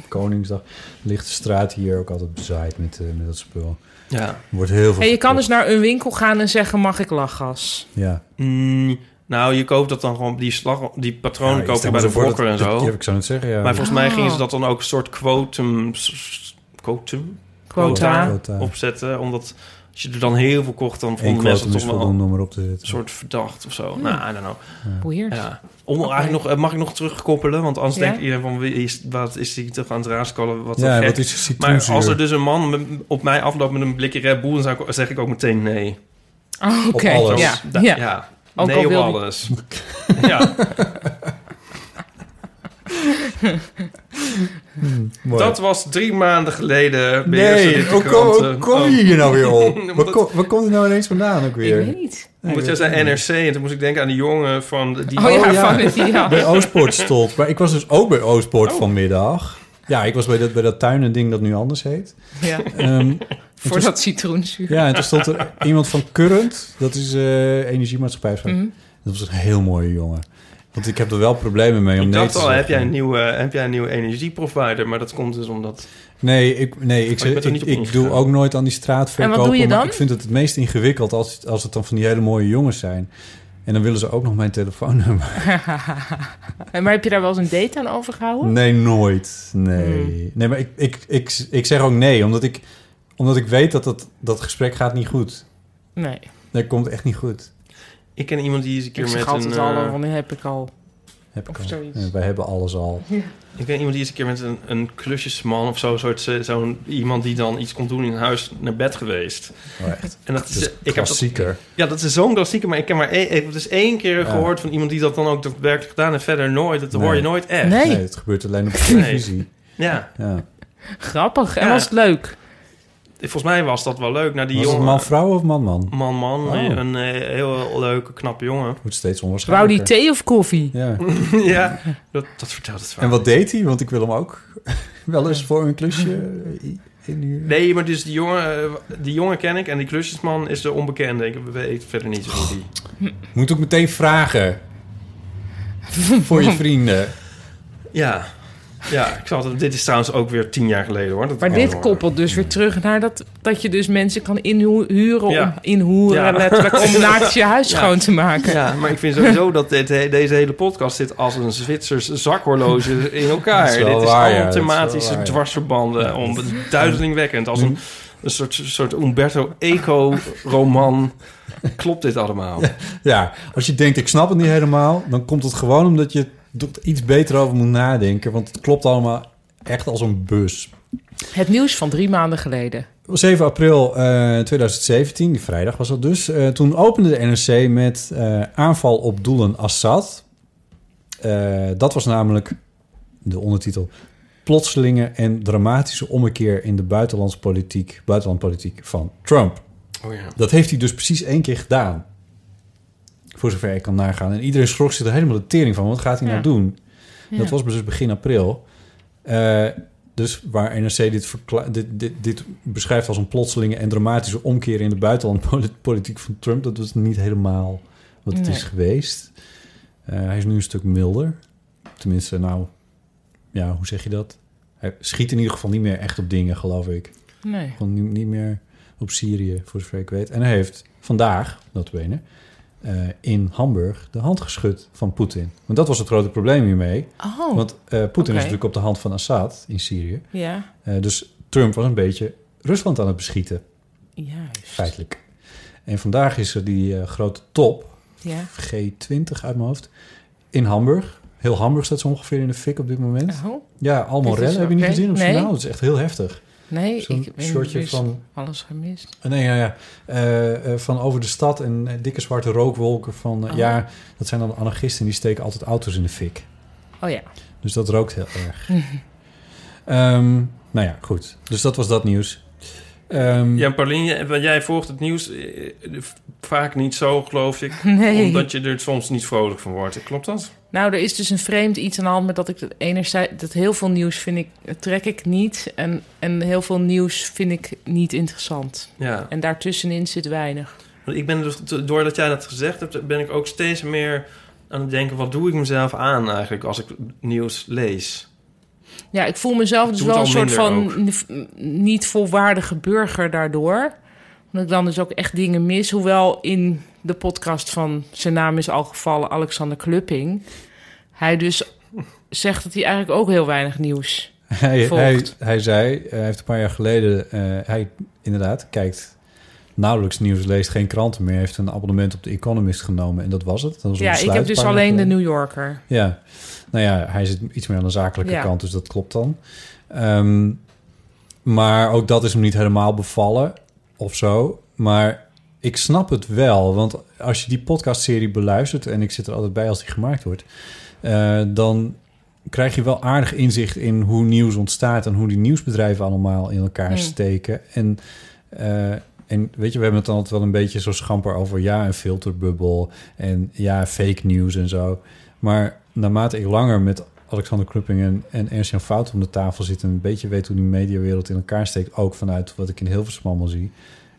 Koningsdag, ligt de straat hier ook altijd bezaaid met, eh, met dat spul.
Ja.
Er wordt heel veel...
En je kan dus
verkocht.
naar een winkel gaan en zeggen, mag ik lachgas?
Ja.
Mm, Nou, je koopt dat dan gewoon, die, slag, die patronen
Ja,
koop je
stel
bij
me
de
zo voor dat-
Fokker en zo.
dat- Ja, ik zou het zeggen, ja.
Maar volgens mij
Oh.
gingen ze dat dan ook een soort quotum... s- s- Quotum?
Quota.
Quota.
Opzetten, omdat als je er dan heel veel kocht... dan
Eén
vonden mensen
kwartum
het
is
toch wel een
voldoende om erop te zetten.
soort verdacht of zo. Nou, I don't know.
Boeiers.
Ja. Om,
Hmm. Oké.
eigenlijk nog, eh, mag ik nog terugkoppelen? Want anders
Ja.
denkt iedereen van... Wie is, wat is die toch aan het raaskallen? Wat
ja,
een gek.
wat is
maar
citroenzuur?
als er dus een man met- op mij afloopt met een blikje Red Bull... dan zou ik- zeg ik ook meteen nee.
Oh, Oké,
Op alles.
ja.
Da-
ja. Ook
nee
al
op
wil-
alles. ja,
Mooi.
dat was drie maanden geleden.
Nee,
ook
hoe kom,
eh,
hoe kom
Oh.
je hier nou weer op? Waar, kom, waar komt het nou ineens vandaan ook
Ik weet
weer?
niet.
Moet jij zei NRC en toen moest ik denken aan die jongen van... de- Die,
Oh ja,
Oh, ja.
van het ja.
Bij Oostpoort stond. Maar ik was dus ook bij Oostpoort
Oh.
vanmiddag. Ja, ik was bij dat, bij dat tuinending dat nu anders heet.
ja.
Ehm,
Voor dat citroenzuur.
ja, en toen stond er iemand van Current. Dat is eh energiemaatschappij. van-
Mhm.
Dat was een heel mooie jongen. Want ik heb er wel problemen mee om
ik
nee
dacht
te
al,
zeggen.
heb jij, een nieuwe, heb jij een nieuwe energieprovider? Maar dat komt dus omdat...
Nee, ik, nee, ik,
Oh, je bent er
ik,
niet op
ik doe
ingegaan.
ook nooit aan die straatverkopen.
En wat doe je
maar
dan?
ik vind het het meest ingewikkeld als, als het dan van die hele mooie jongens zijn. En dan willen ze ook nog mijn telefoonnummer.
En Maar heb je daar wel eens een date aan overgehouden?
Nee, nooit. Nee.
Hmm.
Nee, maar ik, ik, ik, ik zeg ook nee, omdat ik, omdat ik weet dat dat, dat gesprek gaat niet goed.
Nee.
Dat komt echt niet goed.
Ik ken iemand die is een keer
Ik
met
zeg
een...
altijd al,
eh,
eh, wanneer heb ik al.
Heb ik
Of
al.
zoiets.
Ja, wij hebben alles al.
Ik ken iemand die is een keer met een, een klusjesman of zo, een soort, eh, zo'n iemand die dan iets kon doen in huis naar bed geweest.
Oh, echt.
En dat is,
Dat is
eh, ik heb dat,
klassieker.
ja, dat is zo'n klassieke, maar ik heb maar één, ik heb dus één keer
Ja.
gehoord van iemand die dat dan ook daadwerkelijk gedaan en verder nooit. Dat
Nee.
hoor je nooit echt.
Nee,
Nee. het gebeurt alleen op televisie.
Ja,
Ja.
grappig. En
Ja.
was het leuk?
volgens mij was dat wel leuk. Nou, die
Was het
jongen,
man-vrouw of man-man?
man, man,
Oh.
eh, een eh, heel leuke, knappe jongen.
Wordt steeds
Wou
onwaarschijnlijker.
die thee of koffie?
Ja.
ja, dat, dat vertelt het wel.
En wat deed hij? Want ik wil hem ook wel eens voor een klusje eh, inhuren.
Nee, maar dus die jongen, eh, die jongen ken ik en die klusjesman is de onbekende. Ik weet verder niet zo goed die.
Moet ook meteen vragen. voor je vrienden.
Ja. Ja, ik zal het, dit is trouwens ook weer tien jaar geleden hoor. Dat
Maar
ik
dit
dat hoorde.
koppelt dus weer terug naar dat, dat je dus mensen kan inhuren,
Ja.
om, inhoeren
Ja.
letterlijk, om naast je huis
Ja.
schoon te maken.
Ja, maar ik vind sowieso dat dit, he- deze hele podcast zit als een Zwitsers zakhorloge in elkaar.
Dat is wel
dit is
waar, ja,
allemaal
dat is wel
thematische
waar, ja.
dwarsverbanden. om, duizelingwekkend. Als een, een soort, soort Umberto Eco-roman klopt dit allemaal.
Ja, als je denkt, ik snap het niet helemaal... dan komt het gewoon omdat je er iets beter over moet nadenken. Want het klopt allemaal echt als een bus.
Het nieuws van drie maanden geleden.
7 april eh, 2017, die vrijdag was dat dus. eh, toen opende de NRC met eh, aanval op doelen Assad. Eh, dat was namelijk de ondertitel. Plotselinge en dramatische ommekeer in de buitenlandspolitiek, buitenlandpolitiek van Trump.
Oh ja.
Dat heeft hij dus precies één keer gedaan. Voor zover ik kan nagaan. En iedereen schrok zich er helemaal de tering van. Wat gaat hij
Ja.
nou doen?
Ja.
Dat was dus begin april. Eh, dus waar NRC dit, verkla- dit, dit, dit beschrijft als een plotselinge en dramatische omkeer in de buitenlandpolitiek van Trump, dat was niet helemaal wat het
Nee.
is geweest. Eh, hij is nu een stuk milder. Tenminste, nou, ja, hoe zeg je dat? Hij schiet in ieder geval niet meer echt op dingen, geloof ik.
Nee.
Gewoon niet, niet meer op Syrië, voor zover ik weet. En hij heeft vandaag, notabene, eh in Hamburg de hand geschud van Poetin. Want dat was het grote probleem hiermee.
Oh,
Want eh, Poetin
oké.
is natuurlijk op de hand van Assad in Syrië.
ja.
Eh, dus Trump was een beetje Rusland aan het beschieten,
Juist.
feitelijk. En vandaag is er die eh, grote top,
Ja.
G20 uit mijn hoofd, in Hamburg. Heel Hamburg staat zo ongeveer in de fik op dit moment.
Oh,
Ja, allemaal
Dit is
rellen. Heb je niet
oké.
gezien op
Nee.
journaal? Dat is echt heel heftig.
nee,
Zo'n
ik ben
shortje
dus
van
alles gemist.
Nee, ja, ja. Eh, eh, van over de stad en eh, dikke zwarte rookwolken van... eh,
Oh.
Ja, dat zijn dan anarchisten die steken altijd auto's in de fik.
Oh ja.
Dus dat rookt heel erg. Ehm, nou ja, goed. Dus dat was dat nieuws. Ehm,
Ja, Pauline, want jij volgt het nieuws eh, eh, vaak niet zo, geloof ik.
Nee.
Omdat je er soms niet vrolijk van wordt. Klopt dat?
Nou, er is dus een vreemd iets aan de hand met dat ik dat enerzijds dat heel veel nieuws vind ik eh, trek ik niet en en heel veel nieuws vind ik niet interessant.
Ja.
En daartussenin zit weinig.
Want ik ben dus, doordat jij dat gezegd hebt, ben ik ook steeds meer aan het denken: wat doe ik mezelf aan eigenlijk als ik nieuws lees?
Ja, ik voel mezelf dus
doe
wel een
het al
soort van
minder
n- niet volwaardige burger daardoor. Omdat ik dan dus ook echt dingen mis. Hoewel in de podcast van, zijn naam is al gevallen, Alexander Klupping. Hij dus zegt dat hij eigenlijk ook heel weinig nieuws
Hij,
volgt.
hij, hij zei, eh, hij heeft een paar jaar geleden, eh, hij inderdaad kijkt nauwelijks nieuws, leest geen kranten meer, heeft een abonnement op de Economist genomen en dat was het. Dat was een
ja, ik
besluit
heb
een
dus
paar jaar
alleen de
geleden.
New Yorker.
Ja, nou ja, hij zit iets meer aan de zakelijke
Ja.
kant, dus dat klopt dan. Ehm, maar ook dat is hem niet helemaal bevallen of zo. Maar ik snap het wel, want als je die podcastserie beluistert... en ik zit er altijd bij als die gemaakt wordt... eh, dan krijg je wel aardig inzicht in hoe nieuws ontstaat... en hoe die nieuwsbedrijven allemaal in elkaar
Mm.
steken. En, eh, en weet je, we hebben het dan altijd wel een beetje zo schamper over... ja, een filterbubbel en ja, fake news en zo. Maar naarmate ik langer met Alexander Klupping en, en Ernst-Jan Fout om de tafel zit... en een beetje weet hoe die mediawereld in elkaar steekt... ook vanuit wat ik in Hilversum allemaal zie...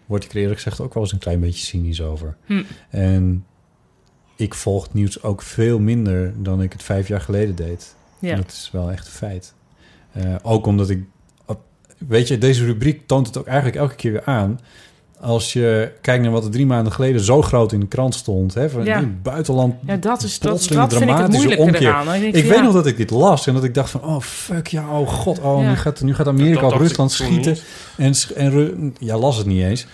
word ik er eerlijk gezegd ook wel eens een klein beetje cynisch over.
Hm.
En ik volg het nieuws ook veel minder dan ik het vijf jaar geleden deed.
Ja.
En dat is wel echt een feit. Eh, ook omdat ik... op- Weet je, deze rubriek toont het ook eigenlijk elke keer weer aan... Als je kijkt naar wat er drie maanden geleden zo groot in de krant stond... Hè, van
Ja.
in het buitenland
Ja, dat, is, dat,
plotseling
dat vind ik het
dramatische
moeilijke
omkeer.
eraan. Ik, denk,
ik
ja,
weet nog dat ik dit las en dat ik dacht van... oh, fuck ja, oh god, oh,
Ja.
nu, gaat, nu gaat Amerika
Dat
op
dacht ik
Rusland
toen
schieten. En, sch- en Ru- ja, las het niet eens.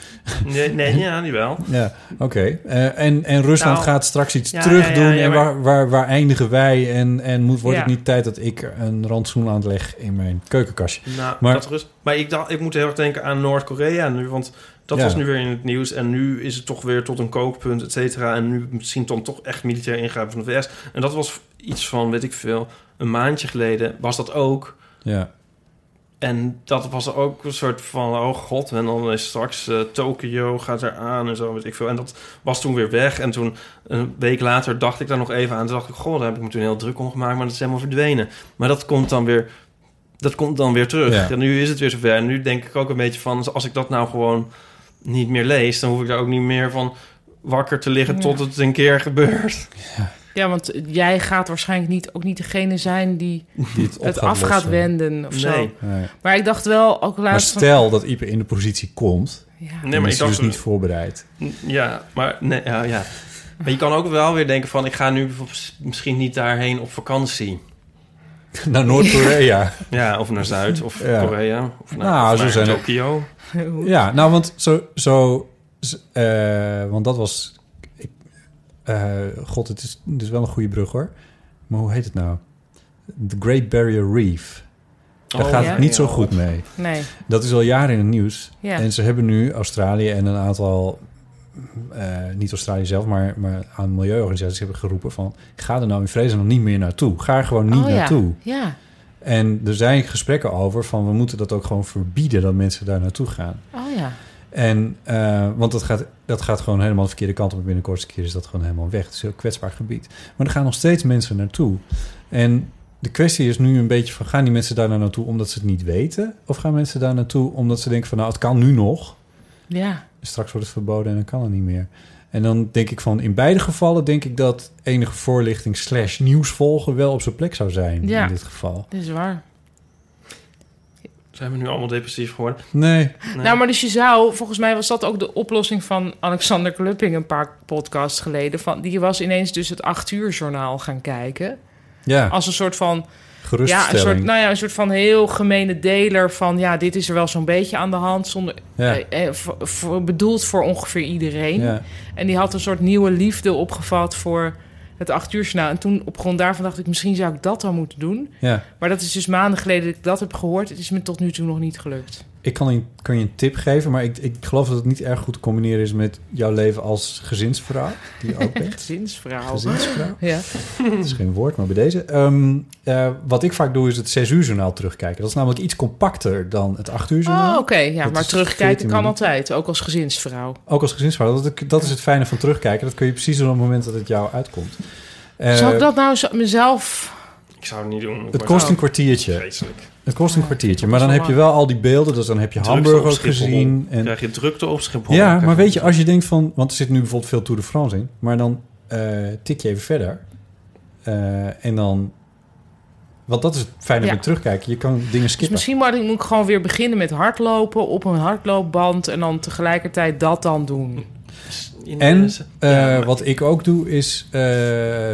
Nee, nee ja, die wel.
Ja, oké. Eh, en, en Rusland
Nou,
gaat straks iets
ja,
terug
ja, ja,
doen.
ja,
en
maar-
waar, waar, waar eindigen wij? En, en moet, wordt
Ja.
het niet tijd dat ik een rantsoen aanleg in mijn keukenkastje?
Nou,
Maar-
maar, dat rust, maar ik, dacht, ik moet heel erg denken aan Noord-Korea nu. Want dat
Ja.
was nu weer in het nieuws. En nu is het toch weer tot een kookpunt, et cetera. En nu misschien dan toch echt militair ingrijpen van de VS. En dat was iets van, weet ik veel, een maandje geleden was dat ook.
Ja.
En dat was ook een soort van, oh god, en dan is straks eh, Tokio gaat eraan en zo, weet ik veel. En dat was toen weer weg. En toen, een week later, dacht ik daar nog even aan. Toen dacht ik, goh, daar heb ik me toen heel druk om gemaakt, maar dat is helemaal verdwenen. Maar dat komt dan weer, dat komt dan weer terug.
Ja.
En nu is het weer zover. En nu denk ik ook een beetje van, als ik dat nou gewoon niet meer lees... dan hoef ik daar ook niet meer van wakker te liggen
Ja.
tot het een keer gebeurt.
ja, want jij gaat waarschijnlijk niet, ook niet degene zijn die
Die het, op
het af gaat
lossen.
wenden of zo.
Nee.
Nee.
Maar ik dacht wel, ook
Maar
laatst... van-
stel dat Ipe in de positie komt,
ja.
Nee,
dan
maar
is
ik
hij
dacht...
dus niet voorbereid.
Ja, maar nee, ja, ja. Maar je kan ook wel weer denken van... ik ga nu bijvoorbeeld misschien niet daarheen op vakantie.
Naar Noord-Korea.
Ja, of naar Zuid, of
Ja.
Korea, of naar,
Nou,
of
zo
naar
zijn er-
Tokio.
Ja, nou, want zo... zo z- eh, want dat was... Ik, eh, God, het is, het is wel een goede brug, hoor. Maar hoe heet het nou? The Great Barrier Reef. Daar
Oh,
gaat
ja.
het niet zo
ja.
goed mee.
Nee,
Dat is al jaren in het nieuws.
ja.
En ze hebben nu Australië en een aantal... eh, niet Australië zelf, maar, maar aan milieuorganisaties hebben geroepen van... ga er nou in vredesnaam niet meer naartoe. Ga er gewoon niet
oh,
naartoe.
Ja. ja.
En er zijn gesprekken over van... we moeten dat ook gewoon verbieden dat mensen daar naartoe gaan.
Oh ja.
En, eh, want dat gaat, dat gaat gewoon helemaal de verkeerde kant op. En Binnen de kortste keer is dat gewoon helemaal weg. Het is een heel kwetsbaar gebied. Maar er gaan nog steeds mensen naartoe. En de kwestie is nu een beetje van... gaan die mensen daar nou naartoe omdat ze het niet weten? Of gaan mensen daar naartoe omdat ze denken van... nou, het kan nu nog.
Ja.
Straks wordt het verboden en dan kan het niet meer. En dan denk ik van... in beide gevallen denk ik dat enige voorlichting... slash nieuws volgen wel op zijn plek zou zijn
Ja.
in dit geval.
Dat is waar.
Zijn we nu allemaal depressief geworden?
Nee,
Nee.
Nou, maar dus je zou, volgens mij was dat ook de oplossing van Alexander Klupping een paar podcasts geleden. Van, die was ineens dus het acht uur journaal gaan kijken.
ja,
Als een soort van, ja, een
geruststelling.
soort, nou ja, een soort van heel gemene deler van, ja, dit is er wel zo'n beetje aan de hand. Zonder,
Ja.
eh, eh, voor- voor- bedoeld voor ongeveer iedereen.
ja.
En die had een soort nieuwe liefde opgevat voor het acht uur journaal. En toen op grond daarvan dacht ik, misschien zou ik dat dan moeten doen.
ja.
Maar dat is dus maanden geleden dat ik dat heb gehoord. Het is me tot nu toe nog niet gelukt.
Ik kan, een, kan je een tip geven, maar ik, ik geloof dat het niet erg goed te combineren is met jouw leven als gezinsvrouw. Die je ook bent.
Gezinsverhaal.
Gezinsvrouw.
Ja.
Dat is geen woord, maar bij deze. Ehm, eh, wat ik vaak doe, is het 6 uur journaal terugkijken. Dat is namelijk iets compacter dan het 8 uur
Oh,
journaal.
oké. Ja,
Dat
maar
is
terugkijken
14
kan
minuten.
altijd. Ook als gezinsvrouw.
Ook als gezinsvrouw. Dat, dat is het fijne van terugkijken. Dat kun je precies op het moment dat het jou uitkomt. Eh,
Zou ik dat nou zo- mezelf... Oh.
Ik zou het niet doen. Oh,
Het kost een kwartiertje.
Vreselijk.
Het kost een kwartiertje. Maar
het
dan
Ah, wel
heb je wel al die beelden. Dus dan heb je
Drukte op
Hamburg ook
Schiphol.
gezien. En
krijg je drukte op Schiphol.
Ja, maar weet je, als je denkt van... Want er zit nu bijvoorbeeld veel Tour de France in. Maar dan eh, tik je even verder. Eh, en dan... Want dat is het fijne
Ja.
met terugkijken. Je kan dingen
Dus
skippen.
misschien moet ik, moet ik gewoon weer beginnen met hardlopen op een hardloopband... en dan tegelijkertijd dat dan doen.
In de-
En eh,
Ja, maar-
wat ik ook doe, is eh,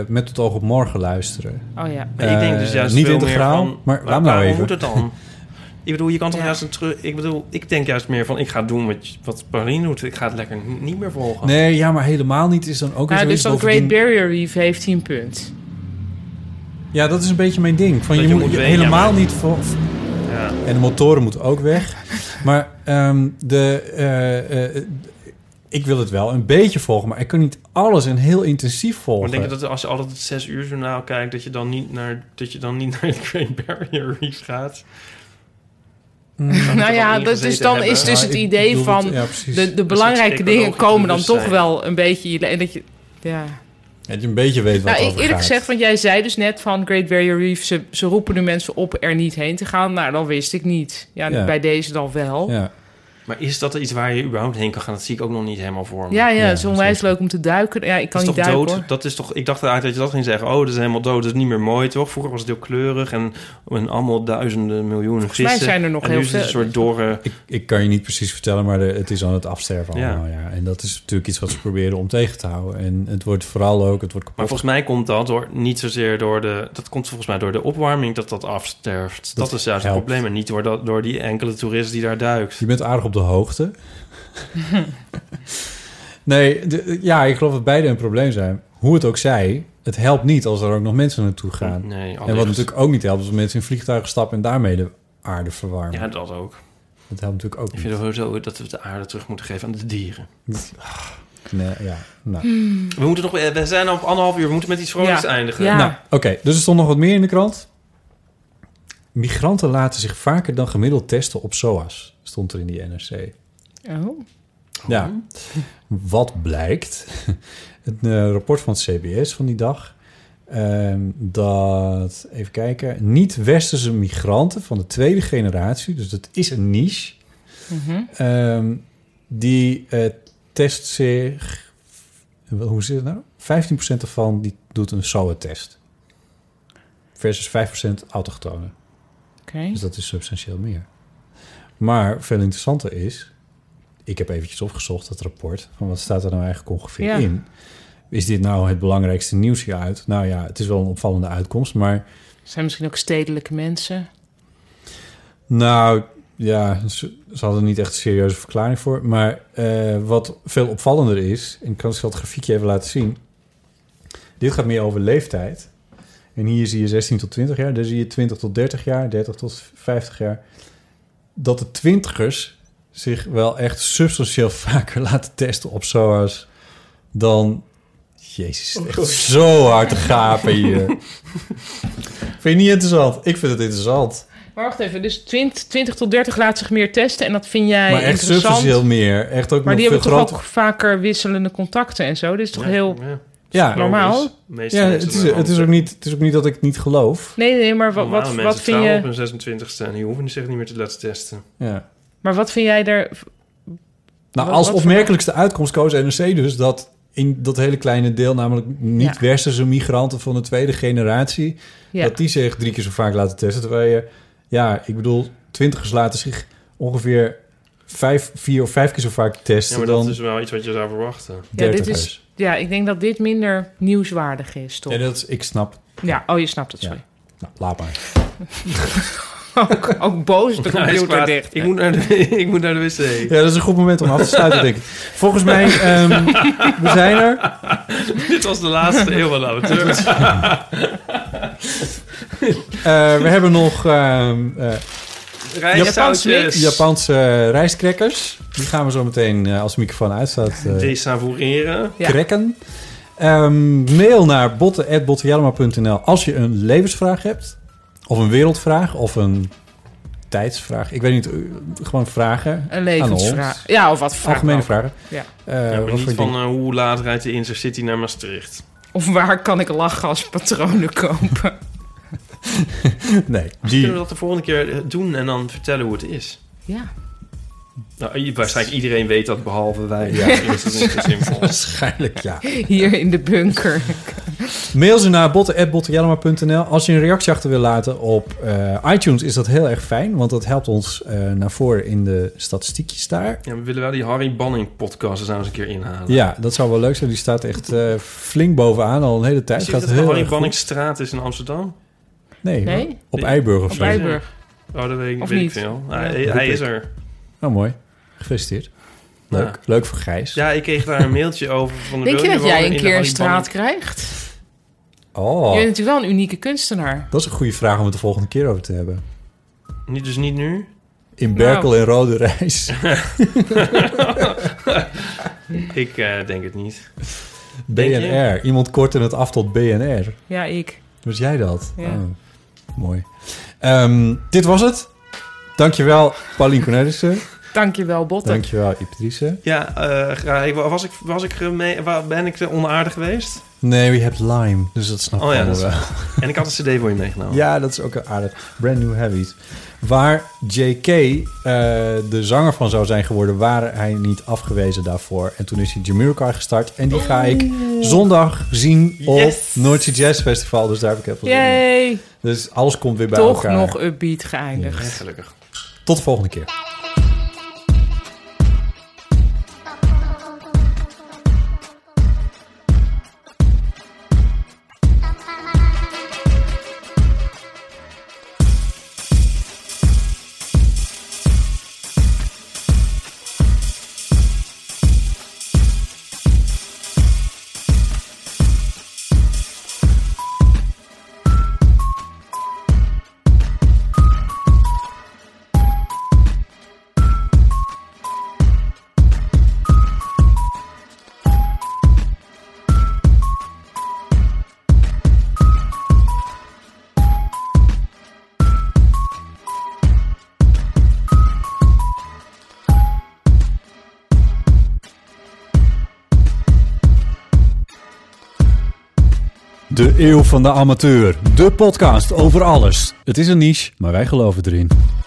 met het oog op morgen luisteren.
Oh ja.
Maar ik denk dus
Eh,
juist
niet
veel
integraal,
meer van,
maar laat
waarom
maar even.
moet het dan? ik bedoel, je kan toch
Ja.
juist een terug... Ik bedoel, ik denk juist meer van... ik ga doen wat, je- wat Paulien doet. Ik ga het lekker n- niet meer volgen.
Nee, ja, maar helemaal niet is dan ook weer
Nou, Oh. dus
zoiets.
dan Great
bovendien-
Barrier Reef heeft 10 punt.
Ja, dat is een beetje mijn ding. Van,
Dat
je,
je
moet,
moet
je
weten,
helemaal
ja, maar-
niet... Voor,
Ja.
en de motoren moeten ook weg. maar ehm, de, eh, eh, ik wil het wel een beetje volgen, maar ik kan niet alles en heel intensief volgen.
Maar denk je dat als je altijd het zes uur journaal kijkt... dat je dan niet naar, dat je dan niet naar de Great Barrier Reef gaat?
Nou ja,
erin
dat, dus
gezeten
dan
hebben.
is dus
Ja,
het
ik
idee
bedoel
van...
het- ja, precies.
de, de
dat
belangrijke dingen
psychologisch
komen dan toch
bewustzijn.
wel een beetje... in je le- En dat je... Ja.
Dat je een beetje weet wat
Nou,
het
ik-
over
eerlijk
gaat.
gezegd, want jij zei dus net van Great Barrier Reef... Ze, ze roepen nu mensen op er niet heen te gaan. Nou, dat wist ik niet. Ja,
Ja.
bij deze dan wel. Ja,
Ja.
Maar is dat iets waar je überhaupt heen kan gaan? Dat zie ik ook nog niet helemaal voor me.
ja,
Ja,
het is onwijs
zeker.
leuk om te duiken. Ja, ik kan
dat is
niet
toch
duiken,
dood?
hoor.
Dat is toch, ik dacht eigenlijk dat je dat ging zeggen. Oh, dat is helemaal dood. Dat is niet meer mooi, toch? Vroeger was het heel kleurig en, en allemaal duizenden, miljoenen
mij
vissen.
zijn er nog
en
heel
nu is het
veel.
een soort eh, dorre...
Ik, ik kan je niet precies vertellen, maar de- het is aan het afsterven
Ja.
allemaal. Ja. En dat is natuurlijk iets wat ze proberen om tegen te houden. En het wordt vooral ook, het wordt
Maar
kapot.
volgens mij komt dat door, niet zozeer door de... Dat komt volgens mij door de opwarming dat dat afsterft. Dat,
Dat
is juist het
helpt.
probleem. En niet door, dat, door die enkele toerist die daar duikt.
Je bent aardig op de hoogte. nee, de- ja, ik geloof dat beide een probleem zijn. Hoe het ook zij, het helpt niet als er ook nog mensen naartoe gaan.
Nee,
en wat
allicht.
natuurlijk ook niet helpt, is als mensen in vliegtuigen stappen en daarmee de aarde verwarmen.
Ja, dat ook.
Dat helpt natuurlijk ook
Ik
niet.
vind sowieso dat we de aarde terug moeten geven aan de dieren.
Nee, ja, nou.
We, moeten nog, eh, we zijn al op anderhalf uur. We moeten met iets vrolijks
Ja.
eindigen.
Ja.
Nou, oké. Dus er stond nog wat meer in de krant. Migranten laten zich vaker dan gemiddeld testen op SOAS, stond er in die NRC.
Oh.
Ja. Wat blijkt? Het eh, rapport van het CBS van die dag. ehm, dat, even kijken, niet-westerse migranten van de tweede generatie, dus dat is een niche,
Mhm.
ehm, die eh, test zich, wel, hoe zit het nou? 15% ervan die doet een SOA-test. Versus 5% autochtonen.
Oké.
Dus dat is substantieel meer. Maar veel interessanter is... Ik heb eventjes opgezocht dat rapport... van wat staat er nou eigenlijk ongeveer
Ja.
in. Is dit nou het belangrijkste nieuws hieruit? Nou ja, het is wel een opvallende uitkomst, maar...
Zijn misschien ook stedelijke mensen?
Nou, ja, ze, ze hadden niet echt een serieuze verklaring voor. Maar eh, wat veel opvallender is... en ik kan het grafiekje even laten zien... Dit gaat meer over leeftijd. En hier zie je 16 tot 20 jaar. Daar zie je 20 tot 30 jaar, 30 tot 50 jaar. Dat de twintigers zich wel echt substantieel vaker laten testen op SOA's dan... Jezus, het is echt zo hard te gapen hier. Vind je niet interessant? Ik vind het interessant.
Maar wacht even, dus 20, 20 tot 30 laat zich meer testen... en dat vind jij
Maar echt
interessant.
substantieel meer. Echt ook
maar
nog
die hebben
veel
toch
groter.
ook vaker wisselende contacten en zo? Dit is toch heel...
Ja.
Ja,
normaal.
Meeste
ja
mensen
het, is,
doen
het, is ook niet, het is ook niet dat ik het niet geloof.
Nee, nee, maar wat,
Normale
wat,
mensen
wat vind
trouwen
je...
op hun 26e en die hoeven zich niet meer te laten testen.
Ja.
Maar wat vind jij er...
Nou,
Wat-
als
wat voor-
opmerkelijkste uitkomst koos NRC dus dat in dat hele kleine deel, namelijk niet-westerse migranten van de tweede generatie,
Ja.
dat die zich drie keer zo vaak laten testen. Terwijl je, ja, ik bedoel, twintigers laten zich ongeveer vijf, vier of vijf keer zo vaak
Ja,
testen
maar
dan
dat is wel iets wat je zou verwachten.
Ja, dit is-
dertigers.
Ja, ik denk dat dit minder nieuwswaardig is, toch?
Ja,
Ja,
dat is, ik snap.
oh, je snapt het,
Ja.
sorry.
Nou, laat maar.
Ook, ook boos Nou, de
Nou, Hij is
computer
kwaad.
dicht.
Ik moet, naar de, ik moet naar de wc.
Ja, dat is een goed moment om af te sluiten, denk ik. Volgens mij, ehm, we zijn er.
Dit was de laatste eeuw van amateur.
Eh, we hebben nog ehm eh,
Rijstzoutjes.
Japanse eh, rijstkrekkers. Die gaan we zo meteen, eh, als de microfoon uitstaat, eh
Desavoureren.
Ja.
krekken. Ehm, mail naar botten.bottenjellema.nl als je een levensvraag hebt. Of een wereldvraag. Of een tijdsvraag. Ik weet niet, eh, gewoon vragen.
Een
Aan ons.
levensvraag. Ja, of wat vraag
Algemene
dan.
vragen.
Ja.
Eh,
Ja, maar
wat
niet
voor
van
ding-
eh, hoe laat rijdt de Intercity naar Maastricht.
Of waar kan ik lachgaspatronen kopen?
nee,
Kunnen
die,
eh, we dat de volgende keer eh, doen en dan vertellen hoe het is?
ja.
Nou, i- waarschijnlijk iedereen weet dat, behalve wij. Ja, dus dat is niet zo simpel.
Waarschijnlijk, ja.
Hier in de bunker.
Mail ze naar botten.bottenjellema.nl. Als je een reactie achter wil laten op eh, iTunes is dat heel erg fijn, want dat helpt ons eh, naar voren in de statistiekjes daar.
Ja, we willen wel die Harry Banning podcast eens nou eens een keer inhalen.
Ja, dat zou wel leuk zijn. Die staat echt eh, flink bovenaan al een hele tijd.
Is dit
Gaat
dat de
heel
Harry
erg goed.
Banningstraat is in Amsterdam?
Nee,
Nee?
op Eiburg of
Op
zo.
Eiburg.
Oh, dat weet ik,
Of
weet ik
niet?
veel.
Ja.
Hij,
Roep
hij
ik.
is er.
Nou, mooi. Gefeliciteerd. Leuk.
Ja.
Leuk voor Gijs.
Nou. Ja, ik kreeg daar een mailtje over. Van de
Denk je
wil
dat jij
wonen
een
in de
keer een
Harry
straat
Banning-
krijgt?
Oh,
Je bent natuurlijk wel een unieke kunstenaar.
dat is een goede vraag om het de volgende keer over te hebben.
Niet, dus niet nu?
In Berkel en Rode Reis.
Ik eh, denk het niet. Denk je?
BNR. Iemand kortte het af tot BNR.
Ja, ik.
Was jij dat?
Ja.
Oh, mooi. Ehm, dit was het. Dankjewel, Paulien Cornelissen.
Dankjewel, Botten.
Dankjewel, Ipatrice.
Ja, eh, graag. Ik- Was ik, was ik, eh, mee, wa- ben ik eh, onaardig geweest?
Nee, je hebt Lime, dus dat snap ik
Oh ja,
allemaal
dat
wel.
is- En ik had een cd voor je meegenomen.
Ja, dat is ook een aardig. Brand New Heavies. Waar J.K. eh, de zanger van zou zijn geworden, waren hij niet afgewezen daarvoor. En toen is hij Jamiroquai gestart. En die ga ik zondag zien op
Yes.
Noordse Jazz Festival. Dus daar heb ik heel veel zin in.
Yay!
Dus alles komt weer bij
Toch
elkaar.
nog upbeat geëindigd.
Ja, gelukkig.
Tot de volgende keer. De Eeuw van de Amateur. De podcast over alles. Het is een niche, maar wij geloven erin.